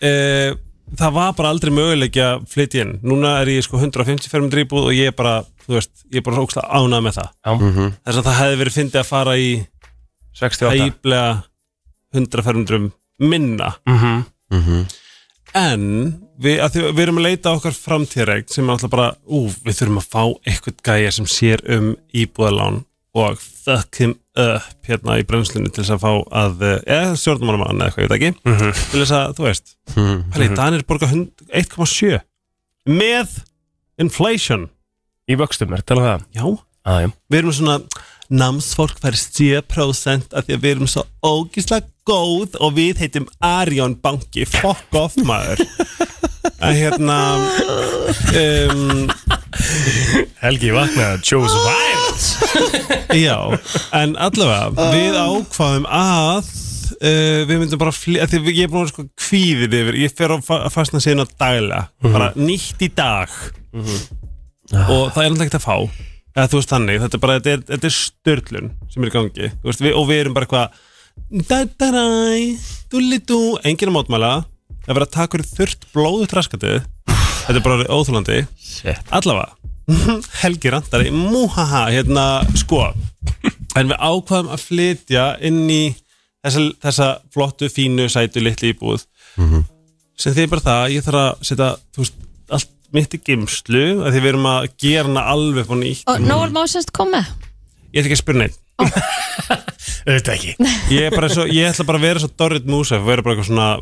[SPEAKER 6] eh, það var bara aldrei möguleik að flytja inn núna er ég sko 150 fermetri íbúð og ég er bara, þú veist, ég er bara ógsta ánað með það
[SPEAKER 3] Já.
[SPEAKER 6] -hmm. þess að það hefði verið fyndið að fara í
[SPEAKER 3] 68
[SPEAKER 6] æblega 100 fermetrum minna
[SPEAKER 3] Mhm.
[SPEAKER 6] en við, að því, við erum að leita að okkar framtíðareign sem er alltaf bara, ú, við þurfum að fá eitthvað gæja sem sér um íbúðalán og fuck him up hérna í bremslunni til þess að fá að eh, eða stjórnumannamann eða eitthvað, ég veit ekki til þess að, þú veist, hæli, mm -hmm. Danir borga hund- 1,7 með inflation
[SPEAKER 3] Í vöxtum er talað um það
[SPEAKER 6] já,
[SPEAKER 3] ah, já.
[SPEAKER 6] við erum svona námsfólk fær 7% af því að við erum svo ógíslega góð og við heitum Arjón Banki fuck off maður að hérna um,
[SPEAKER 3] Helgi vaknaði Chose violence
[SPEAKER 6] já, en allavega við ákvaðum að uh, við myndum bara fly, að því að ég er búin að vera sko kvíðið yfir ég fer á fa fastna síðan að daglega bara nýtt í dag og það er náttúrulega ekkert að fá eða þú veist þannig, þetta er bara þetta er, þetta er störlun sem er í gangi Þú veist, við, og við erum bara eitthvað da-da-ræ, dúllidú enginn að mótmæla, að vera að taka fyrir þurrt blóðu traskatið þetta er bara óþúlandi, allavega Helgi Randari, múhaha hérna, sko en við ákvaðum að flytja inn í þessa, þessa flottu, fínu, sætu, litli íbúð
[SPEAKER 3] Mhm.
[SPEAKER 6] sem þið bara það, ég þarf að setja þú veist, allt mitt í geimslu að því við erum að gera hana alveg fór nýtt
[SPEAKER 1] Mm.
[SPEAKER 2] Og Nóel má semst koma
[SPEAKER 6] ég ætla ekki að spyrja neitt
[SPEAKER 3] Auðvitað ekki
[SPEAKER 6] ég, er bara svo, ég ætla bara að vera svo Dorrit Músef vera bara eitthvað svona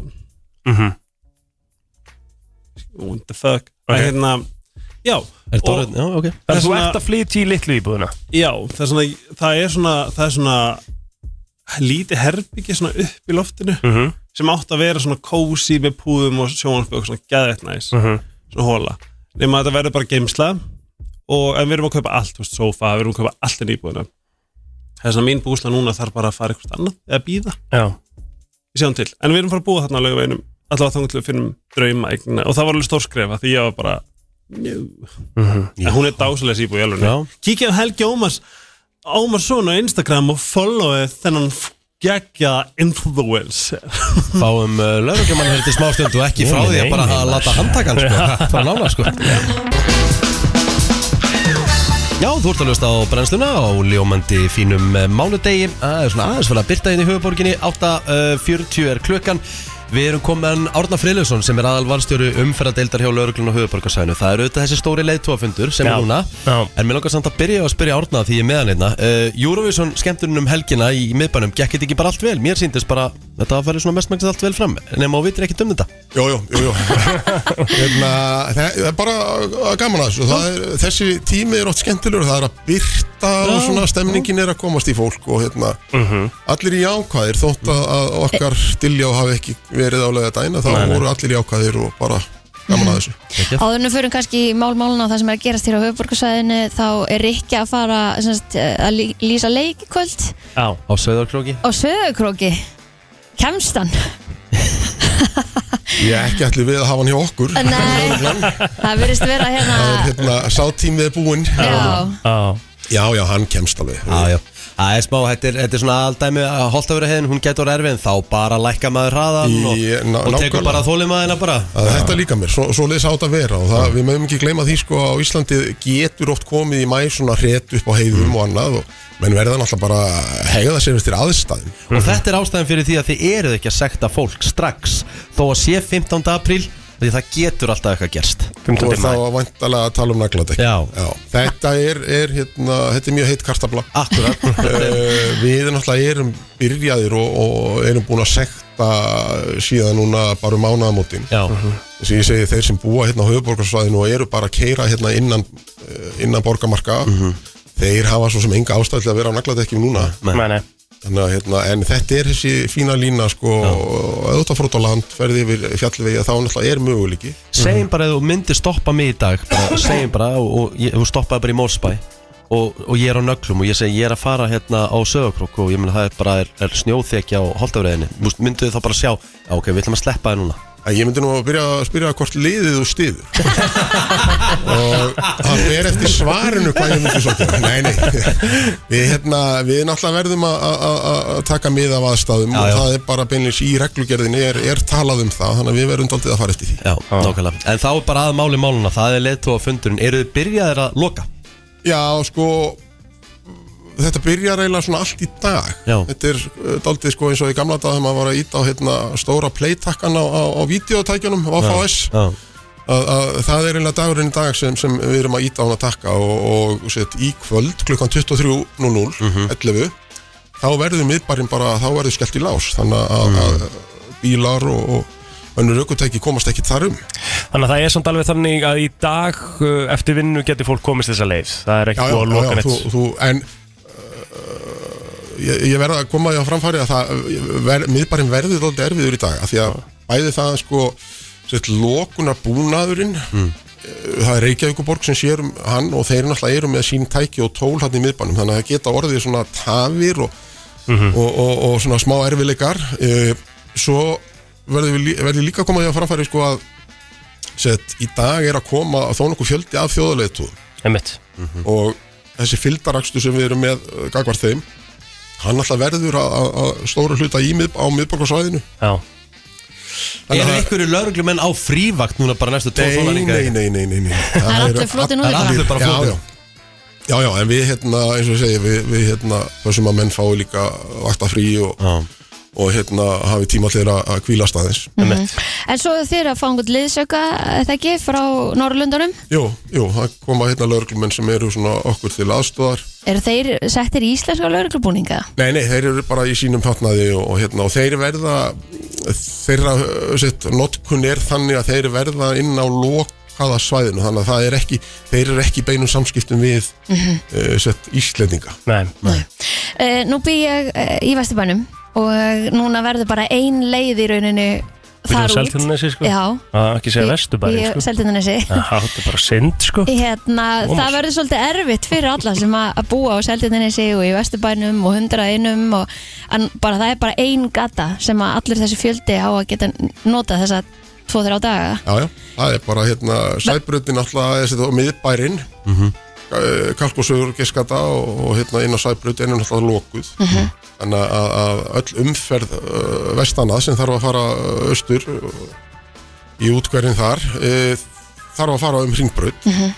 [SPEAKER 3] Mhm.
[SPEAKER 6] what the fuck okay. hérna, já,
[SPEAKER 1] Er Dóri, já, ok
[SPEAKER 3] Það er
[SPEAKER 6] Þess
[SPEAKER 3] þú
[SPEAKER 6] vegna-
[SPEAKER 3] ert að flytja í litlu íbúðuna
[SPEAKER 6] já það, er svona, það er svona það er svona lítið herbyggi svona upp í loftinu
[SPEAKER 3] Mhm.
[SPEAKER 6] sem átt að vera svona kósi með púðum og sjónvarsbjörg svona gæðið næs
[SPEAKER 3] Mhm.
[SPEAKER 6] svona hóla nema að þetta verður bara geimsla og en við erum að kaupa allt, þú veist, sofa, við erum að kaupa allt inn í íbúðina það er svona mín búsla núna þarf bara að fara eitthvað annað eða býða
[SPEAKER 3] Já
[SPEAKER 6] við sjáum til, en við erum fara að búa þarna á laugaveginum allavega þannig til við finnum drauma eignina og það var alveg stórskrefa því ég var bara njó, en hún er dásalega síbúi
[SPEAKER 1] Já.
[SPEAKER 6] kíkja á Helgi Ómars Ómarsson á Instagram og followið þennan gegja influencer
[SPEAKER 1] Fáum uh, laurugjumann hér til smástund og ekki frá
[SPEAKER 3] Nei,
[SPEAKER 1] því að
[SPEAKER 3] nei,
[SPEAKER 1] bara
[SPEAKER 3] nei,
[SPEAKER 1] að
[SPEAKER 3] maður.
[SPEAKER 1] lata handtakan sko. frá nála sko Já, þú ert að lusta á brennsluna á ljómandi fínum eh, mánudegi Það er svona aðeins fyrir að byrta inn í höfuborginni 8.40 er klukkan Við erum komin Árna Friðljósson sem er aðal valstjóru umferðadeildar hjá lauruglun og höfuborgarsæðinu Það eru auðvitað þessi stóri leiðtóafundur sem
[SPEAKER 3] Já.
[SPEAKER 1] er núna
[SPEAKER 3] Já.
[SPEAKER 1] En mér langar samt að byrja á að spyrja Árna því ég er meðan einna uh, Eurovision skemmtunum um helgina í miðbænum gekk þetta ekki bara allt vel Mér síndist bara þetta að fara svona mestmægst allt vel fram Nefnum og vitir ekki um þetta
[SPEAKER 4] Jó, jó, jó, jó. hérna, það það er bara uh, gaman að þessu Það er, þessi tími er oft skemmtilegur það er að byrta og svona stemningin er að komast í fólk og hérna allir í jákvæðir þótt að, að okkar dilljá hafi ekki verið álega dæna þá voru allir í jákvæðir og bara gaman að þessu
[SPEAKER 2] Áðurinn fyrir kannski í málmálun á það sem er að gerast hér á höfuborgarsæðinu þá er Rikki að fara semst, að lí- lýsa leikikvöld
[SPEAKER 3] Já
[SPEAKER 1] Á Söðarkróki
[SPEAKER 2] á Söðukróki
[SPEAKER 1] [laughs]
[SPEAKER 2] Kemstan
[SPEAKER 4] Ég er ekki allir við að hafa hann hjá okkur
[SPEAKER 2] Nei, það virðist vera
[SPEAKER 4] Það er
[SPEAKER 2] hérna
[SPEAKER 4] hérna, sá tímið er búinn
[SPEAKER 2] Já,
[SPEAKER 3] Já
[SPEAKER 4] Já, já, hann kemst alveg
[SPEAKER 1] Já, já. Það er smá, þetta er, þetta er svona aldæmi að holta verið heiðin, hún getur erfið en þá bara lækka maður hraðan
[SPEAKER 4] Í-
[SPEAKER 1] og,
[SPEAKER 4] ná-
[SPEAKER 1] og tekur
[SPEAKER 4] nákvæmlega.
[SPEAKER 1] bara þólimaðina bara
[SPEAKER 4] að þetta líka mér, svo, svo leys átt að vera og það, við mögum ekki gleyma því sko á Íslandi getur oft komið í mæ svona hret upp á heiðum
[SPEAKER 1] Mm.
[SPEAKER 4] og annað og menn verða náttúrulega bara að hegða sér eftir aðstæðum
[SPEAKER 1] og þetta er ástæðan fyrir því að þið eruð ekki að sekta fólk strax þó að sé 15. apríl því það getur alltaf eitthvað gerst
[SPEAKER 3] 15.
[SPEAKER 4] og
[SPEAKER 3] mæ
[SPEAKER 4] þá vantalega að tala um nagladekk
[SPEAKER 1] Já.
[SPEAKER 4] þetta er, er hérna, þetta er mjög heitt kartabla [laughs]
[SPEAKER 1] Akkurat
[SPEAKER 4] uh, við náttúrulega erum byrjaðir og, og erum búin að sekta síðan núna bara um mánaðamótin
[SPEAKER 1] Já,
[SPEAKER 4] þess að ég segi þeir sem búa hérna á höfuborgarsvæðinu og eru bara að keira hérna innan, eh, innan borgamarka þeir hafa svo sem enga ástæð til að vera á nagladekkjum núna
[SPEAKER 3] Nei, nei
[SPEAKER 4] Þannig, að, hérna, en þetta er þessi fína lína sko, auðvitað fórt á land, ferði yfir fjallvegi þá náttúrulega er möguleiki
[SPEAKER 1] segjum bara að þú myndir stoppa mig í dag
[SPEAKER 4] [laughs]
[SPEAKER 1] bara, segjum bara og, og ég, þú stoppaði bara í Mórsbæ og, og ég er á nöglum og ég segi ég er að fara hérna á söðakrók og ég meina það er bara er, er snjóþekja á holdafræðinni myndu þið þá bara sjá, já ok, við ætlum að sleppa þið núna
[SPEAKER 7] að ég myndi nú að byrja að spyrja hvort liðið og stiður og það fer eftir svarinu hvað ég myndi svolítið nei, nei, við, hérna, við náttúrulega verðum að- að að- að taka mið af
[SPEAKER 4] Um
[SPEAKER 7] aðstæðum
[SPEAKER 1] Já,
[SPEAKER 7] og
[SPEAKER 1] já.
[SPEAKER 7] það er bara beinleins í reglugerðin er, er talað um það, þannig að við verðum daldið að fara eftir því
[SPEAKER 1] Já, nákvæmlega En þá er bara að máli máluna, það er leðtóafundurinn Eru þið byrjaðir að loka?
[SPEAKER 7] Já, sko þetta byrjar eiginlega svona allt í dag
[SPEAKER 1] Já.
[SPEAKER 7] þetta er uh, daldið sko eins og í gamla dag þegar maður var að íta á hérna, stóra playtakkan á, á, á videotækjunum, VFS
[SPEAKER 1] Já,
[SPEAKER 7] að, að það er eiginlega dagurinn í dag sem, sem við erum að íta á hann að takka og, og set, í kvöld klukkan 23.00 11 þá verður miðbarinn bara, þá verður skellt í lás þannig að, að bílar og, og önnur aukutæki komast ekki þar um
[SPEAKER 3] Þannig að það er samt alveg þannig að í dag uh, eftir vinnu getur fólk komist þessa leið Það er ekki búið að loka
[SPEAKER 7] þú,
[SPEAKER 3] neitt
[SPEAKER 7] þú, en uh, ég, ég verða að koma því á framfæri að það, ver, miðbarinn verður þótti erfiður í dag, af því að bæði það sko, sett lokunar búnaðurinn
[SPEAKER 3] Hmm.
[SPEAKER 7] uh, það er Reykjavíkuborg sem sér um hann og þeir náttúrulega eru með sín tæki og tól hann í miðbænum, þannig að það geta orðið svona tafir og,
[SPEAKER 3] Mhm.
[SPEAKER 7] og, og, og svona smá erfileikar Eh, svo verður við lí- verður líka að koma því á framfæri sko að sett, í dag er að koma þó nokkuð fjöldi af þjóðarleitu
[SPEAKER 3] Einmitt.
[SPEAKER 7] og þessi fylgdarakstur sem við erum með uh, gagvart þeim hann alltaf verður að- að að stóra hluta í mið, á miðborgarsvæðinu
[SPEAKER 3] Já,
[SPEAKER 7] Þannig
[SPEAKER 1] Eru
[SPEAKER 7] að-
[SPEAKER 1] einhverju lauruglumenn á frívakt núna bara næstu tvo
[SPEAKER 7] Nei,
[SPEAKER 1] sólarhringa?
[SPEAKER 7] nei, nei, nei, nei, nei.
[SPEAKER 2] Það er
[SPEAKER 7] eru
[SPEAKER 2] allir flotinn
[SPEAKER 7] all-
[SPEAKER 2] úti
[SPEAKER 1] bara. Allir bara
[SPEAKER 7] já,
[SPEAKER 1] flotinn.
[SPEAKER 7] já. já, já, en við hérna, eins og ég segi við, við hérna, þessum að menn fái líka vakta frí og,
[SPEAKER 1] Já.
[SPEAKER 7] og hérna hafi tíma til að, að kvíla staðins
[SPEAKER 2] Mm. En svo eru þið að fá einhvern liðsauka er það ekki frá Norrlundunum
[SPEAKER 7] Jú, jú, það koma hérna lögreglumenn sem eru svona okkur til aðstóðar
[SPEAKER 2] Eru þeir settir í íslenska lauruglubúninga?
[SPEAKER 7] Nei, nei, þeir eru bara í sínum fatnaði og, og, hérna, og þeir verða þeirra, ö, sitt, notkun er þannig að þeir verða inn á lokaða svæðinu, þannig að það er ekki þeir eru ekki í beinum samskiptum við mm sitt, Íslendinga
[SPEAKER 3] nei,
[SPEAKER 2] Nei. Uh, nú bý ég uh, í Vesturbænum og núna verður bara ein leið í rauninu
[SPEAKER 3] byrjuðu
[SPEAKER 2] þar út
[SPEAKER 3] seltjarnanesi sko
[SPEAKER 2] Já,
[SPEAKER 3] að ekki segja vesturbæri
[SPEAKER 2] ég,
[SPEAKER 3] sko Já,
[SPEAKER 2] Seltjarnanesi
[SPEAKER 3] þetta er bara synd sko
[SPEAKER 2] Hérna,
[SPEAKER 3] Ómar.
[SPEAKER 2] það verður svolítið erfitt fyrir alla sem að, að búa á Seldjarnanesi og í Vesturbænum og hundraðinum og en bara það er bara ein gata sem að allir þessi fjöldi á að geta nota þessa tvo þrjá daga
[SPEAKER 7] Já, já, það er bara hérna sæbrutin alltaf þessi, og miðbærin mm
[SPEAKER 3] Mhm.
[SPEAKER 7] -hmm. kalkosugur geskata og, og hérna inn á sæbrutin er alltaf lokuð
[SPEAKER 3] Mhm.
[SPEAKER 7] þannig að, að öll umferð uh, vestana sem þarf að fara ö, austur ö, í útkverðin þar uh, þarf að fara um hringbrut
[SPEAKER 3] Mhm.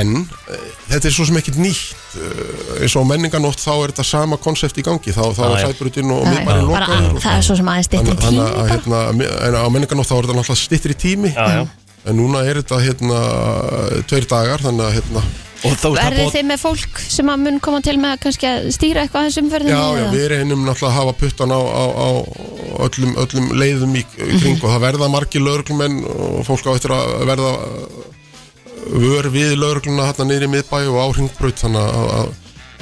[SPEAKER 7] en uh, þetta er svo sem ekkit nýtt uh, eins og á menninganótt þá er þetta sama konsept í gangi þá, þá
[SPEAKER 3] Já,
[SPEAKER 7] er
[SPEAKER 3] já.
[SPEAKER 7] sæbrutin
[SPEAKER 2] Það
[SPEAKER 7] og
[SPEAKER 2] er
[SPEAKER 7] miðbærin
[SPEAKER 2] bara-
[SPEAKER 7] lokaður og-
[SPEAKER 2] Það er svo sem aðeins
[SPEAKER 7] Þannig-
[SPEAKER 2] dittir tími
[SPEAKER 7] þannig að
[SPEAKER 2] bara
[SPEAKER 7] hérna, en á menninganótt þá er þetta náttúrulega stittri tími
[SPEAKER 3] Já, já.
[SPEAKER 7] En núna er þetta hérna tveir dagar, þannig að hérna
[SPEAKER 1] Og þá er það
[SPEAKER 2] Verðið
[SPEAKER 1] búið
[SPEAKER 2] þið með fólk sem að mun koma til með að kannski að stýra eitthvað aðeins umferðinu?
[SPEAKER 7] Já, já, við reynum náttúrulega að hafa puttan á, á, á öllum, öllum leiðum í, í
[SPEAKER 2] Mhm.
[SPEAKER 7] kring og það verða margir lögreglumenn og fólk á eftir að verða uh, vör við lögregluna hérna niður í miðbæ og á hringbraut þannig að, að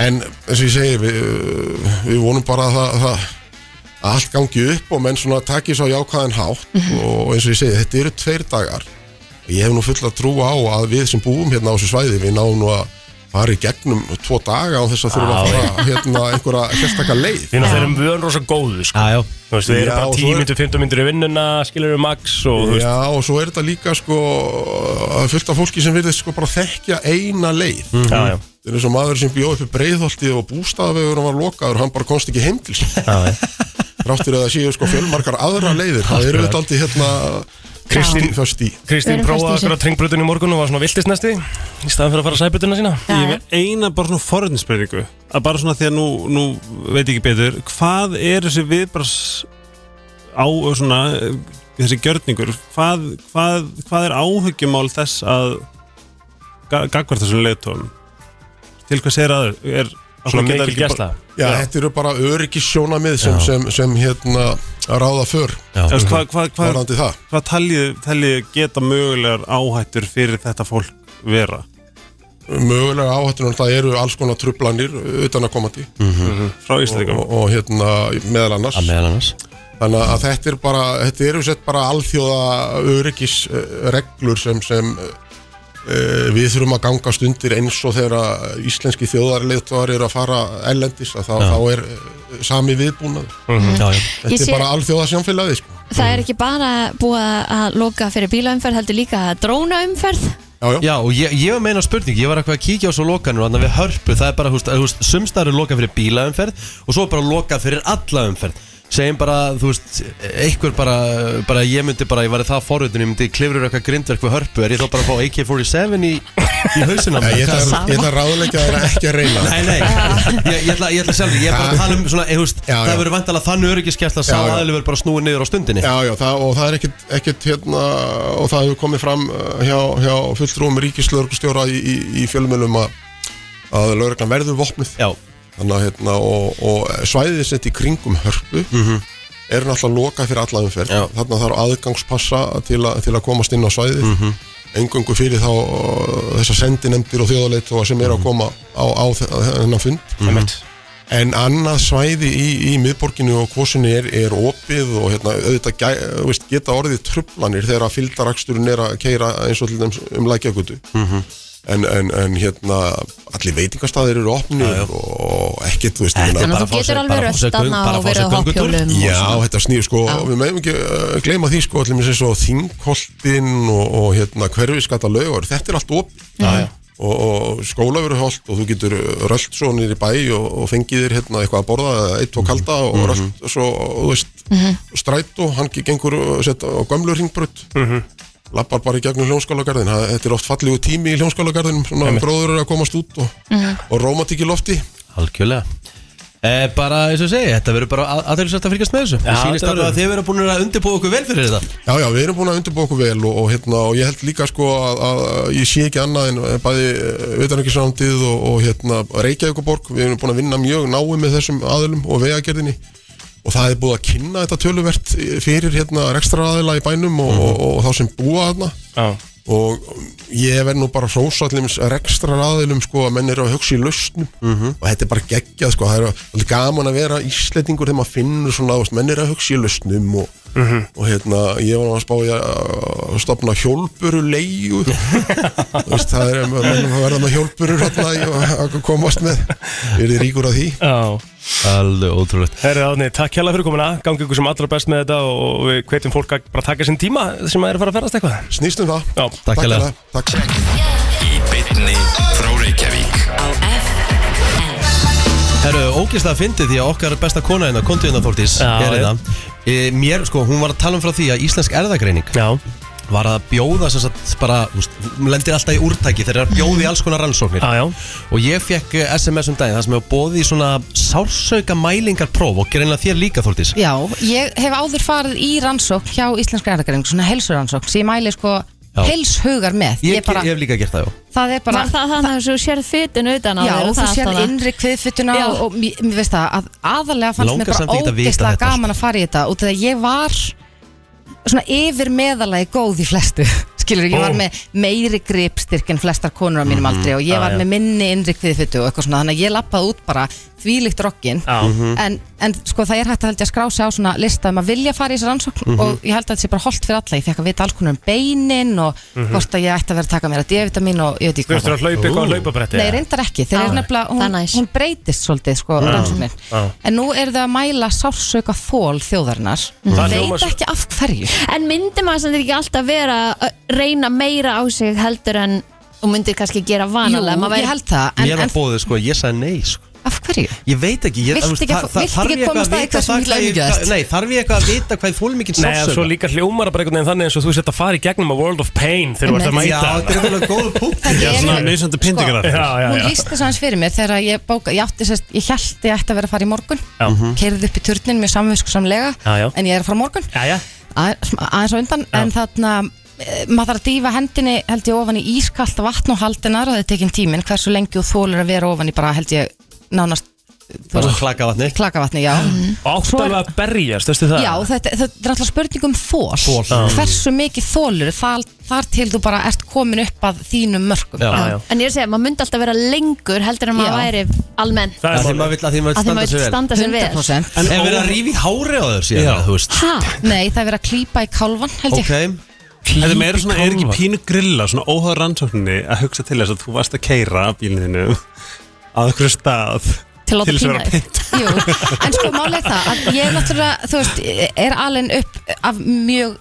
[SPEAKER 7] en eins og ég segi við, uh, við vonum bara að það, það að allt gangi upp og menn svona takki svo jákvæðan hátt
[SPEAKER 2] Mhm.
[SPEAKER 7] og eins og ég segi þetta eru tveir dagar og ég hef nú fulla trú á að við sem búum hérna á þessu svæði við náum nú að fara í gegnum tvo daga og þess að þurfa að fara hérna einhverja sérstakka leið
[SPEAKER 3] Því að þeir eru vön rosa góðu sko
[SPEAKER 1] Já, já
[SPEAKER 3] Þú veist, við
[SPEAKER 7] Já,
[SPEAKER 3] erum
[SPEAKER 7] og
[SPEAKER 3] bara
[SPEAKER 7] svo
[SPEAKER 3] 10
[SPEAKER 7] er-
[SPEAKER 3] myndur, 15 myndur í vinnuna skilur við max og þú veist
[SPEAKER 7] Já og svo er þetta líka sko að fullt af fólki sem virðist sko bara þekkja eina leið
[SPEAKER 3] Já, já,
[SPEAKER 7] Þetta er eins og maður sem bjóð uppi breiðholti og bústaðavegur hann var lokaður og hann bara komst ekki heim til sín
[SPEAKER 3] já, já.
[SPEAKER 7] Ráttir að það séu sko fjölmarkar aðra leiðir Það eru þetta aldrei hérna
[SPEAKER 3] Kristín-
[SPEAKER 7] Föst í
[SPEAKER 3] Kristín
[SPEAKER 2] Við erum
[SPEAKER 3] prófaði
[SPEAKER 2] fast í
[SPEAKER 3] okkur á tringbrutinu í morgun og var svona viltisnesti í staðan fyrir að fara að sæbutuna sína
[SPEAKER 6] Ég er eina bara svona forðinsbreyningu að bara svona því að nú, nú veit ég ekki betur hvað er þessi viðbars á svona eh, þessi gjörningur hvað, hvað, hvað er áhyggjumál þess að gagvart þessum leiðtóum til hvers er að er,
[SPEAKER 3] Svona mikil
[SPEAKER 6] geta ekki bara-
[SPEAKER 3] gæsla
[SPEAKER 7] Já, þetta eru bara öryggissjónamið sem,
[SPEAKER 1] Já.
[SPEAKER 7] sem, sem hérna ráða för
[SPEAKER 1] Já,
[SPEAKER 6] Þú veist, Hvað, hvað, hvað,
[SPEAKER 7] varandi það
[SPEAKER 6] hvað taljið, taljið geta mögulegar áhættur fyrir þetta fólk vera?
[SPEAKER 7] mögulega áhættunum það eru alls konar trublanir utan að komandi
[SPEAKER 1] Mm.
[SPEAKER 6] Frá Íslandingum?
[SPEAKER 7] og, og hérna meðal annars
[SPEAKER 1] að meðal annars
[SPEAKER 7] þannig að þetta er bara þetta eru sett bara alþjóða öryggis eh, reglur sem, sem eh, uh, við þurfum að gangast undir eins og þegar að íslenski þjóðarleitvar eru að fara ellendis að þá, þá er uh, sami viðbúnað
[SPEAKER 1] Mhm.
[SPEAKER 3] Já, já.
[SPEAKER 7] þetta
[SPEAKER 2] Ég sé-
[SPEAKER 7] er bara alþjóðasjónfélagi sko.
[SPEAKER 2] Það er ekki bara búið að loka fyrir bílaumferð heldur líka drónaumferð
[SPEAKER 7] já, já.
[SPEAKER 1] Já, og ég, ég var meina spurning, ég var eitthvað að kíkja á svo lokanur Þannig að við hörpu, það er bara, húst, húst Sumstar er lokað fyrir bílaumferð Og svo er bara lokað fyrir alla umferð Segjum bara, þú veist, einhver bara, bara Ég myndi bara, ég var það forvitun Ég myndi klifrur eitthvað grindverk við hörpu Er ég þá bara að fá AK-47 í, í hausina
[SPEAKER 7] Ég, ég ætla ég ætla að ráðleika þér að ekki að reyna
[SPEAKER 1] Nei, nei, ég, ég, ætla, ég ætla sjálf Ég er bara að tala um svona, eh, þú veist,
[SPEAKER 7] Já,
[SPEAKER 1] það
[SPEAKER 7] já.
[SPEAKER 1] verður vantalega þannig öryggiskjærsla
[SPEAKER 7] Já, já.
[SPEAKER 1] Sáðaðileg verður bara snúið niður á stundinni
[SPEAKER 7] Já, já, það, og það er ekkit, ekkit hérna, og það hefur komið fram uh, hjá, hjá fulltrúum ríkislörgustjóra í, í, í fjölmjölum að, að lögreglan verður vopnuð
[SPEAKER 1] Já,
[SPEAKER 7] Þannig, að, hérna, og, og svæðið sitt í kringum hörpu er náttúrulega lokað fyrir alla umferð
[SPEAKER 1] Mhm. Já.
[SPEAKER 7] þannig að það eru aðgangspassa til, a, til að komast inn á svæðið mm
[SPEAKER 1] Mhm.
[SPEAKER 7] -hmm. engungu fyrir þá uh, þessar sendinemdir og þjóðaleit sem
[SPEAKER 1] Mhm.
[SPEAKER 7] eru að koma á, á þe- á þennan fund
[SPEAKER 3] Einmitt.
[SPEAKER 7] En annað svæði í, í miðborginu og kvosinni er, er opið og hérna, auðvitað gæ, veist, geta orðið trublanir þegar að fylgdaraksturinn er að keira eins og til þeim um lækjagutu. en, en, en hérna, allir veitingastæðir eru opnir og ekkert, þú veist, ég meina-
[SPEAKER 1] bara
[SPEAKER 2] Þannig
[SPEAKER 1] að
[SPEAKER 2] að þú
[SPEAKER 1] fá sér-
[SPEAKER 2] getur alveg
[SPEAKER 1] bara að fá sér
[SPEAKER 2] röst
[SPEAKER 1] göng-
[SPEAKER 2] aðna
[SPEAKER 1] bara að
[SPEAKER 2] og
[SPEAKER 1] fá
[SPEAKER 2] verið
[SPEAKER 1] sér
[SPEAKER 2] á
[SPEAKER 1] göngutúr.
[SPEAKER 2] hoppjólum og
[SPEAKER 7] Já,
[SPEAKER 2] svona.
[SPEAKER 7] þetta snýr sko,
[SPEAKER 2] Já.
[SPEAKER 7] við meðum ekki uh, gleyma því sko, allir mér sem svo þingkoltin og, og hérna hverfiskata laugar, þetta er allt opið og, og skólaveruholt og þú getur rölt svo nýr í bæ og, og fengið þér hérna eitthvað að borða, eitt og kalda og rölt svo, þú veist,
[SPEAKER 2] Mhm.
[SPEAKER 7] strætó, hann gengur og setta á gömlu ringbrödd lappar bara í gegnum hljómskálagarðin Það- þetta er oft fallegu tími í hljómskálagarðinum svona bróður eru að komast út og,
[SPEAKER 2] Mhm.
[SPEAKER 7] og rómatík í lofti
[SPEAKER 1] Algjörlega Eh, bara eins og ég segi, þetta verður bara aðeinsvægt að fylgjast með þessu
[SPEAKER 3] Já,
[SPEAKER 1] Mér sýnist
[SPEAKER 3] þetta
[SPEAKER 1] alveg að
[SPEAKER 3] verður.
[SPEAKER 1] þið verður búin að undirbúa okkur vel fyrir þetta
[SPEAKER 7] Já, já, við erum búin að undirbúa okkur vel og, og, hérna, og ég held líka sko að, að ég sé ekki annað en eh, bæði vitanarkisrándið og, og hérna, Reykjavíkuborg, við erum búin að vinna mjög náið með þessum aðilum og vegagerðinni og það er búið að kynna þetta töluvert fyrir hérna rekstra aðila í bænum og, og, og, þá sem búa þarna
[SPEAKER 3] Já.
[SPEAKER 7] og ég verð nú bara frósallum rekstra aðilum sko að menn eru að hugsa í lausnum
[SPEAKER 1] Mhm.
[SPEAKER 7] og þetta er bara geggjað sko, það er alveg gaman að vera íslendingur þegar maður finnur svona, þú veist, menn eru að hugsa í lausnum og,
[SPEAKER 1] Mhm.
[SPEAKER 7] og hérna, ég var nú að spá í að að stopna hjólpuru
[SPEAKER 1] [laughs]
[SPEAKER 7] leigu veist, það er menn að verða með hjólpurur hérna í að komast með er þið ríkur að því
[SPEAKER 3] Já.
[SPEAKER 1] Alveg ótrúlegt
[SPEAKER 3] Herri Átni, takk hérlega fyrir komuna Gangi ykkur sem allra best með þetta og og við hvetjum fólk að bara taka sinn tíma sem að er að fara að ferast eitthvað
[SPEAKER 7] snýst um það
[SPEAKER 3] Já,
[SPEAKER 1] Takk hérlega.
[SPEAKER 7] hérlega. Takk.
[SPEAKER 4] Í bytni frá Reykjavík
[SPEAKER 1] Herru, ógist að fyndi því að okkar besta kona hérna, kontu hérna Þórtís
[SPEAKER 3] Já,
[SPEAKER 1] er
[SPEAKER 3] já.
[SPEAKER 1] hérna. e, Mér, sko, hún var að tala um frá því að Íslensk erðagreining
[SPEAKER 3] Já,
[SPEAKER 1] var að bjóða sem sagt bara, þú veist, hún lendir alltaf í úrtæki þegar er að bjóða í alls konar rannsóknir
[SPEAKER 3] já, já,
[SPEAKER 1] og ég fekk eh, SMS um daginn þar sem ég var bóði í svona sársauka mælingarpróf og gerðinlega þér líka Þórtís
[SPEAKER 8] Já, ég hef áður farið í rannsókn hjá Íslenska erðagreining, svona helsurannsókn sem ég mæli sko
[SPEAKER 1] Já.
[SPEAKER 8] helshugar með
[SPEAKER 1] Ég,
[SPEAKER 8] ég bara,
[SPEAKER 1] ég hef líka gert það, já
[SPEAKER 8] það er bara
[SPEAKER 2] Var það þannig að þú sérð fytin utan á
[SPEAKER 8] Já,
[SPEAKER 2] þér og
[SPEAKER 8] og þú
[SPEAKER 2] það
[SPEAKER 8] sér
[SPEAKER 2] allt þarna?
[SPEAKER 8] innri kviðfutuna
[SPEAKER 2] Já.
[SPEAKER 8] og mér mér veist það að aðalega fannst
[SPEAKER 1] Langar
[SPEAKER 8] mér
[SPEAKER 1] samt
[SPEAKER 8] bara
[SPEAKER 1] ekkert að vita þetta,
[SPEAKER 8] ógeðslega
[SPEAKER 1] sko.
[SPEAKER 8] gaman að fara í þetta út af því að ég var svona yfir meðalagi góð í flestu [laughs] skilur, ég
[SPEAKER 3] Ó.
[SPEAKER 8] var með meiri gripstyrk en flestar konur á mínum
[SPEAKER 1] Mhm.
[SPEAKER 8] aldri og ég
[SPEAKER 3] Já,
[SPEAKER 8] var
[SPEAKER 3] já.
[SPEAKER 8] með minni innri kviðfutu og eitthvað svona þannig að ég lappaði út bara þvílíkt rokkin
[SPEAKER 3] já
[SPEAKER 1] Mhm.
[SPEAKER 8] en, en sko það er hægt að held ég að skrá sig á svona lista um að vilja fara í þessu rannsókn
[SPEAKER 1] Mhm.
[SPEAKER 8] og ég held að þetta sé bara holdt fyrir alla, ég fekk að vita alls konar um beinin og
[SPEAKER 1] Mhm.
[SPEAKER 8] hvort að ég ætti að vera að taka mér að D-vitamin og ég veit ekki
[SPEAKER 3] Þú
[SPEAKER 8] hvað
[SPEAKER 3] ertur að hlaupa eitthvað á hlaupabretti
[SPEAKER 8] Nei, reyndar ekki, þeir
[SPEAKER 2] Ah,
[SPEAKER 8] eru nefnilega,
[SPEAKER 2] það er
[SPEAKER 8] hún,
[SPEAKER 2] næs.
[SPEAKER 8] hún breytist svolítið sko, rannsóknin
[SPEAKER 3] já.
[SPEAKER 8] En nú eru þau að mæla sársauka þól þjóðarinnar
[SPEAKER 3] Það hljómar
[SPEAKER 8] Veit
[SPEAKER 3] svo-
[SPEAKER 8] ekki af hverju
[SPEAKER 2] En myndi maður sem ekki alltaf vera að reyna meira á sig heldur en og myndi kannski gera
[SPEAKER 8] Jú,
[SPEAKER 2] vanalega maður
[SPEAKER 8] ég
[SPEAKER 2] væri-
[SPEAKER 8] held það, en,
[SPEAKER 1] Mér var
[SPEAKER 8] en
[SPEAKER 1] bóðið, sko, ég sagði nei, sko
[SPEAKER 8] af hverju?
[SPEAKER 1] Ég veit ekki ég,
[SPEAKER 8] Vilt
[SPEAKER 1] þú veist,
[SPEAKER 8] ekki að
[SPEAKER 1] þa-
[SPEAKER 8] fó-
[SPEAKER 1] þa-
[SPEAKER 8] vilt
[SPEAKER 1] þarf
[SPEAKER 8] ekki
[SPEAKER 1] ég
[SPEAKER 8] komast
[SPEAKER 1] eitthvað
[SPEAKER 8] að
[SPEAKER 1] vita
[SPEAKER 8] eitthvað sem
[SPEAKER 1] það
[SPEAKER 8] mikil
[SPEAKER 1] hvað ég-
[SPEAKER 8] aumingjaðist?
[SPEAKER 1] hvað- Nei, þarf ég eitthvað að vita hvað fólk mikið
[SPEAKER 3] Nei, en svo
[SPEAKER 1] sásöka
[SPEAKER 3] líka hljómar það bara einhvern veginn þannig eins og þú sett að fara í gegnum að World of Pain þegar þú ert að
[SPEAKER 8] Einmitt.
[SPEAKER 1] Já,
[SPEAKER 3] mæta
[SPEAKER 1] þetta er eitthvað góð punkt
[SPEAKER 8] Það
[SPEAKER 6] Já,
[SPEAKER 8] eru-
[SPEAKER 6] svona nöysandi pyntingar
[SPEAKER 3] Já, já,
[SPEAKER 8] sko, Hún
[SPEAKER 3] já,
[SPEAKER 8] lísti þess aðeins fyrir mér þegar ég bóka, ég átti sérst, ég held ég ætti að vera að fara í morgun
[SPEAKER 3] Já.
[SPEAKER 8] Keirði upp í turnin mjög samviskusamlega
[SPEAKER 3] Já, já.
[SPEAKER 8] En ég er að fara á morgun
[SPEAKER 3] já, já.
[SPEAKER 8] Aðe- sm- aðeins á undan en þarna eh, maður þarf að dýfa hendinni held ég ofan í ískalt vatn og haldinar og það er tekin tíminn hversu lengi og þólur að vera ofan í bara held ég nánast
[SPEAKER 1] Bara Mm. klaka vatni
[SPEAKER 8] klakavatni, já
[SPEAKER 3] Og átt alveg að berjast, veistu það?
[SPEAKER 8] Já, þetta, þetta er alltaf spurning um þól
[SPEAKER 1] Þol.
[SPEAKER 8] Hversu mikið þólur þar, þar til þú bara ert komin upp að þínum mörgum
[SPEAKER 1] Já.
[SPEAKER 3] Já, já.
[SPEAKER 2] En ég er að segja, maður myndi alltaf vera lengur heldur en maður
[SPEAKER 8] Já.
[SPEAKER 2] væri almenn
[SPEAKER 3] Það
[SPEAKER 1] Það
[SPEAKER 3] er
[SPEAKER 1] er maður vill að því maður
[SPEAKER 2] að
[SPEAKER 1] vill
[SPEAKER 2] því
[SPEAKER 1] standa
[SPEAKER 2] maður
[SPEAKER 1] sér
[SPEAKER 2] vill
[SPEAKER 1] vel
[SPEAKER 2] standa sér vel
[SPEAKER 8] 100%
[SPEAKER 1] En verið að rífi hári á þér
[SPEAKER 3] Já.
[SPEAKER 1] síðan, þú veist
[SPEAKER 2] Ha?
[SPEAKER 8] Nei, það er verið að klípa í kálvan held ég
[SPEAKER 1] Ok,
[SPEAKER 6] Þetta meira svona, er ekki pínu grilla svona óháð rannsókninni að hugsa til þess að þú varst að keira bílininu að okkur stað
[SPEAKER 2] Til að láta
[SPEAKER 6] þess
[SPEAKER 2] pína
[SPEAKER 6] vera
[SPEAKER 2] þig.
[SPEAKER 6] pynta.
[SPEAKER 8] Jú, en sko málið er það að ég er náttúrulega, þú veist, er alveg upp af mjög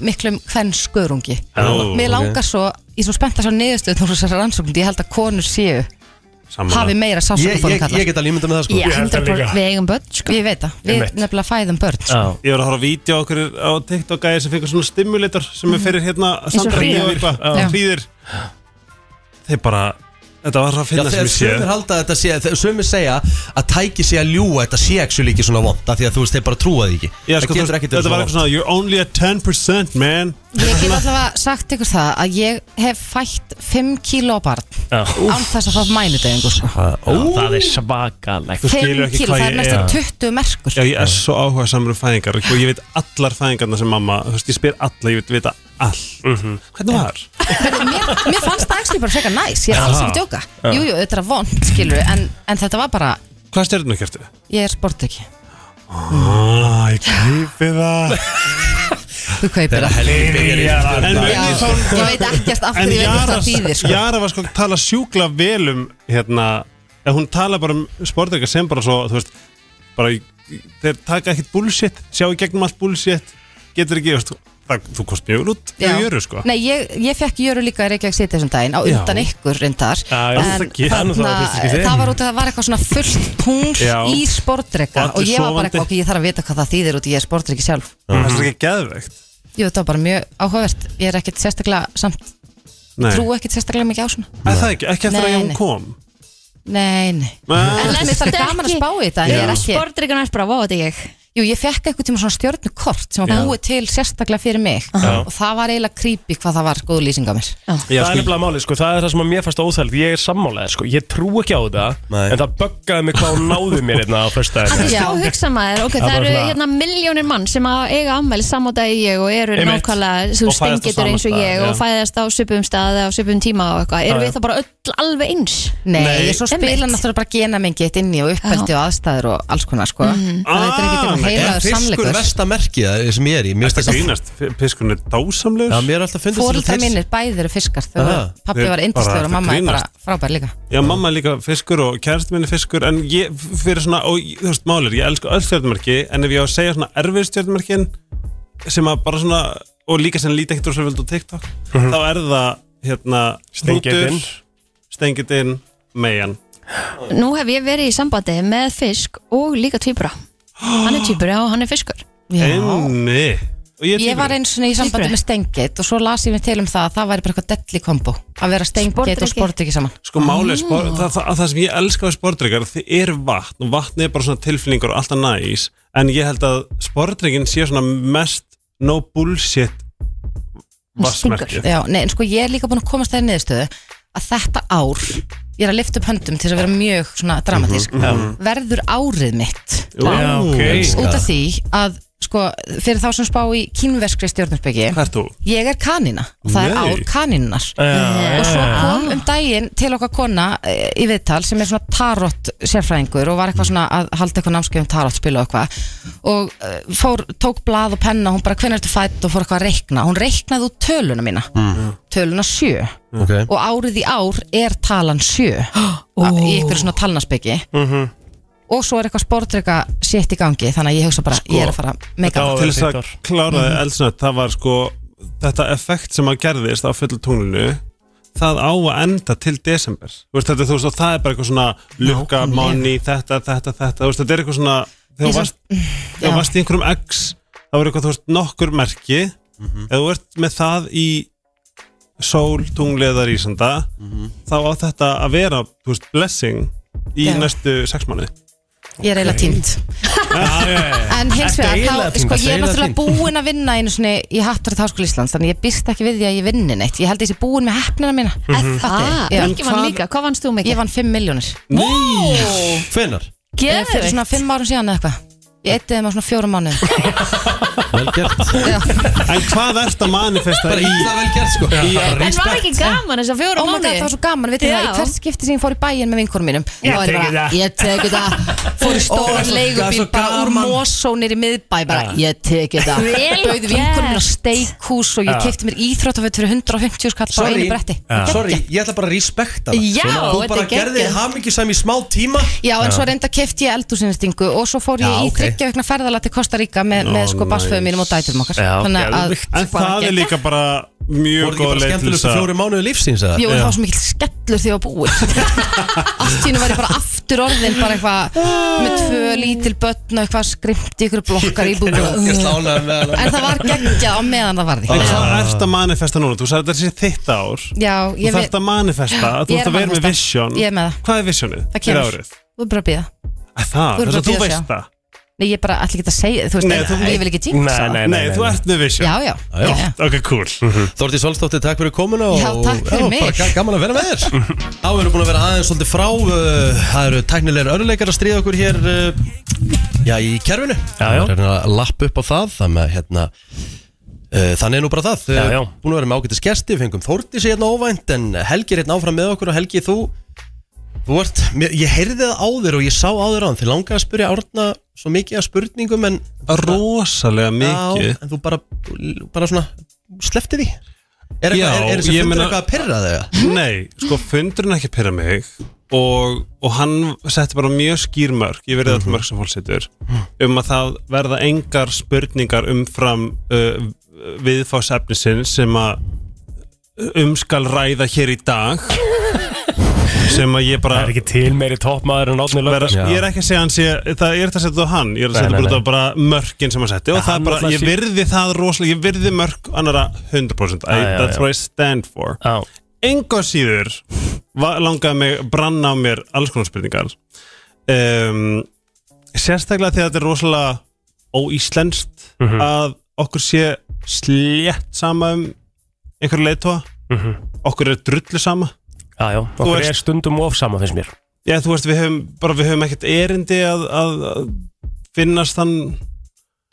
[SPEAKER 8] miklum hvern skörungi.
[SPEAKER 6] Ó,
[SPEAKER 8] Mér
[SPEAKER 6] ok.
[SPEAKER 8] langar svo, ég er svo spennt að svo niðurstöð þú þessar rannsóknum, ég held að konur séu
[SPEAKER 6] Sammála.
[SPEAKER 8] hafi meira
[SPEAKER 1] Ég,
[SPEAKER 8] sásöku
[SPEAKER 1] ég,
[SPEAKER 8] fórum
[SPEAKER 1] ég
[SPEAKER 8] kallar.
[SPEAKER 1] get alveg ímynda með það sko
[SPEAKER 2] Ég
[SPEAKER 3] held
[SPEAKER 2] heldur
[SPEAKER 3] það líka.
[SPEAKER 2] bara við eigum börn sko.
[SPEAKER 8] Ég veit það, við
[SPEAKER 3] Einmitt.
[SPEAKER 8] nefnilega fæðum börn. sko.
[SPEAKER 3] Já,
[SPEAKER 6] Ég var að horfa á vídeo á okkur á TikTok að sem fengur svona stimulator sem
[SPEAKER 8] Mhm.
[SPEAKER 6] er fyrir hérna
[SPEAKER 2] Eins og
[SPEAKER 6] samdrætti og
[SPEAKER 2] hríður.
[SPEAKER 6] eitthvað
[SPEAKER 8] Já.
[SPEAKER 6] hríðir þeir bara þetta var að
[SPEAKER 1] Já,
[SPEAKER 6] finna sem
[SPEAKER 1] þegar
[SPEAKER 6] ég sé
[SPEAKER 1] sömur halda að þetta sé, þegar sömur segja að tæki sé að ljúa, þetta sé ekki svo líki svona vond af því að þú veist, þeir bara trúa því ekki
[SPEAKER 6] Já,
[SPEAKER 1] Það
[SPEAKER 6] sko, þú,
[SPEAKER 1] getur ekkert verið
[SPEAKER 6] þetta var eitthvað svona you're only at 10% man
[SPEAKER 8] Ég get allavega sagt ykkur það að ég hef fætt 5 kíló á barn
[SPEAKER 3] já.
[SPEAKER 8] án þess að fá mænudegingu. sko.
[SPEAKER 3] Það er svakalegt
[SPEAKER 6] Þú skilur
[SPEAKER 8] 5
[SPEAKER 6] ekki
[SPEAKER 8] kíló,
[SPEAKER 6] hvað
[SPEAKER 8] það er
[SPEAKER 6] ég
[SPEAKER 8] næstum
[SPEAKER 6] er.
[SPEAKER 8] 20 merkur.
[SPEAKER 6] Já, ég er svo áhuga samur um fæðingar og ég veit allar fæðingarna sem mamma þú veist, ég spyr alla, ég veit vita allt
[SPEAKER 1] Mhm.
[SPEAKER 6] Hvernig var?
[SPEAKER 8] mér, mér fannst það ekki bara frekar næs ég er alls ekki djóka jú, jú, þetta er vond, skilur en, en þetta var bara,
[SPEAKER 6] Hvað stjörnum kjartu?
[SPEAKER 8] ég er sport ekki
[SPEAKER 6] Ah, ég kýpi það
[SPEAKER 8] þú kaupir það
[SPEAKER 6] En
[SPEAKER 8] Já,
[SPEAKER 6] munið þá
[SPEAKER 8] ég veit ekkert [laughs] af
[SPEAKER 6] En
[SPEAKER 8] hverju ég veit
[SPEAKER 6] Jara,
[SPEAKER 8] hvað þýðir sko.
[SPEAKER 6] Jara var sko að tala sjúkla vel um hérna, eða hún tala bara um sportreika sem bara svo, þú veist bara, í- í- þeir taka ekkert bullshit sjá í gegnum allt bullshit getur ekki, þú veist, það, þú kost mjög út þau
[SPEAKER 8] Já.
[SPEAKER 6] gjöru sko
[SPEAKER 8] Nei, ég, ég fekk Jöru líka í Reykjavík City þessum daginn á
[SPEAKER 6] Já.
[SPEAKER 8] undan ykkur reyndar
[SPEAKER 3] Já, já,
[SPEAKER 8] en
[SPEAKER 3] það gerir- það er nú það
[SPEAKER 8] þarna-
[SPEAKER 3] í fyrsta skipti.
[SPEAKER 8] það var út að það var eitthvað svona fullt tungl
[SPEAKER 6] Já.
[SPEAKER 8] í sportreika
[SPEAKER 6] Og allir
[SPEAKER 8] og ég var bara
[SPEAKER 6] sofandi.
[SPEAKER 8] eitthvað, ok, ég þarf að vita hvað það þýðir út í ég er sportreiki sjálf
[SPEAKER 6] það er ekki geðveikt
[SPEAKER 8] Jú, þetta var bara mjög áhugavert ég er ekkert sérstaklega, samt,
[SPEAKER 6] Nei,
[SPEAKER 8] trú ekkert sérstaklega mikið á svona
[SPEAKER 6] Æ, það ekki, ekki eftir að
[SPEAKER 8] Nei, nei.
[SPEAKER 6] ég kom
[SPEAKER 8] Nei, nei
[SPEAKER 6] Nei.
[SPEAKER 2] En
[SPEAKER 8] Mér finnst það
[SPEAKER 2] lestu
[SPEAKER 8] gaman að
[SPEAKER 2] ekki-
[SPEAKER 8] spá í þetta en ég er ekki,
[SPEAKER 2] Sportdrykkan er bara, vá, þetta er ég
[SPEAKER 8] Jú, ég fekk eitthvað tíma svona stjórnukort sem var búið til sérstaklega fyrir mig og það var eiginlega creepy hvað það var góð lýsing á mér
[SPEAKER 6] Já,
[SPEAKER 3] það er
[SPEAKER 6] sko,
[SPEAKER 3] nefnilega málið, sko, það er það sem að mér fannst óþæld Ég er sammálaðið, sko, ég trú ekki á það
[SPEAKER 1] Nei.
[SPEAKER 3] En það böggaði mig hvað hún náði mér hérna á föstudaginn
[SPEAKER 2] Þannig
[SPEAKER 8] Já.
[SPEAKER 2] að þá hugsa maður, ok, það
[SPEAKER 3] bara
[SPEAKER 2] eru
[SPEAKER 3] svona-
[SPEAKER 2] hérna miljónir mann sem að eiga ammæli samótaði ég og eru
[SPEAKER 3] Einmitt.
[SPEAKER 2] nákvæmlega þú
[SPEAKER 6] Og fæðast á
[SPEAKER 2] stengitur
[SPEAKER 6] sama
[SPEAKER 2] eins og
[SPEAKER 6] stað,
[SPEAKER 2] ég
[SPEAKER 6] já.
[SPEAKER 2] og fæðast á söpum stað eða á söpum tíma og eitthvað, erum
[SPEAKER 3] Já,
[SPEAKER 2] við
[SPEAKER 3] já.
[SPEAKER 2] það bara öll alveg eins?
[SPEAKER 8] Nei, ég svo spila
[SPEAKER 2] Einmitt.
[SPEAKER 8] náttúrulega bara genamengitt inn í og uppeldi og aðstæður og alls konar sko Það þetta er ekki
[SPEAKER 6] Ah,
[SPEAKER 8] tíma
[SPEAKER 6] nei.
[SPEAKER 1] Er
[SPEAKER 8] heilaður
[SPEAKER 1] fiskur
[SPEAKER 8] samleikur
[SPEAKER 1] versta merkið það sem ég er í? Mér finnst
[SPEAKER 6] Þetta
[SPEAKER 1] það
[SPEAKER 6] grínast, F- piskurinn er dásamlegur
[SPEAKER 1] Já, mér er alltaf fundist
[SPEAKER 8] Fóreldra mínir bæðir eru fiskar þau
[SPEAKER 1] Aha.
[SPEAKER 8] voru- Pabbi
[SPEAKER 6] Þeir
[SPEAKER 8] var
[SPEAKER 6] bara
[SPEAKER 8] yndislegur
[SPEAKER 6] ertu
[SPEAKER 8] og mamma er bara
[SPEAKER 6] grínast.
[SPEAKER 8] frábær líka
[SPEAKER 6] Já, mamma er líka fiskur og kærist minni fiskur en ég fyrir svona, og ég- þú veist, málir ég elsku öll stjórnumarki, en ef ég á að segja svona erfið stjórnumarkin sem að bara svona, og líka sem líti ekkert rosalega vel á TikTok, þá er það hérna,
[SPEAKER 3] Stengið
[SPEAKER 6] hrútur,
[SPEAKER 3] inn.
[SPEAKER 6] stengið inn, megan
[SPEAKER 2] Nú hef ég verið í sambandi með fisk og líka tvíbura Hann er tvíbura og hann er fiskur
[SPEAKER 8] Já
[SPEAKER 6] Einni Og ég,
[SPEAKER 8] Ég var eins og í sambandi
[SPEAKER 2] Tvíburi.
[SPEAKER 8] með stengit og svo las ég mér til um það að það væri bara eitthvað deadly kombo að vera stengit og
[SPEAKER 2] Sportdrykki.
[SPEAKER 8] sportryggi saman
[SPEAKER 6] Sko málið, spor, það, það, það sem ég elska við sportreikar, þið er vatn og vatn er bara svona tilfinningur og alltaf næs en ég held að sportreikin sé svona mest no bullshit
[SPEAKER 2] Hún stingur.
[SPEAKER 6] vassmerkið
[SPEAKER 8] Já, nei, en sko ég er líka búin að komast þeirri niðurstöðu að þetta ár, ég er að lifta upp höndum til þess að vera mjög svona dramatísk verður árið mitt
[SPEAKER 3] Já, ok
[SPEAKER 8] út af því að sko, fyrir þá sem spá í kínverskri stjórnarspeki
[SPEAKER 6] Hvað ert þú?
[SPEAKER 8] ég er kanina og það er
[SPEAKER 6] Nei.
[SPEAKER 8] ár kaninunnar
[SPEAKER 3] Já,
[SPEAKER 8] og svo kom um daginn til okkar kona e, í viðtal sem er svona tarot sérfræðingur og var eitthvað svona að halda eitthvað námskeið um tarot spil og eitthvað og e, fór, tók blað og penna hún bara hvernig ertu fætt og fór eitthvað að reikna hún reiknaði út töluna mína töluna sjö
[SPEAKER 1] Ok.
[SPEAKER 8] og árið í ár er talan sjö í einhverju svona talnaspeki og svo er eitthvað sportreika sétt í gangi þannig að ég hugsa bara, ég er að fara að
[SPEAKER 3] Þetta
[SPEAKER 8] meika
[SPEAKER 3] á-
[SPEAKER 8] það
[SPEAKER 6] til þess
[SPEAKER 3] fínt
[SPEAKER 6] að
[SPEAKER 3] ár.
[SPEAKER 6] klára það eldsnöð það var sko þetta effekt sem að gerðist á fullu tunglinu það á að enda til desember þú veist þetta þú veist og það er bara eitthvað svona lukka,
[SPEAKER 8] Nákvæmlega.
[SPEAKER 6] money, þetta, þetta, þetta þú veist þetta er eitthvað svona þegar
[SPEAKER 8] Eins
[SPEAKER 6] þú
[SPEAKER 8] og-
[SPEAKER 6] varst, þegar þú
[SPEAKER 8] já.
[SPEAKER 6] varst í einhverjum X það var eitthvað þú veist nokkur merki mm ef þú ert með það í sól, tungli eða rísanda þá á þetta að vera þú veist blessing í
[SPEAKER 8] Já.
[SPEAKER 6] næstu sex mánuði
[SPEAKER 8] ég er eiginlega tímt en hins
[SPEAKER 3] Ertu
[SPEAKER 8] vegar,
[SPEAKER 3] eiginlega
[SPEAKER 8] þá,
[SPEAKER 3] týnd?
[SPEAKER 8] sko,
[SPEAKER 3] Ertu
[SPEAKER 8] ég er
[SPEAKER 3] eiginlega
[SPEAKER 8] náttúrulega búin að vinna einu sinni í Hattrætt Háskóli Íslands þannig ég býst ekki við því að ég vinni neitt ég held ég sé búin með hefnina mína
[SPEAKER 6] Mhm.
[SPEAKER 8] Mm-hmm.
[SPEAKER 2] Ah,
[SPEAKER 8] Já.
[SPEAKER 2] Mikið vann líka, hvað vannst þú
[SPEAKER 8] ég
[SPEAKER 2] mikið?
[SPEAKER 8] vann 5 miljónir
[SPEAKER 1] Hvenar?
[SPEAKER 8] fyrir svona 5 árum síðan eða eitthvað ég eittiði maður svona 4 mánuð
[SPEAKER 1] Vel gert
[SPEAKER 6] En hvað ert að manifesta
[SPEAKER 1] Bara
[SPEAKER 6] í
[SPEAKER 1] ítla vel gert sko
[SPEAKER 6] Já.
[SPEAKER 2] En var ekki gaman þess að fjóra
[SPEAKER 8] Oh my god, það var svo gaman, veit það,
[SPEAKER 2] Já.
[SPEAKER 8] í hvert skipti sem ég fór í bæin með vinkonum mínum Ég
[SPEAKER 3] tek það.
[SPEAKER 8] Ég teki það Fór í stóran leigubíl
[SPEAKER 3] það er svo
[SPEAKER 8] bara úr
[SPEAKER 3] gaman.
[SPEAKER 8] mósónir í miðbæ bara, Ég teki það
[SPEAKER 2] Vel
[SPEAKER 8] Bauði
[SPEAKER 2] gert.
[SPEAKER 8] vinkonum á steikhús og ég
[SPEAKER 3] Já.
[SPEAKER 8] kefti mér íþróttaföt fyrir 150 skall bara á einu bretti
[SPEAKER 9] Sorry, ég ætla bara að respekta það
[SPEAKER 2] Já,
[SPEAKER 9] Þú
[SPEAKER 2] þetta
[SPEAKER 9] bara
[SPEAKER 2] er
[SPEAKER 9] gerði
[SPEAKER 2] geggjað.
[SPEAKER 9] hamingjusæm í smá tíma
[SPEAKER 8] Já, en svo reynda kefti ég eldúsinnstingu og svo fór ég
[SPEAKER 9] Já,
[SPEAKER 8] í
[SPEAKER 9] ok.
[SPEAKER 8] þryggja vegna ferðala til Costa Rica með, með sko basföðu mínum og dæturum okkar
[SPEAKER 3] Já, geðvikt.
[SPEAKER 6] En það er líka bara mjög
[SPEAKER 9] Voru ekki
[SPEAKER 6] góð
[SPEAKER 9] bara
[SPEAKER 6] leið til þess
[SPEAKER 9] skemmtilegustu
[SPEAKER 6] að
[SPEAKER 9] fjóri mánuði lífsins eða?
[SPEAKER 8] Jó, en það var svo mikill skellur því að búið [laughs] Allt í hennu var ég bara aftur orðin bara eitthvað með tvö lítil börn og eitthvað skrimti ykkur blokkar í búið
[SPEAKER 9] Ég
[SPEAKER 8] En
[SPEAKER 9] slánaði með hana
[SPEAKER 8] það var geggjað á meðan það varði
[SPEAKER 6] En hvað ert að manifesta núna? Þú sagði þetta sé þitt ár
[SPEAKER 8] Já,
[SPEAKER 6] Þú
[SPEAKER 8] ég Ah,
[SPEAKER 6] þarft að manifesta, þú
[SPEAKER 8] Ég er
[SPEAKER 6] þarft að vera með
[SPEAKER 8] manifesta.
[SPEAKER 6] vision
[SPEAKER 8] Ég er með það.
[SPEAKER 6] Hvað er visionið?
[SPEAKER 8] Það kemur.
[SPEAKER 6] fyrir árið?
[SPEAKER 8] Þú er bara að býða
[SPEAKER 6] Að Það,
[SPEAKER 8] Þú eru
[SPEAKER 6] þess að
[SPEAKER 8] bara
[SPEAKER 6] þú
[SPEAKER 8] að bíða að
[SPEAKER 6] veist
[SPEAKER 8] sjá.
[SPEAKER 6] það
[SPEAKER 8] Nei, ég bara allir geta að segja Þú veist,
[SPEAKER 6] Nei, þú-
[SPEAKER 8] ég vil ekki jinxa
[SPEAKER 3] Nei,
[SPEAKER 8] það.
[SPEAKER 3] nei,
[SPEAKER 6] Nei, þú ert með
[SPEAKER 8] Já,
[SPEAKER 6] vision
[SPEAKER 8] já,
[SPEAKER 1] já.
[SPEAKER 8] já, já.
[SPEAKER 6] Ok, cool
[SPEAKER 1] Þorti Solstóttir, takk fyrir komuna og,
[SPEAKER 8] Já, takk fyrir
[SPEAKER 1] já,
[SPEAKER 8] mig.
[SPEAKER 1] bara ga- gaman að vera með
[SPEAKER 8] [laughs]
[SPEAKER 1] þér Þá erum við búin að vera aðeins svolítið frá uh, Það eru tæknilegar örleikar að stríða okkur hér uh, Já, í kerfinu
[SPEAKER 3] Já, já.
[SPEAKER 1] Það er að lappa upp á það Þannig að hérna uh, Þannig er nú bara það
[SPEAKER 3] Já, já.
[SPEAKER 1] Búin að vera með ágætis gesti, við fengum Þorti sig hérna óvænt En Helgi er hérna áfram með okkur og Helgi þú Þú ert, mér, ég heyrði það á þér og ég sá á þér á hann Þið langaði að spyrja Árna svo mikið að spurningum en,
[SPEAKER 6] Rosalega mikið
[SPEAKER 1] Já, en þú bara, bara svona sleppti því Er,
[SPEAKER 6] Já,
[SPEAKER 1] eitthvað, er, er þessi
[SPEAKER 6] ég
[SPEAKER 1] fundur
[SPEAKER 6] meina-
[SPEAKER 1] eitthvað að pyrra þig?
[SPEAKER 6] Nei, sko fundurinn ekki pyrra mig og, og hann setti bara mjög skýr mörg, ég verið
[SPEAKER 3] Mhm.
[SPEAKER 6] alltaf mörg sem fólk setur um að það verða engar spurningar umfram uh, viðfásefnisinn sem að um skal ræða hér í
[SPEAKER 3] [laughs]
[SPEAKER 6] dag sem að ég bara
[SPEAKER 3] Það er ekki til meiri toppmaður en Átni
[SPEAKER 6] vera,
[SPEAKER 3] Löfberg
[SPEAKER 6] ég er ekki að segja hann sé, það er þetta að setja það á hann ég er að
[SPEAKER 3] Nei,
[SPEAKER 6] setja
[SPEAKER 3] nei,
[SPEAKER 6] bara út
[SPEAKER 3] nei.
[SPEAKER 6] á bara mörkin sem hann setti og
[SPEAKER 3] Ja,
[SPEAKER 6] það
[SPEAKER 3] hann
[SPEAKER 6] er bara,
[SPEAKER 3] náttúrulega
[SPEAKER 6] ég
[SPEAKER 3] sé-
[SPEAKER 6] virði það rosalega, ég virði mörk annara 100% I,
[SPEAKER 3] Já, já,
[SPEAKER 6] that's
[SPEAKER 3] já.
[SPEAKER 6] what I stand for
[SPEAKER 3] Já,
[SPEAKER 6] enga síður va- langaði mig branna á mér alls konar spurningar um, sérstaklega þegar þetta er rosalega óíslenskt að okkur sé slétt sama um einhverju leitóa okkur er drullu sama
[SPEAKER 3] já, já, okkur
[SPEAKER 6] ert-
[SPEAKER 3] er stundum of sama finnst mér
[SPEAKER 6] Já, þú veist, við höfum, bara við höfum ekkert erindi að, að, að finnast þann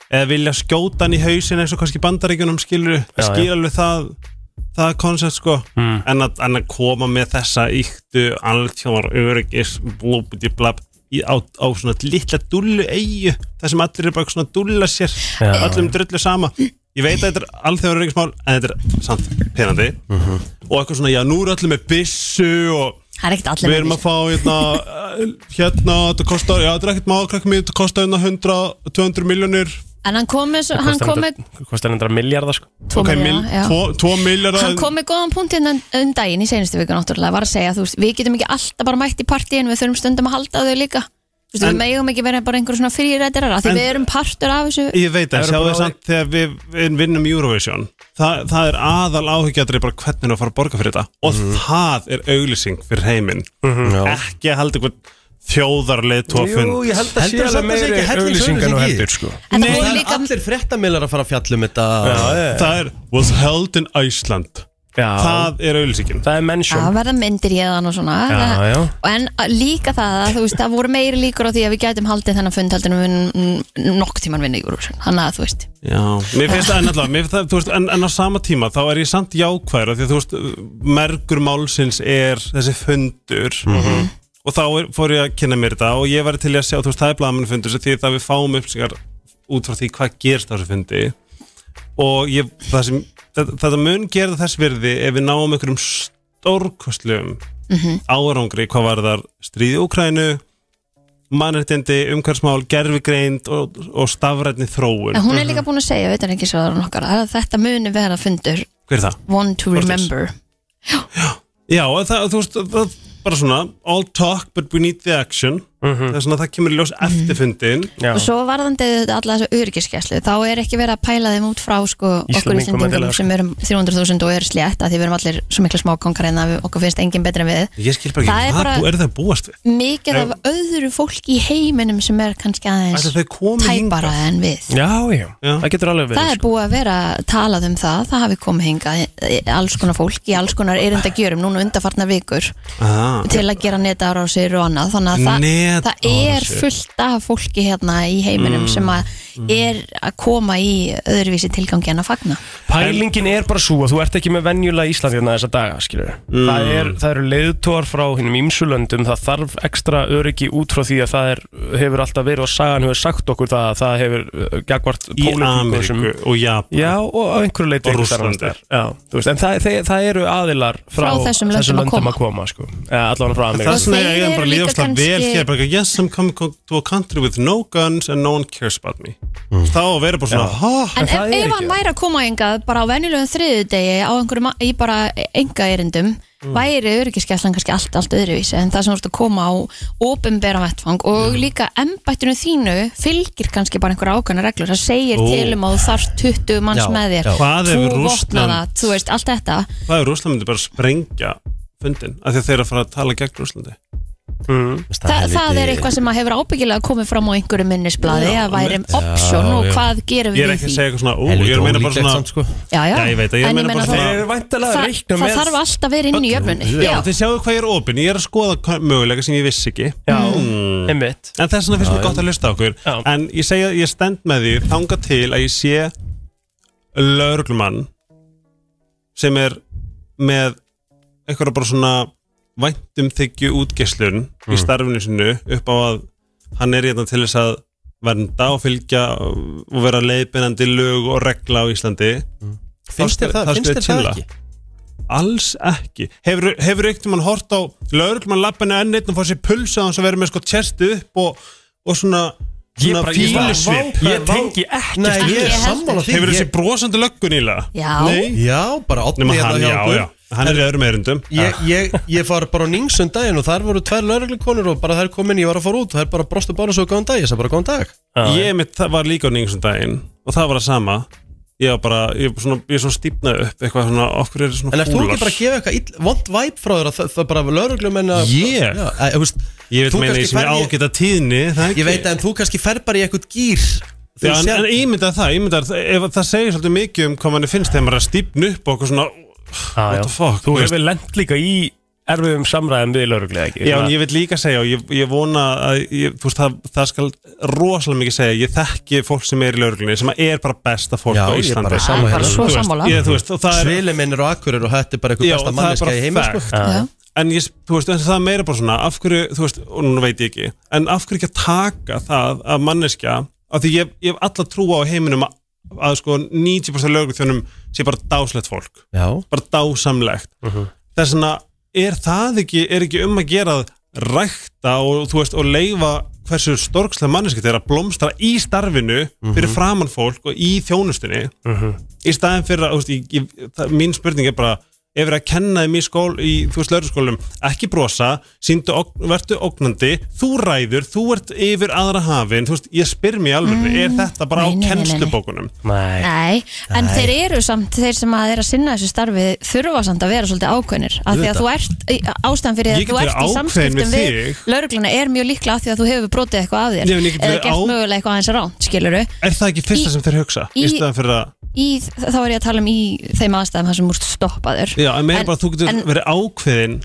[SPEAKER 6] eða vilja skjóta hann í hausin eins og kannski bandaríkjunum skilur
[SPEAKER 3] Já,
[SPEAKER 6] skilur alveg það það koncept sko
[SPEAKER 3] Mm.
[SPEAKER 6] en, að, en að koma með þessa yktu alþjóðar öryggis blúbiti blab í, á, á svona litla dullu eigu það sem allir er bara svona að dulla sér
[SPEAKER 3] Já,
[SPEAKER 6] öllum drullu sama ég veit að þetta er alþjóðar öryggismál en þetta er samt penandi
[SPEAKER 3] Mhm.
[SPEAKER 6] og eitthvað svona, já nú er allir með byssu og
[SPEAKER 2] Það er ekkert allir
[SPEAKER 6] Við erum að fá hérna, eh, hérna þetta kostar, já þetta er ekkert mál krakkum mín, þetta kostar hérna 100, 200 miljónir
[SPEAKER 2] En hann kom með, svo- hann
[SPEAKER 3] Kostar
[SPEAKER 2] kom með
[SPEAKER 3] hundra- Kostar hundra miljardar sko
[SPEAKER 2] tvo milljóna, já.
[SPEAKER 6] 2 miljardar
[SPEAKER 2] Hann kom með góðan punkt hérna um daginn í senustu viku náttúrulega var að segja, þú veist, við getum ekki alltaf bara mætt í partíin, við þurfum stundum að halda á þau líka Þú veist,
[SPEAKER 6] En-
[SPEAKER 2] við megum ekki vera bara einhver svona fyrirrættarar því
[SPEAKER 6] En-
[SPEAKER 2] við erum partur af þessu
[SPEAKER 6] Ég veit að
[SPEAKER 3] Evrópa-
[SPEAKER 6] sjáðu samt þegar við, við vinnum Eurovision það, það er aðal áhyggjatrið bara hvernig á að fara að borga fyrir þetta og það er auglýsing fyrir heiminn ekki að halda eitthvað þjóðarlið tófinn
[SPEAKER 3] ég held að sé
[SPEAKER 1] Heldur samt
[SPEAKER 3] alveg
[SPEAKER 1] að sé
[SPEAKER 3] meiri
[SPEAKER 1] ekki helling
[SPEAKER 3] auglýsingar
[SPEAKER 1] auglýsing
[SPEAKER 3] og
[SPEAKER 1] í?
[SPEAKER 3] heldur sko
[SPEAKER 2] En það
[SPEAKER 1] Það
[SPEAKER 2] fór
[SPEAKER 1] er
[SPEAKER 2] líka
[SPEAKER 1] allir fréttamilar að fara að fjalla um þetta
[SPEAKER 6] það er was held in Iceland
[SPEAKER 3] Já,
[SPEAKER 6] það er auglýsingin
[SPEAKER 3] það er mennsjón
[SPEAKER 2] að verða myndir hérðan og svona
[SPEAKER 3] Já,
[SPEAKER 2] Það-
[SPEAKER 3] já.
[SPEAKER 2] en að- líka það að þú veist, það voru meiri líkur á því að við gætum haldið þennan fund heldur en við nokk tíman vinna í Eurovision þannig að þú veist,
[SPEAKER 6] Já, mér finnst það ennáttúrulega, mér finnst það, þú veist, en, en á sama tíma þá er ég samt jákvæður af því að þú veist, mergur málsins er þessi fundur
[SPEAKER 2] Mhm.
[SPEAKER 6] og þá er, fór ég að kynna mér þetta og ég var til í að sjá, þú veist, það er blaðamennfundur því það við fáum upplýsingar út frá því hvað gerst á þessu fundi og ég, það sem, þetta, þetta mun gera þess virði ef við náum einhverjum stórkostlegum
[SPEAKER 2] Mhm.
[SPEAKER 6] árangri hvað var þar stríði Úkrænu mannréttindi, umhverfsmál, gerfigreind og, og stafrætni þróun
[SPEAKER 2] en hún er líka búin að segja veit hann ekki svo nokkar, að þetta muni vera fundur
[SPEAKER 6] Hver er það?
[SPEAKER 2] one to
[SPEAKER 6] Orðis.
[SPEAKER 2] remember
[SPEAKER 6] Já, en það, þú veist, það bara svona all talk but we need the action það er svona, það kemur í ljós
[SPEAKER 2] Mhm.
[SPEAKER 6] eftir fundin
[SPEAKER 3] Já,
[SPEAKER 2] og svo varðandi þetta alla þessu öryggiskeslu þá er ekki verið að pæla þeim út frá sko, okkur
[SPEAKER 3] Íslendingum endilega,
[SPEAKER 2] Íslandingunum
[SPEAKER 3] sko.
[SPEAKER 2] sem erum 300.000 og er slétt að því við erum allir svo mikla smákongar en að við- okkur finnst enginn betri en við
[SPEAKER 6] Ég skil bara
[SPEAKER 2] Það
[SPEAKER 6] ekki,
[SPEAKER 2] er
[SPEAKER 6] hvað
[SPEAKER 2] bara-
[SPEAKER 6] bara... er það að búast við?
[SPEAKER 2] mikið
[SPEAKER 6] Já.
[SPEAKER 2] af öðru fólki í heiminum sem er kannski
[SPEAKER 6] Ætli
[SPEAKER 2] aðeins
[SPEAKER 6] þau komið hingað?
[SPEAKER 2] tæpara en við
[SPEAKER 3] já, já. það getur
[SPEAKER 2] Það
[SPEAKER 3] alveg
[SPEAKER 2] er
[SPEAKER 3] verið sko.
[SPEAKER 2] búið að vera talað um það, það hafi komið hingað eh, alls konar fólk í alls konar erinda gjörum núna undarfarnar vikur
[SPEAKER 6] Ah,
[SPEAKER 2] til að gera netaðar á sér og annað þannig að það,
[SPEAKER 6] Met
[SPEAKER 2] það er fullt af fólki hérna í heiminum sem að er að koma í öðruvísi tilgangi en að fagna
[SPEAKER 3] Pælingin er bara svo að þú ert ekki með venjulega Ísland hérna þessa daga, skilur það, er, það eru leiðtóar frá hinnum ímsulöndum það þarf ekstra öryggi út frá því að það er, hefur alltaf verið og sagan hefur sagt okkur það að það hefur uh, gagvart
[SPEAKER 6] í
[SPEAKER 3] pólitíku sem-
[SPEAKER 6] Ameríku og Japan
[SPEAKER 3] Já, og á einhverju leiti
[SPEAKER 6] Og
[SPEAKER 3] einhvers staðar annars
[SPEAKER 6] Rússlandi.
[SPEAKER 3] staðar. Já, þú veist, En það, það, það eru aðilar frá,
[SPEAKER 2] Frá þessum löndum að
[SPEAKER 3] að koma, sko. ja, Allan frá
[SPEAKER 6] Það er
[SPEAKER 3] Ameríku
[SPEAKER 6] svona
[SPEAKER 2] þeir
[SPEAKER 6] að ég er
[SPEAKER 2] eru líka kannski-
[SPEAKER 6] bara að líða óslega vel hér bara, eitthvað, Yes, I'm coming to a country with no guns and no one cares about me Þá verður bara svona, ha?
[SPEAKER 2] En,
[SPEAKER 3] það
[SPEAKER 2] en
[SPEAKER 3] er
[SPEAKER 2] ef
[SPEAKER 3] ekki
[SPEAKER 2] hann
[SPEAKER 3] það.
[SPEAKER 2] væri að koma engað bara á venjulegum þriðudegi á einhverjum í bara enga erindum væri öryggiskeslan kannski allt, allt öðruvísi en það sem þú ert að koma á opinbera vettfang og líka embættinu þínu fylgir kannski bara einhverja ákveðna reglur það segir
[SPEAKER 6] Ó.
[SPEAKER 2] til um að þú þarft 20 manns
[SPEAKER 1] Já,
[SPEAKER 2] með þér
[SPEAKER 1] já.
[SPEAKER 6] Hvað ef
[SPEAKER 2] tvo
[SPEAKER 6] Rússland-
[SPEAKER 2] vopnaða, þú veist, allt þetta
[SPEAKER 6] Hvað er Rússland myndi bara að sprengja fundin af því að þeir eru að fara að tala gegn Rússlandi
[SPEAKER 2] Þa, það er eitthvað sem að hefur ábyggilega komið fram á einhverju minnisbladi að væri um option og
[SPEAKER 1] já.
[SPEAKER 2] hvað gerum
[SPEAKER 6] Ég
[SPEAKER 2] við
[SPEAKER 6] er ekki
[SPEAKER 2] því
[SPEAKER 6] að segja eitthvað svona, ó,
[SPEAKER 1] Helviti
[SPEAKER 6] ég er að meina bara
[SPEAKER 1] ólíklegt
[SPEAKER 6] svona
[SPEAKER 1] samt, sko.
[SPEAKER 2] já, já.
[SPEAKER 6] Já, ég veit að ég
[SPEAKER 2] En
[SPEAKER 6] meina bara
[SPEAKER 2] það-
[SPEAKER 6] svona-
[SPEAKER 3] Þeir eru væntalega að
[SPEAKER 2] það,
[SPEAKER 3] reikna
[SPEAKER 2] það
[SPEAKER 3] með
[SPEAKER 2] þarf alltaf að vera inn í jöfnunni
[SPEAKER 6] Já, þið sjáu hvað ég er opinn, ég er að skoða hvað- möguleika sem ég vissi ekki
[SPEAKER 3] Já,
[SPEAKER 6] Hmm.
[SPEAKER 3] einmitt
[SPEAKER 6] En þess vegna finnst mér gott að hlusta á okkur
[SPEAKER 3] Já.
[SPEAKER 6] En ég segja að ég stend með því þanga til að ég sé lauruglumann sem er með eitthvað bara svona væntum þykju útgeslun
[SPEAKER 1] Mm.
[SPEAKER 6] í starfinu sinu upp á að hann er hérna til þess að vernda og fylgja og vera leiðbeinandi lög og regla á Íslandi
[SPEAKER 1] Mm. Finnst þér
[SPEAKER 6] þá
[SPEAKER 1] það,
[SPEAKER 6] skal
[SPEAKER 1] finnst
[SPEAKER 6] ég
[SPEAKER 1] þér það
[SPEAKER 6] tindla.
[SPEAKER 1] ekki?
[SPEAKER 6] Alls ekki Hefur, hefur eitthvað mann hort á Lörglumann lappinu enn einn og fór sér pulsa Þannig að vera með sko tjestu upp Og, og svona,
[SPEAKER 3] Ég
[SPEAKER 6] svona
[SPEAKER 3] bara- ég bara-
[SPEAKER 6] fýlusvip
[SPEAKER 3] Vá, Ég tengi ekkert
[SPEAKER 1] Nei,
[SPEAKER 2] við
[SPEAKER 1] ég er
[SPEAKER 2] það.
[SPEAKER 1] sammála því
[SPEAKER 6] Hefur
[SPEAKER 1] ég-
[SPEAKER 6] þessi brosandi löggun ílega
[SPEAKER 2] Já.
[SPEAKER 6] Nei
[SPEAKER 1] Já, bara
[SPEAKER 6] Nefna
[SPEAKER 1] átni
[SPEAKER 6] hann, já, já Hann er í öðrum erindum
[SPEAKER 1] Ég, ég, ég fór bara á Ningsund daginn og þar voru tvær lauruglukonur og bara þær kom inn, ég var að fara út þær bara brostu bara svo góðan dag, ég sagði bara góðan dag
[SPEAKER 6] Ég mitt, það var líka á nýjum daginn Og það var það sama Ég var bara, ég, svona, ég svona stífnaði upp Eitthvað svona, okkur er svona
[SPEAKER 1] En ert þú ekki
[SPEAKER 6] fúlar?
[SPEAKER 1] bara að gefa eitthvað ill, vond væp frá þér að það, það bara lauruglumenn að
[SPEAKER 6] Ég?
[SPEAKER 1] Já, að, þú veist,
[SPEAKER 6] Ég veit
[SPEAKER 1] þú
[SPEAKER 6] meina
[SPEAKER 1] kannski
[SPEAKER 6] ég sem ég
[SPEAKER 1] ferð-
[SPEAKER 6] ágæta tíðni það
[SPEAKER 1] Ég
[SPEAKER 6] ekki?
[SPEAKER 1] veit að en þú kannski fer bara í eitthvað gýr Þú
[SPEAKER 6] Já, en,
[SPEAKER 1] sér-
[SPEAKER 6] en ímyndað það, ímyndað það, ef, það segir svolítið mikið um hvað manni finnst þegar maður er að stífn upp og okkur svona
[SPEAKER 3] Ah,
[SPEAKER 6] What the fuck,
[SPEAKER 3] Þú
[SPEAKER 6] þú
[SPEAKER 3] hefur lent líka í erfiðum samræðum við lauruglega ekki
[SPEAKER 6] Já, en ég vil líka segja og ég, ég vona að ég, þú veist, það, það skal rosalega mikið segja ég þekki fólk sem er í lauruglunni sem er bara besta fólk
[SPEAKER 1] Já,
[SPEAKER 6] á
[SPEAKER 1] ég er
[SPEAKER 6] Íslandi
[SPEAKER 1] bara sammála
[SPEAKER 2] Bara
[SPEAKER 1] hérna.
[SPEAKER 2] svo
[SPEAKER 6] Þú veist,
[SPEAKER 2] sammála
[SPEAKER 6] ég, þú veist, og það er,
[SPEAKER 1] Svili minn er á Akureyri og þetta er bara eitthvað
[SPEAKER 6] Já,
[SPEAKER 1] besta
[SPEAKER 6] það er bara
[SPEAKER 1] manneska í heimi sko.
[SPEAKER 6] fact.
[SPEAKER 2] Já.
[SPEAKER 6] en ég, þú veist, en það er meira bara svona af hverju, þú veist, og núna veit ég ekki en af hverju ekki að taka það að manneskja af því ég, ég hef alla trú á heiminum að, að sko 90% lauruglunum sé bara dáslegt fólk
[SPEAKER 1] Já,
[SPEAKER 6] bara dásamlegt þess vegna er það ekki, er ekki um að gera að rækta og þú veist og leifa hversu storkslega manneski þeirra blómstra í starfinu fyrir framann fólk og í þjónustunni í staðin fyrir að, þú veist, ég, ég, það, mín spurning er bara ef við erum að kenna þeim í skól í, þú veist, lögurskólum ekki brosa, síndu ok, vertu ógnandi, þú ræður, þú ert yfir aðra hafin, þú veist, ég spyr mér alveg, er þetta bara
[SPEAKER 2] Mm. Nei,
[SPEAKER 6] á
[SPEAKER 2] nei, nei, nei, nei.
[SPEAKER 6] kennslubókunum?
[SPEAKER 3] Nei
[SPEAKER 2] Nei, en þeir eru samt, þeir sem að er að sinna þessu starfi þurfa samt að vera svolítið ákveðnir af því að þú ert, ástæðan fyrir því
[SPEAKER 6] Ég
[SPEAKER 2] að þú
[SPEAKER 6] get
[SPEAKER 2] ert
[SPEAKER 6] verið
[SPEAKER 2] í
[SPEAKER 6] ákveðin
[SPEAKER 2] samskiptum
[SPEAKER 6] við
[SPEAKER 2] við
[SPEAKER 6] þig.
[SPEAKER 2] laurugluna er mjög líklega af því að þú hefur brotið eitthvað af þér
[SPEAKER 6] Ég meina, ég get
[SPEAKER 2] eða
[SPEAKER 6] verið
[SPEAKER 2] gert
[SPEAKER 6] á-
[SPEAKER 2] mögulega eitthvað aðeins ránt, skiluru
[SPEAKER 6] Er það ekki fyrsta
[SPEAKER 2] Í-
[SPEAKER 6] sem þeir hugsa? Í,
[SPEAKER 2] í-
[SPEAKER 6] staðin fyrir að
[SPEAKER 2] í, þá er ég að tala um í þeim aðstæðum þar sem múrst stoppaður
[SPEAKER 6] Já, en meira
[SPEAKER 2] En-
[SPEAKER 6] bara að þú getur
[SPEAKER 2] en-
[SPEAKER 6] verið ákveðin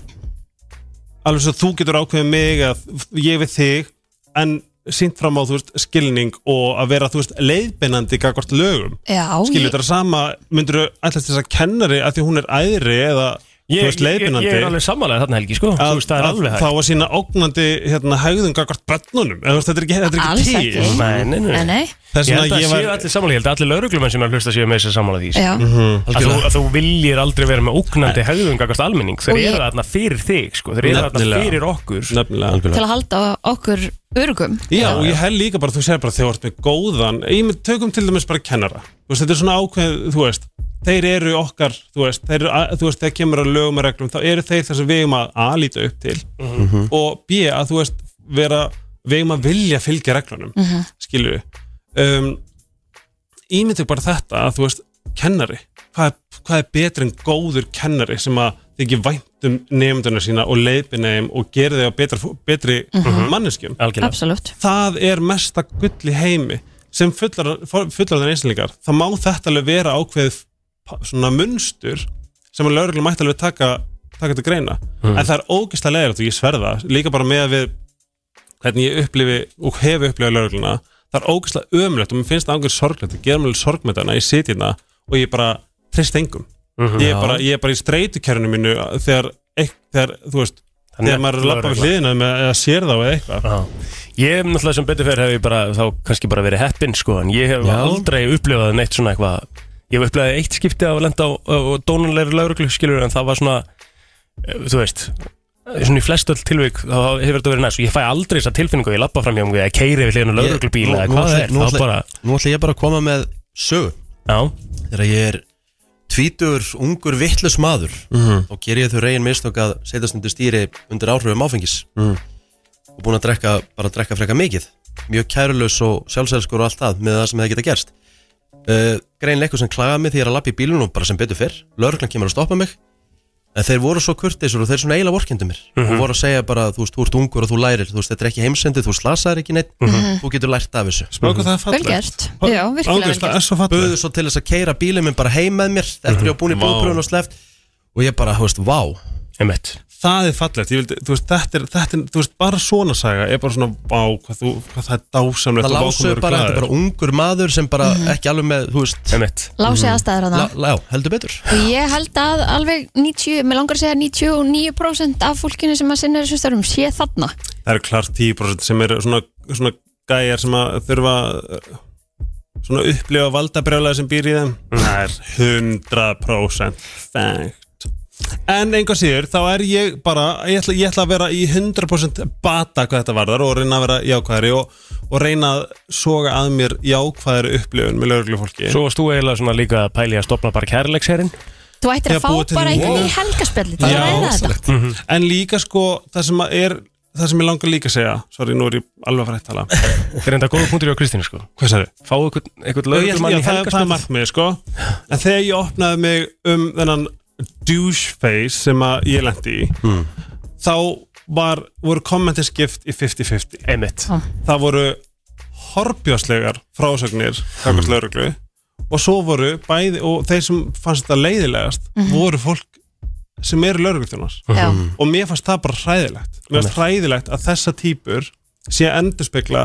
[SPEAKER 6] alveg svo þú getur ákveðin mig að ég við þig en sínt fram á, þú veist, skilning og að vera, þú veist, leiðbeinandi gagvart lögum.
[SPEAKER 2] Já,
[SPEAKER 6] Skilur þetta sama myndur þú ætlast þess að kennari að því hún er æðri eða,
[SPEAKER 3] Ég,
[SPEAKER 6] þú
[SPEAKER 3] ég,
[SPEAKER 6] veist,
[SPEAKER 3] ég,
[SPEAKER 6] leiðbeinandi
[SPEAKER 3] ég er alveg sammálaðið þarna Helgi sko Þú
[SPEAKER 6] að,
[SPEAKER 3] veist það er
[SPEAKER 6] að,
[SPEAKER 3] alveg
[SPEAKER 6] þá
[SPEAKER 3] hægt
[SPEAKER 6] að sína ógnandi hérna, hægðum gagvart brennunum. Eða, þú veist, þetta er ekki, þetta er
[SPEAKER 2] alls
[SPEAKER 6] ekki
[SPEAKER 2] ekki
[SPEAKER 6] til.
[SPEAKER 3] Nei, nei, nei.
[SPEAKER 2] nei,
[SPEAKER 6] Þess
[SPEAKER 3] Ég
[SPEAKER 6] vegna
[SPEAKER 3] held að
[SPEAKER 6] ég
[SPEAKER 3] séu
[SPEAKER 6] var,
[SPEAKER 3] allir sammála Ég held að allir lauruglumenn sem er að hlusta séu með þess að sammála því sko.
[SPEAKER 2] Já,
[SPEAKER 6] Mhm.
[SPEAKER 3] að þú, að þú viljir aldrei vera með ógnandi hegðun gagast almenning, þeir
[SPEAKER 2] Og ég-
[SPEAKER 3] eru þarna fyrir þig sko. þeir eru þarna
[SPEAKER 6] Nefnilega.
[SPEAKER 3] fyrir okkur sko.
[SPEAKER 6] nefnilega,
[SPEAKER 2] til að halda okkur örugum
[SPEAKER 6] Já, og ég held líka bara, þú sér bara þegar þú ert með góðan, ég mynd tökum til dæmis bara kennara, þú veist, þetta er svona ákveð, þú veist, þeir eru okkar, þú veist, þeir, eru að- þú veist, þegar kemur að lögum og reglum, þá eru þeir þess að við eigum að A, líta upp til og B, að þú veist, vera, við eigum að vilja fylgja reglunum, mm -hmm. skilur við. Um, ímyndu bara þetta að þú veist, kennari, hvað er, hvað er betri en góður kennari sem að þykir vænt um nefnduna sína og leiðbina þeim og gerir þau að betri, betri mm manneskjum
[SPEAKER 3] algjörlega
[SPEAKER 2] Absolutt,
[SPEAKER 6] það er mesta gull í heimi sem fullar, fullar þann einslingar það má þetta alveg vera ákveð pa- svona munstur sem að lögreglum mætti alveg
[SPEAKER 2] Mm.
[SPEAKER 6] taka, taka til greina en það er ógeðslega leiðilegt og ég sverða líka bara með að við hvernig ég upplifi og hef upplifað lögregluna það er ógeðslega ömulegt og mér finnst það ángjöld sorglegt að gera mjög sorg með þarna, ég siti hérna og ég bara trist engum
[SPEAKER 3] Mhm.
[SPEAKER 6] ég, er bara, ég er bara í streytukjörnum mínu þegar, ekk, þegar þú veist
[SPEAKER 3] Þannig
[SPEAKER 6] þegar maður
[SPEAKER 3] að-
[SPEAKER 6] er lappa við hliðina með, eða sér þá eða eitthvað
[SPEAKER 3] Já. Ég hef náttúrulega sem betur fyrir hef ég bara, þá kannski bara verið heppinn sko, en ég hef
[SPEAKER 1] Já.
[SPEAKER 3] aldrei upplifað neitt svona eitthvað. Ég hef upplifað eitt skipti að lenda á, á, á dónulegri lauruglu, skilur, en það var svona, eh, þú veist, svona í flest öll tilvík, þá hefur þetta verið næst. Ég fæ aldrei þessa tilfinningu, ég lappa fram hjá mig, ég keiri við hliðinu lauruglubíla, eða hvað það er, þá bara,
[SPEAKER 9] Nú ætla ég bara að koma með sög
[SPEAKER 3] já,
[SPEAKER 9] Þegar ég er tvítur, ungur, vittlus maður Þá ger ég þau reygin mistök að setjast undir stýri undir áhrifum áfengis Og búin að drekka, bara að drekka frekka mikið Mjög kærulaus og sjálfsælskur og allt það Með það sem það geta gerst uh, Grein leikur sem klagaði mig því ég er að lappa í bílun og bara sem betur fyrr Lörglan kemur að stoppa mig En þeir voru svo kurteisur og þeir svona eiginlega vorkendu mér og voru að segja bara, þú veist, þú ert ungur og þú lærir þú veist, þetta er ekki heimsendi, þú slasaðir ekki neitt þú getur lært af þessu
[SPEAKER 6] spöku það er
[SPEAKER 2] Vel
[SPEAKER 6] fallegt
[SPEAKER 2] gert, já, virkilega
[SPEAKER 6] Ángjöld,
[SPEAKER 2] vel gert
[SPEAKER 6] það er svo fallegt
[SPEAKER 9] böðu svo til þess að keira bílið minn bara heim með mér eftir ég var búin í
[SPEAKER 6] Mhm. Vá.
[SPEAKER 9] blóðpröfun og sleft og ég bara, þú veist, vá
[SPEAKER 3] einmitt.
[SPEAKER 6] það er fallegt, ég vildi, þú veist, þetta er, þetta er þú veist, bara svona saga, er bara svona vá, hvað, þú, hvað það er dásamlegt
[SPEAKER 9] það
[SPEAKER 6] og vá, hvað
[SPEAKER 9] lásu
[SPEAKER 6] maður er
[SPEAKER 9] bara, þetta er
[SPEAKER 6] glaður.
[SPEAKER 9] bara ungur maður sem bara ekki alveg með, þú veist
[SPEAKER 3] Einmitt.
[SPEAKER 6] Mm.
[SPEAKER 2] Lási aðstæður hana
[SPEAKER 9] la, la, já, heldur betur
[SPEAKER 2] Og ég held að alveg 90, mér langar að segja 99% af fólkinu sem að sinna þessum störfum sé þarna
[SPEAKER 6] það eru klart 10% sem eru svona, svona gæjar sem að þurfa uh, svona upplifa valdabrjálega sem býr í þeim það er 100% þengt en einhvað síður, þá er ég bara ég ætla, ég ætla að vera í 100% bata hvað þetta varðar og reyna að vera jákvæðari og, og reyna að soga að mér jákvæðari upplifun með lögreglu fólki
[SPEAKER 3] Svo varst þú eiginlega svona líka að pæli að stopna bara kærleiksherinn.
[SPEAKER 2] Þú ættir
[SPEAKER 6] Ég
[SPEAKER 2] að fá
[SPEAKER 6] búið til
[SPEAKER 2] bara
[SPEAKER 6] nýja-
[SPEAKER 2] einhvern í helgaspjalli til að
[SPEAKER 6] Já,
[SPEAKER 2] ræða þetta
[SPEAKER 6] en líka sko það sem að er það sem ég langar líka að segja sorry, nú er ég alveg að fara að tala
[SPEAKER 3] Það er enda góða punktur hjá Kristínu sko.
[SPEAKER 6] hvað sagði?
[SPEAKER 3] Fáðu einhvern, einhvern
[SPEAKER 6] Já, ég-
[SPEAKER 3] lauruglumann
[SPEAKER 6] já,
[SPEAKER 3] í
[SPEAKER 6] það, það er
[SPEAKER 3] helgarspjall.
[SPEAKER 6] markmið sko en þegar ég opnaði mig um þennan douche face sem að ég lendi í þá var, voru kommentinskipt í 50-50
[SPEAKER 3] Einmitt.
[SPEAKER 6] það voru horfjóslegar frásögnir takkast lauruglu og svo voru bæði og þeir sem fannst þetta leiðilegast voru fólk sem eru laurugluþjónars
[SPEAKER 2] Já,
[SPEAKER 6] og mér fannst það bara hræðilegt mér fannst hræðilegt að þessa típur sé að endurspegla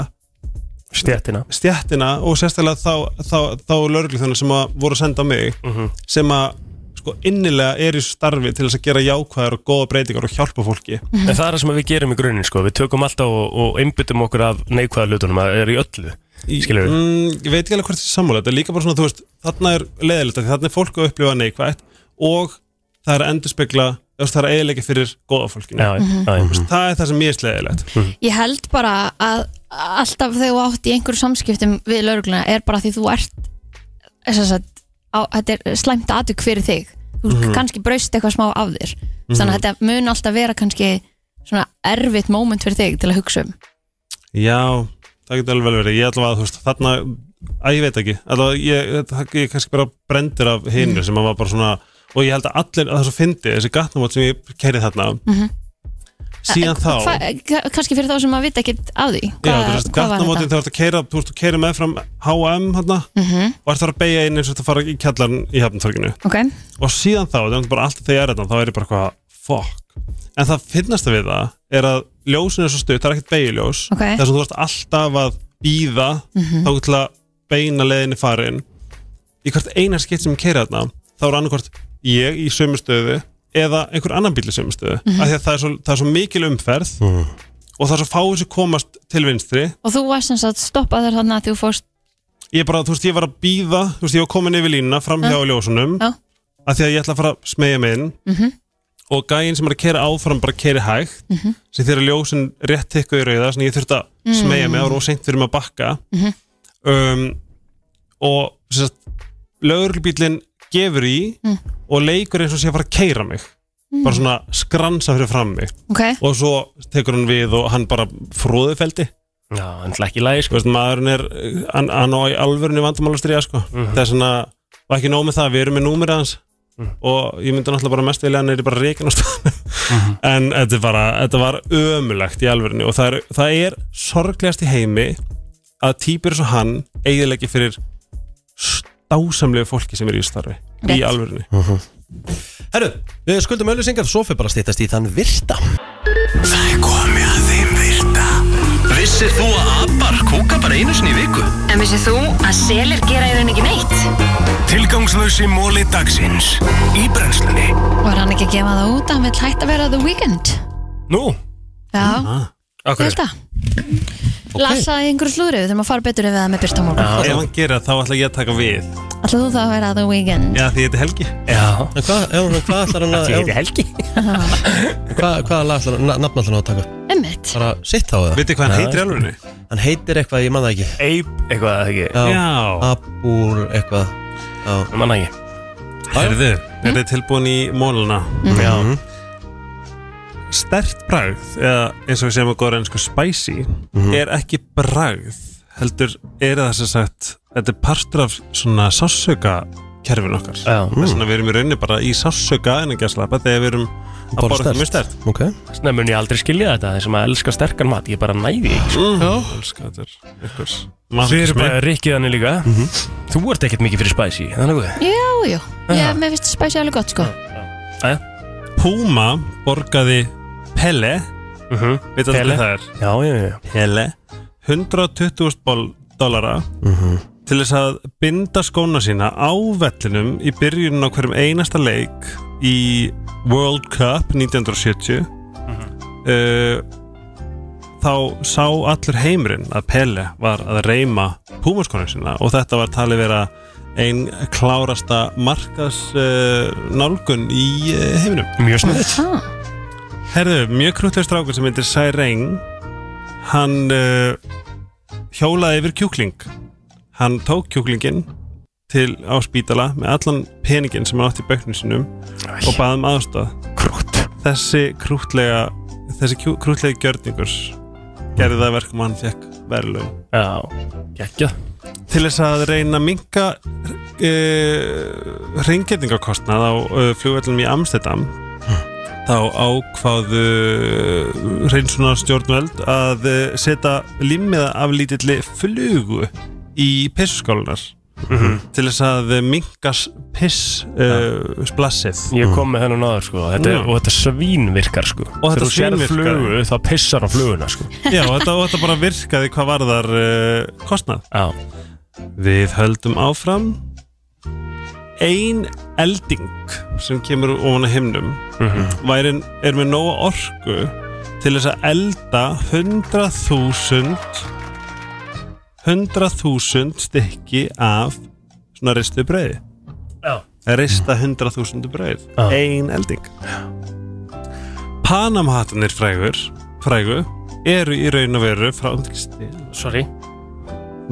[SPEAKER 6] [laughs]
[SPEAKER 3] Stéttina.
[SPEAKER 6] stjættina og sérstaklega þá, þá, þá lögregluþjóna sem að voru að senda á mig
[SPEAKER 3] Mhm.
[SPEAKER 6] sem að sko innilega er í starfi til þess að gera jákvæðar og góða breytingar og hjálpa fólki
[SPEAKER 3] En það er það sem við gerum í grunin sko. Við tökum alltaf og, og einbyttum okkur af neikvæða hlutunum að er í öllu Skilurðu?
[SPEAKER 6] mm, Ég veit ekki alveg hvort þessi sammála þetta er líka bara svona, þú veist, þarna er leiðilegt af því þarna er fólk að upplifa neikvægt og það er að endurspegla þú veist, það er eiginlega fyrir góða fólkinu
[SPEAKER 3] Já, mm -hmm.
[SPEAKER 6] það er það sem ég er sleiðilegt
[SPEAKER 2] ég held bara að alltaf þegar þú átt í einhverju samskiptum við laurugluna er bara því þú ert þess að á, þetta er slæmt aðtök fyrir þig þú
[SPEAKER 6] Mhm.
[SPEAKER 2] kannski braust eitthvað smá af þér þannig að þetta mun alltaf vera kannski svona erfitt moment fyrir þig til að hugsa um
[SPEAKER 6] Já, það getur alveg vel verið Ég ætla að þú veist, þarna að ég veit ekki allavega, ég, ég, ég er kannski bara brendur af hinu
[SPEAKER 2] Mm.
[SPEAKER 6] sem að var bara svona og ég held að allir að það svo fyndi þessi gatnamót sem ég kerið þarna
[SPEAKER 2] Mhm.
[SPEAKER 6] síðan þá
[SPEAKER 2] Eh, Hva, ka- kannski fyrir þá sem að vita ekkit af því
[SPEAKER 6] Já,
[SPEAKER 2] hvað,
[SPEAKER 6] þú veist,
[SPEAKER 2] hvað var
[SPEAKER 6] gatnamótin
[SPEAKER 2] þetta?
[SPEAKER 6] þú ert að keira þú ert að keira meðfram H&M þarna
[SPEAKER 2] Mhm.
[SPEAKER 6] og ert þar að beigja inn eins og þetta fara í kjallarn í hafntorginu
[SPEAKER 2] ok,
[SPEAKER 6] og síðan þá, það er bara allt þegar ég er þetta þá er ég bara eitthvað, fuck en það finnast við það er að ljósin er svo stutt, það er ekkert beigiljós
[SPEAKER 2] Ok.
[SPEAKER 6] þess að þú ert alltaf að býða þá til að beina leiðinni farin í hvert einar skipt sem ég keira þarna þá er annarkvort ég í sömu stöðu eða einhver annan bíl í sömu stöðu af því að það er, svo, það er svo mikil umferð og það er svo fáið sem komast til vinstri
[SPEAKER 2] og þú varst sem sagt stoppað þér þannig að þú fórst
[SPEAKER 6] ég bara, þú veist, ég var að býða þú veist, ég var komin yfir línuna fram hjá ljósunum
[SPEAKER 2] Já. Mhm.
[SPEAKER 6] að því að ég ætla að fara að smegja mig inn og gæinn sem er að kera áfram bara keri hægt
[SPEAKER 2] Mhm.
[SPEAKER 6] sem þegar ljósun rétt tikka í rauða þannig að ég þurfti að
[SPEAKER 2] Mm.
[SPEAKER 6] smegja mig ára og seint fyrir mig að bakka
[SPEAKER 2] Mhm.
[SPEAKER 6] um, og sem sagt, lögurlbílinn gefur í
[SPEAKER 2] Mm.
[SPEAKER 6] og leikur eins og sé að fara að keira mig bara svona skransa fyrir fram mig
[SPEAKER 2] ok,
[SPEAKER 6] og svo tekur hann við og hann bara fróðufeldi
[SPEAKER 3] Já, en það er ekki lægi
[SPEAKER 6] Þú
[SPEAKER 3] sko.
[SPEAKER 6] veist, maðurinn er, hann, hann á í alvörinu vandamálastriða, sko. Það er svona, var ekki nóg með það, við erum með númur hans og ég myndi náttúrulega bara mest vilja hann er bara reikin á staðnum. En þetta, er bara, þetta var ömulegt í alvörinu og það er, það er sorglegast í heimi að týpur svo hann eiginlegi fyrir stásamlegu fólki sem er í starfi í
[SPEAKER 2] Rétt.
[SPEAKER 6] alvörinu.
[SPEAKER 9] Herru, við skuldum öllu syngað, svo fyrir bara að stýttast í þann virta
[SPEAKER 4] Það er komið að þeim virta Vissir þú að abar kúka bara einu sinni í viku?
[SPEAKER 10] En vissið þú að selir gera í raun ekki neitt?
[SPEAKER 4] Tilgangslösi móli dagsins Í brennslunni
[SPEAKER 2] Var hann ekki að gefa það út að hann vill hægt að vera The Weeknd?
[SPEAKER 3] Nú,
[SPEAKER 2] Já, ég
[SPEAKER 3] akkur
[SPEAKER 2] held að Lasaði einhverju slúðri, við þurfum að fara betur yfir það með byrta á morgun
[SPEAKER 6] Ef hann gera það, þá ætla ég að taka við
[SPEAKER 2] Ætlaðu þú þá að vera The Weeknd?
[SPEAKER 6] Já, því þetta er Helgi
[SPEAKER 3] Já,
[SPEAKER 9] En hvað, já, en hvað ætlar hann að
[SPEAKER 3] [laughs] ég heiti
[SPEAKER 9] já,
[SPEAKER 3] Helgi
[SPEAKER 6] [laughs]
[SPEAKER 9] Hvað, hvað lag ætlar hann, na- nafn ætlar hann að taka?
[SPEAKER 2] Einmitt
[SPEAKER 9] Bara sitt á það
[SPEAKER 6] Vitið hvað hann heitir í alvörinu?
[SPEAKER 9] Hann heitir eitthvað, ég man það ekki
[SPEAKER 3] Eip, eitthvað eða ekki
[SPEAKER 9] Já,
[SPEAKER 6] Já
[SPEAKER 9] Abúr eitthvað
[SPEAKER 3] Ég manna ekki
[SPEAKER 6] Herðu, er þið tilbúin í móluna?
[SPEAKER 3] Já,
[SPEAKER 6] Mhm. Stert bragð, eða eins og við segjum að góða ennsku spicy, er ekki bragð, heldur er það sem sagt, þetta er partur af svona sássöka kerfin okkar.
[SPEAKER 3] Já.
[SPEAKER 6] Þess vegna við erum í rauninni bara í sássöka en ekki að slappa þegar við erum að
[SPEAKER 9] Bara
[SPEAKER 6] borða þetta mjög
[SPEAKER 9] sterkt.
[SPEAKER 6] stert.
[SPEAKER 9] Ok
[SPEAKER 3] Nei, mun ég aldrei skilja þetta, þeir sem að elska sterkan mat, ég bara næði ekki sko.
[SPEAKER 6] Mm. Já. Elskar þetta er ykkurs.
[SPEAKER 3] Við erum bara rikkið þannig líka
[SPEAKER 6] Mhm.
[SPEAKER 3] Þú ert ekkert mikið fyrir spæsi, þannig að
[SPEAKER 2] Já, já, ég, mér finnst spæsi alveg gott sko
[SPEAKER 6] Puma borgaði Pele,
[SPEAKER 3] Mhm.
[SPEAKER 6] veit að
[SPEAKER 3] Pele.
[SPEAKER 6] hvað það er?
[SPEAKER 3] Já, já, já
[SPEAKER 6] Pele 120.000 ból- dollara til þess að binda skóna sína á vellinum í byrjunum á hverjum einasta leik í World Cup 1970 uh, þá sá allur heimurinn að Pele var að reyma púmaskóna sína og þetta var talið vera ein klárasta markas uh, nálgun í uh, heiminum
[SPEAKER 3] Mjög snitt
[SPEAKER 2] ah,
[SPEAKER 6] Herðu, mjög krúttur strákur sem heitir Særeng Hann uh, hjólaði yfir kjúkling Hann tók kjúklingin til á spítala með allan peningin sem hann átti í böknum sinum og baði um aðstoð
[SPEAKER 3] Krútt
[SPEAKER 6] Þessi krútlega þessi kjú- krútlegi gjörningur gerði það að verkum að hann fekk verðlaun
[SPEAKER 3] Já, gekkja
[SPEAKER 6] til þess að reyna að minka uh, reyngjörningakostnað á uh, flugvöllum í Amstedam Hm. þá ákváðu uh, reynsunar stjórnvöld að uh, setja limmiða af lítilli flugu í pissuskálunar til þess að minka piss uh, splassið
[SPEAKER 3] Ég kom með þennan aður sko þetta, er-
[SPEAKER 6] Já.
[SPEAKER 3] Og þetta svínvirkar sko
[SPEAKER 6] Og þetta
[SPEAKER 3] Þegar þú sérð
[SPEAKER 6] svínvirkar.
[SPEAKER 3] flugu þá pissar á fluguna sko
[SPEAKER 6] Já, og þetta, og þetta bara virkaði hvað varðar uh, kostnað
[SPEAKER 3] Já,
[SPEAKER 6] Við höldum áfram Ein elding sem kemur ofan að himnum
[SPEAKER 3] Mhm.
[SPEAKER 6] væri, er með nóga orku til þess að elda 100.000 100.000 stykki af svona ristu brauði
[SPEAKER 3] Já.
[SPEAKER 6] Rista 100.000 brauð
[SPEAKER 3] Já.
[SPEAKER 6] Ein elding Panamhattanir frægur frægu eru í raun og veru frá, þú
[SPEAKER 3] sorry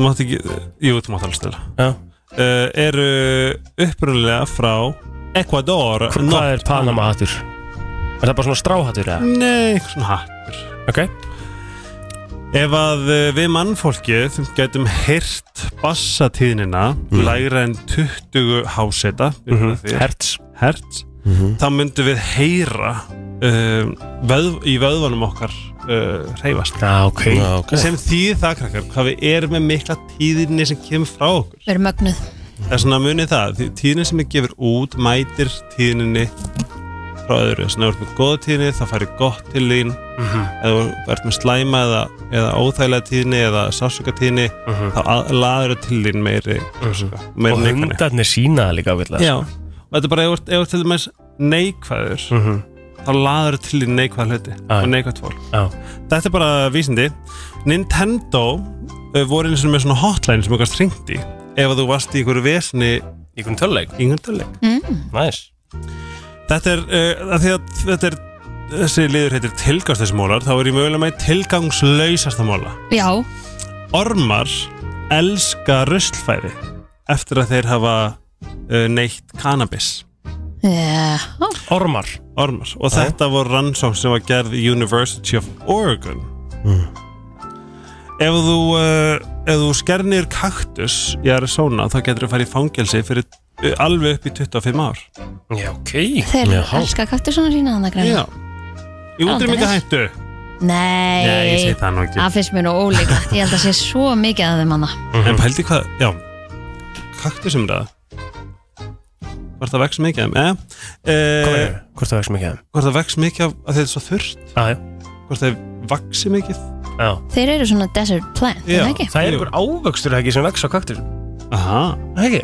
[SPEAKER 6] mátt ekki jú, þú mátt alveg stela
[SPEAKER 3] Já.
[SPEAKER 6] uh, eru upprunalega frá Ecuador
[SPEAKER 3] Hva, Hvað er Panama hattur? Er það bara svona stráhattur eða?
[SPEAKER 6] Nei, eitthvað svona hattur
[SPEAKER 3] Ok
[SPEAKER 6] Ef að uh, við mannfólkið getum heyrt bassatíðnina
[SPEAKER 3] Mhm.
[SPEAKER 6] lægra en 20 háseta mm
[SPEAKER 3] Hertz
[SPEAKER 6] hertz þá myndum við heyra uh, vöð, í vöðvanum okkar uh, reyfast
[SPEAKER 3] Já, ok
[SPEAKER 9] Já, ok
[SPEAKER 6] sem þýð það krakkar hvað við erum með mikla tíðinni sem kemur frá okkur
[SPEAKER 2] við erum mögnuð
[SPEAKER 6] Það er svona munið það, því tíðnin sem ég gefur út mætir tíðninni frá öðru, þess vegna ef þú ert með góða tíðni þá færi gott til þín mm
[SPEAKER 3] Mhm,
[SPEAKER 6] eða þú ert með slæma eða, eða óþægilega tíðni eða sásuka tíðni þá að- laður þú til þín meiri sásuka, meiri
[SPEAKER 3] mhm. Og
[SPEAKER 6] neikvæðni.
[SPEAKER 3] hundarnir sína það líka vilja
[SPEAKER 6] Já, og þetta er bara ef þú ert- ef þú ert til dæmis neikvæður þá laður þú til þín neikvæð hluti
[SPEAKER 3] Já.
[SPEAKER 6] og neikvæð fólk
[SPEAKER 3] Já.
[SPEAKER 6] Þetta er bara vísindi Nintendo uh, voru eins og með svona hotline sem þú gast hringt í ef að þú varst í einhverju vesni
[SPEAKER 3] Í hvernig töluleik?
[SPEAKER 6] í einhverju töluleik
[SPEAKER 3] Næs
[SPEAKER 6] Þetta er, uh, að því að þetta er þessi liður heitir tilgangsleysmólar þá er ég mögulega með tilgangslausasta móla
[SPEAKER 2] Já,
[SPEAKER 6] Ormar elska ruslfæði eftir að þeir hafa uh, neitt kannabis
[SPEAKER 2] yeah.
[SPEAKER 3] Ormar
[SPEAKER 6] Ormar og þetta voru rannsókn sem var gerð í University of Oregon ef þú uh, ef þú skernir kaktus í Arizona þá getur þú farið í fangelsi fyrir uh, alveg upp í 25 ár
[SPEAKER 3] Já, ok
[SPEAKER 2] þeir
[SPEAKER 9] Já.
[SPEAKER 2] elska kaktusana sína þannig að greina
[SPEAKER 6] í útrýmynda hættu
[SPEAKER 2] Nei,
[SPEAKER 6] það nú ekki
[SPEAKER 2] það finnst mér nú ólíklegt Ég held að sé svo mikið að þeim manna
[SPEAKER 6] en pældi hvað, já kaktusum það hvort það vex mikið af þeim,
[SPEAKER 3] Hvað
[SPEAKER 6] eh?
[SPEAKER 3] er Hvort það vex mikið af þeim?
[SPEAKER 6] Eh, hvort það vex mikið af að þetta er svo þurrt
[SPEAKER 3] Já, já
[SPEAKER 6] hvort það vaxi mikið
[SPEAKER 3] Já.
[SPEAKER 2] Þeir eru svona desert plant, er það ekki?
[SPEAKER 3] það er einhver ávöxtur ekki sem vex á kaktur
[SPEAKER 6] Aha,
[SPEAKER 3] ekki?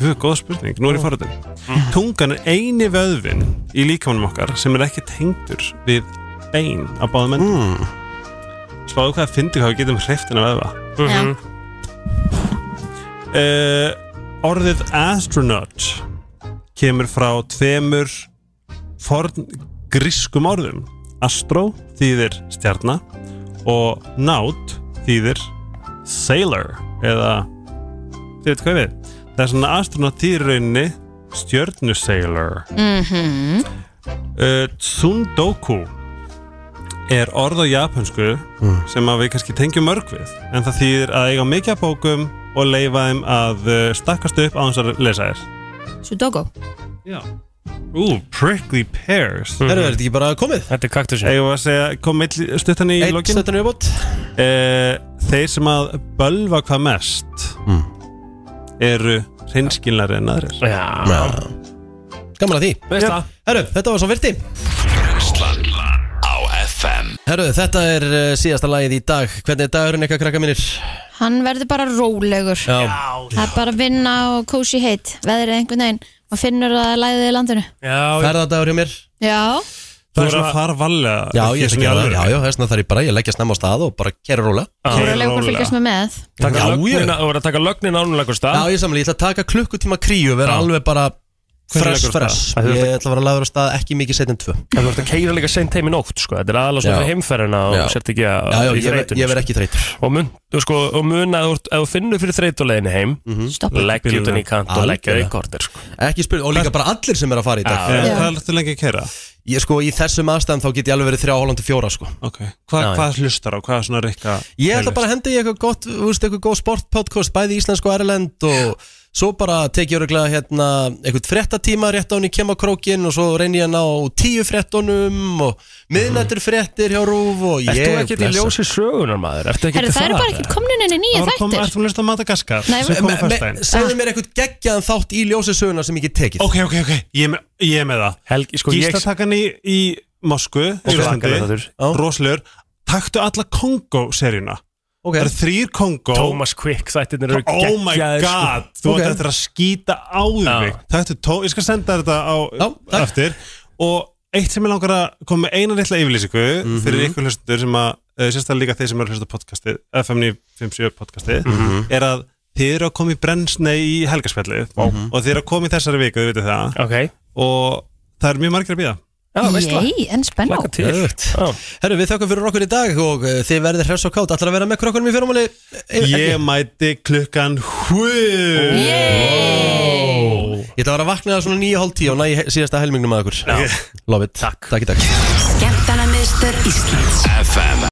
[SPEAKER 6] Fyrir góð spurning, nú er ég farið Tungan er eini vöðvin í líkamanum okkar sem er ekki tengdur við bein á báðum menn mm. Spáðu hvað að fyndi hvað við getum hreiftin að vöðva
[SPEAKER 2] Já.
[SPEAKER 6] uh, Orðið astronaut kemur frá tveimur forn grískum orðum Astro þýðir stjarna og nátt þýðir sailor eða þið veit hvað ég við það er svona astronaut þýðir í rauninni stjörnusailor
[SPEAKER 2] Mhm.
[SPEAKER 6] uh, Tsundoku er orð á japansku
[SPEAKER 1] Mm.
[SPEAKER 6] sem að við kannski tengjum mörg við en það þýðir að eiga mikið af bókum og leifa þeim að uh, stakkast upp á þess að lesa þér
[SPEAKER 2] Sudoku
[SPEAKER 6] Já Ú, prickly pears
[SPEAKER 1] Herru, er þetta ekki bara komið?
[SPEAKER 3] Þetta er kaktusin
[SPEAKER 6] Eða að segja, kom eitt li- stuttan í
[SPEAKER 1] Eitt
[SPEAKER 6] lokin
[SPEAKER 1] stöttan viðbót
[SPEAKER 6] uh, Þeir sem að bölva hvað mest
[SPEAKER 1] Mm.
[SPEAKER 6] eru hreinskilnari en aðrir
[SPEAKER 3] Já,
[SPEAKER 1] Gaman að því
[SPEAKER 3] veist það
[SPEAKER 1] Herru, þetta var svo virti
[SPEAKER 4] Brenslan á FM
[SPEAKER 1] Herru, þetta er uh, síðasta lagið í dag Hvernig er dagurinn eitthvað krakka mínir?
[SPEAKER 2] Hann verður bara rólegur
[SPEAKER 1] Já,
[SPEAKER 2] Það er bara að vinna og kósi heitt Veðrið einhvern veginn Og finnur að læðið í landinu
[SPEAKER 3] Já,
[SPEAKER 1] ferðardagur hjá mér
[SPEAKER 2] Já,
[SPEAKER 6] Þú er að fara valega
[SPEAKER 1] Já,
[SPEAKER 6] ekki
[SPEAKER 1] ég er ekki
[SPEAKER 6] svona í
[SPEAKER 1] að það
[SPEAKER 6] alvöru.
[SPEAKER 1] Já, já, þess vegna þarf ég bara Ég leggja snemma á stað og bara kera róla
[SPEAKER 3] Já,
[SPEAKER 2] þú eru að lega okkur
[SPEAKER 6] rólega.
[SPEAKER 2] fylgjast með með
[SPEAKER 3] taka
[SPEAKER 1] Já,
[SPEAKER 3] lögnina, þú verður að taka lögnin sko. ánulegur stað
[SPEAKER 1] Já, ég samlega, ég ætla að taka klukkutíma kríu og vera
[SPEAKER 3] Já.
[SPEAKER 1] alveg bara
[SPEAKER 6] Hvernig
[SPEAKER 1] fresh,
[SPEAKER 6] leggur þú af
[SPEAKER 1] fresh
[SPEAKER 3] stað? Að þú
[SPEAKER 1] Ég ætla að vera laður á stað ekki mikið setjum tvö
[SPEAKER 3] En þú ert að keira líka seint heim í nótt sko. Þetta er aðalega
[SPEAKER 1] Já.
[SPEAKER 3] svona fyrir heimferðina
[SPEAKER 1] Já.
[SPEAKER 3] og sért ekki að
[SPEAKER 1] Já, já,
[SPEAKER 3] í
[SPEAKER 1] ég, ver,
[SPEAKER 3] þreytunni,
[SPEAKER 1] ég verð ekki þreytur
[SPEAKER 3] sko. og, mun, þú sko, og mun að þú ert- ef þú finnur fyrir þreytuleginni heim mm -hmm.
[SPEAKER 2] Stopp.
[SPEAKER 3] Leggja utan í kant og
[SPEAKER 1] Mhm. Algjörlega.
[SPEAKER 3] leggja þig kortir sko.
[SPEAKER 1] Ekki spurning, og líka bara allir sem er að fara í dag
[SPEAKER 6] Eh,
[SPEAKER 2] Já.
[SPEAKER 6] Hvað er þetta lengi að kera?
[SPEAKER 1] Ég sko, í þessum aðstæðum þá get ég alveg verið þrjá hálfandi fjóra sko
[SPEAKER 6] Okay. Hva,
[SPEAKER 3] Já, já.
[SPEAKER 6] hvað hlustar á? Hvað er svona rikka?
[SPEAKER 1] Ég ætla bara að henda í eitthvað gott, þú veist, eitthvað góð sportpodcast bæði íslensk og erlend og svo bara tekið öruglega hérna eitthvað fréttatíma rétt á henni kem á krókin og svo reyni ég að ná tíu fréttunum og miðnættur fréttir hjá Rúf og
[SPEAKER 3] Mhm. Ert þú
[SPEAKER 1] ég
[SPEAKER 3] ekkert í ljósi sögunar maður? Ertu ekkert
[SPEAKER 2] Herru,
[SPEAKER 3] að
[SPEAKER 2] það eru
[SPEAKER 3] fara?
[SPEAKER 2] bara ekkert komnin enni nýja
[SPEAKER 6] Þú
[SPEAKER 2] þættir
[SPEAKER 6] ert að hlusta á Madagaskar
[SPEAKER 2] Nei,
[SPEAKER 6] sem
[SPEAKER 2] við-
[SPEAKER 6] komið fyrst daginn
[SPEAKER 1] Eh, Segðu mér eitthvað geggjaðan þátt í ljósi söguna sem ég get tekið
[SPEAKER 6] Ok, ok, ok, ég er með, ég er með það
[SPEAKER 3] Helgi, sko, ég,
[SPEAKER 6] Gíslatakan í, í Mosku í Íslandi,
[SPEAKER 3] svakalega þáttur.
[SPEAKER 6] roslegur Taktu alla Kongo-seríuna
[SPEAKER 1] Ok.
[SPEAKER 6] Það eru þrýr Kongo
[SPEAKER 3] Thomas Quick þættirnir eru
[SPEAKER 6] Oh my
[SPEAKER 3] geggjaðir, sko.
[SPEAKER 6] god, þú
[SPEAKER 1] Ok.
[SPEAKER 6] okay. ættir að skýta á þig Taktu tó, ég skal senda þér þetta á
[SPEAKER 1] Já, takk.
[SPEAKER 6] eftir Og eitt sem ég langar að koma með eina litla yfirlýsingu fyrir ykkur hlustundur sem að eh, sérstaklega líka þeir sem eru að hlusta á podcastið eh, FM957 podcastið er að þið eru að koma í brennsnei í helgarspjallið og þið eru að koma í þessari viku, þið veitir það
[SPEAKER 3] Ok,
[SPEAKER 6] og það er mjög margir að býða
[SPEAKER 3] já, veist það
[SPEAKER 2] Jæj, en spenná
[SPEAKER 3] Laka til
[SPEAKER 1] Geðvegt.
[SPEAKER 3] Já.
[SPEAKER 1] Herru, við þökkum fyrir okkur í dag og uh, þið verðið hress og kátt Ætlar að vera með krokkunum í Eh, fyrrumáli?
[SPEAKER 6] Ég mæti klukkan hú
[SPEAKER 1] Ég ætla að vera að vakna svona nýja hálf tíu og næ í he- síðasta helmingnum að okkur Love it Takk, takk, takk.
[SPEAKER 11] Skemmtana miðstöð Íslands
[SPEAKER 4] FM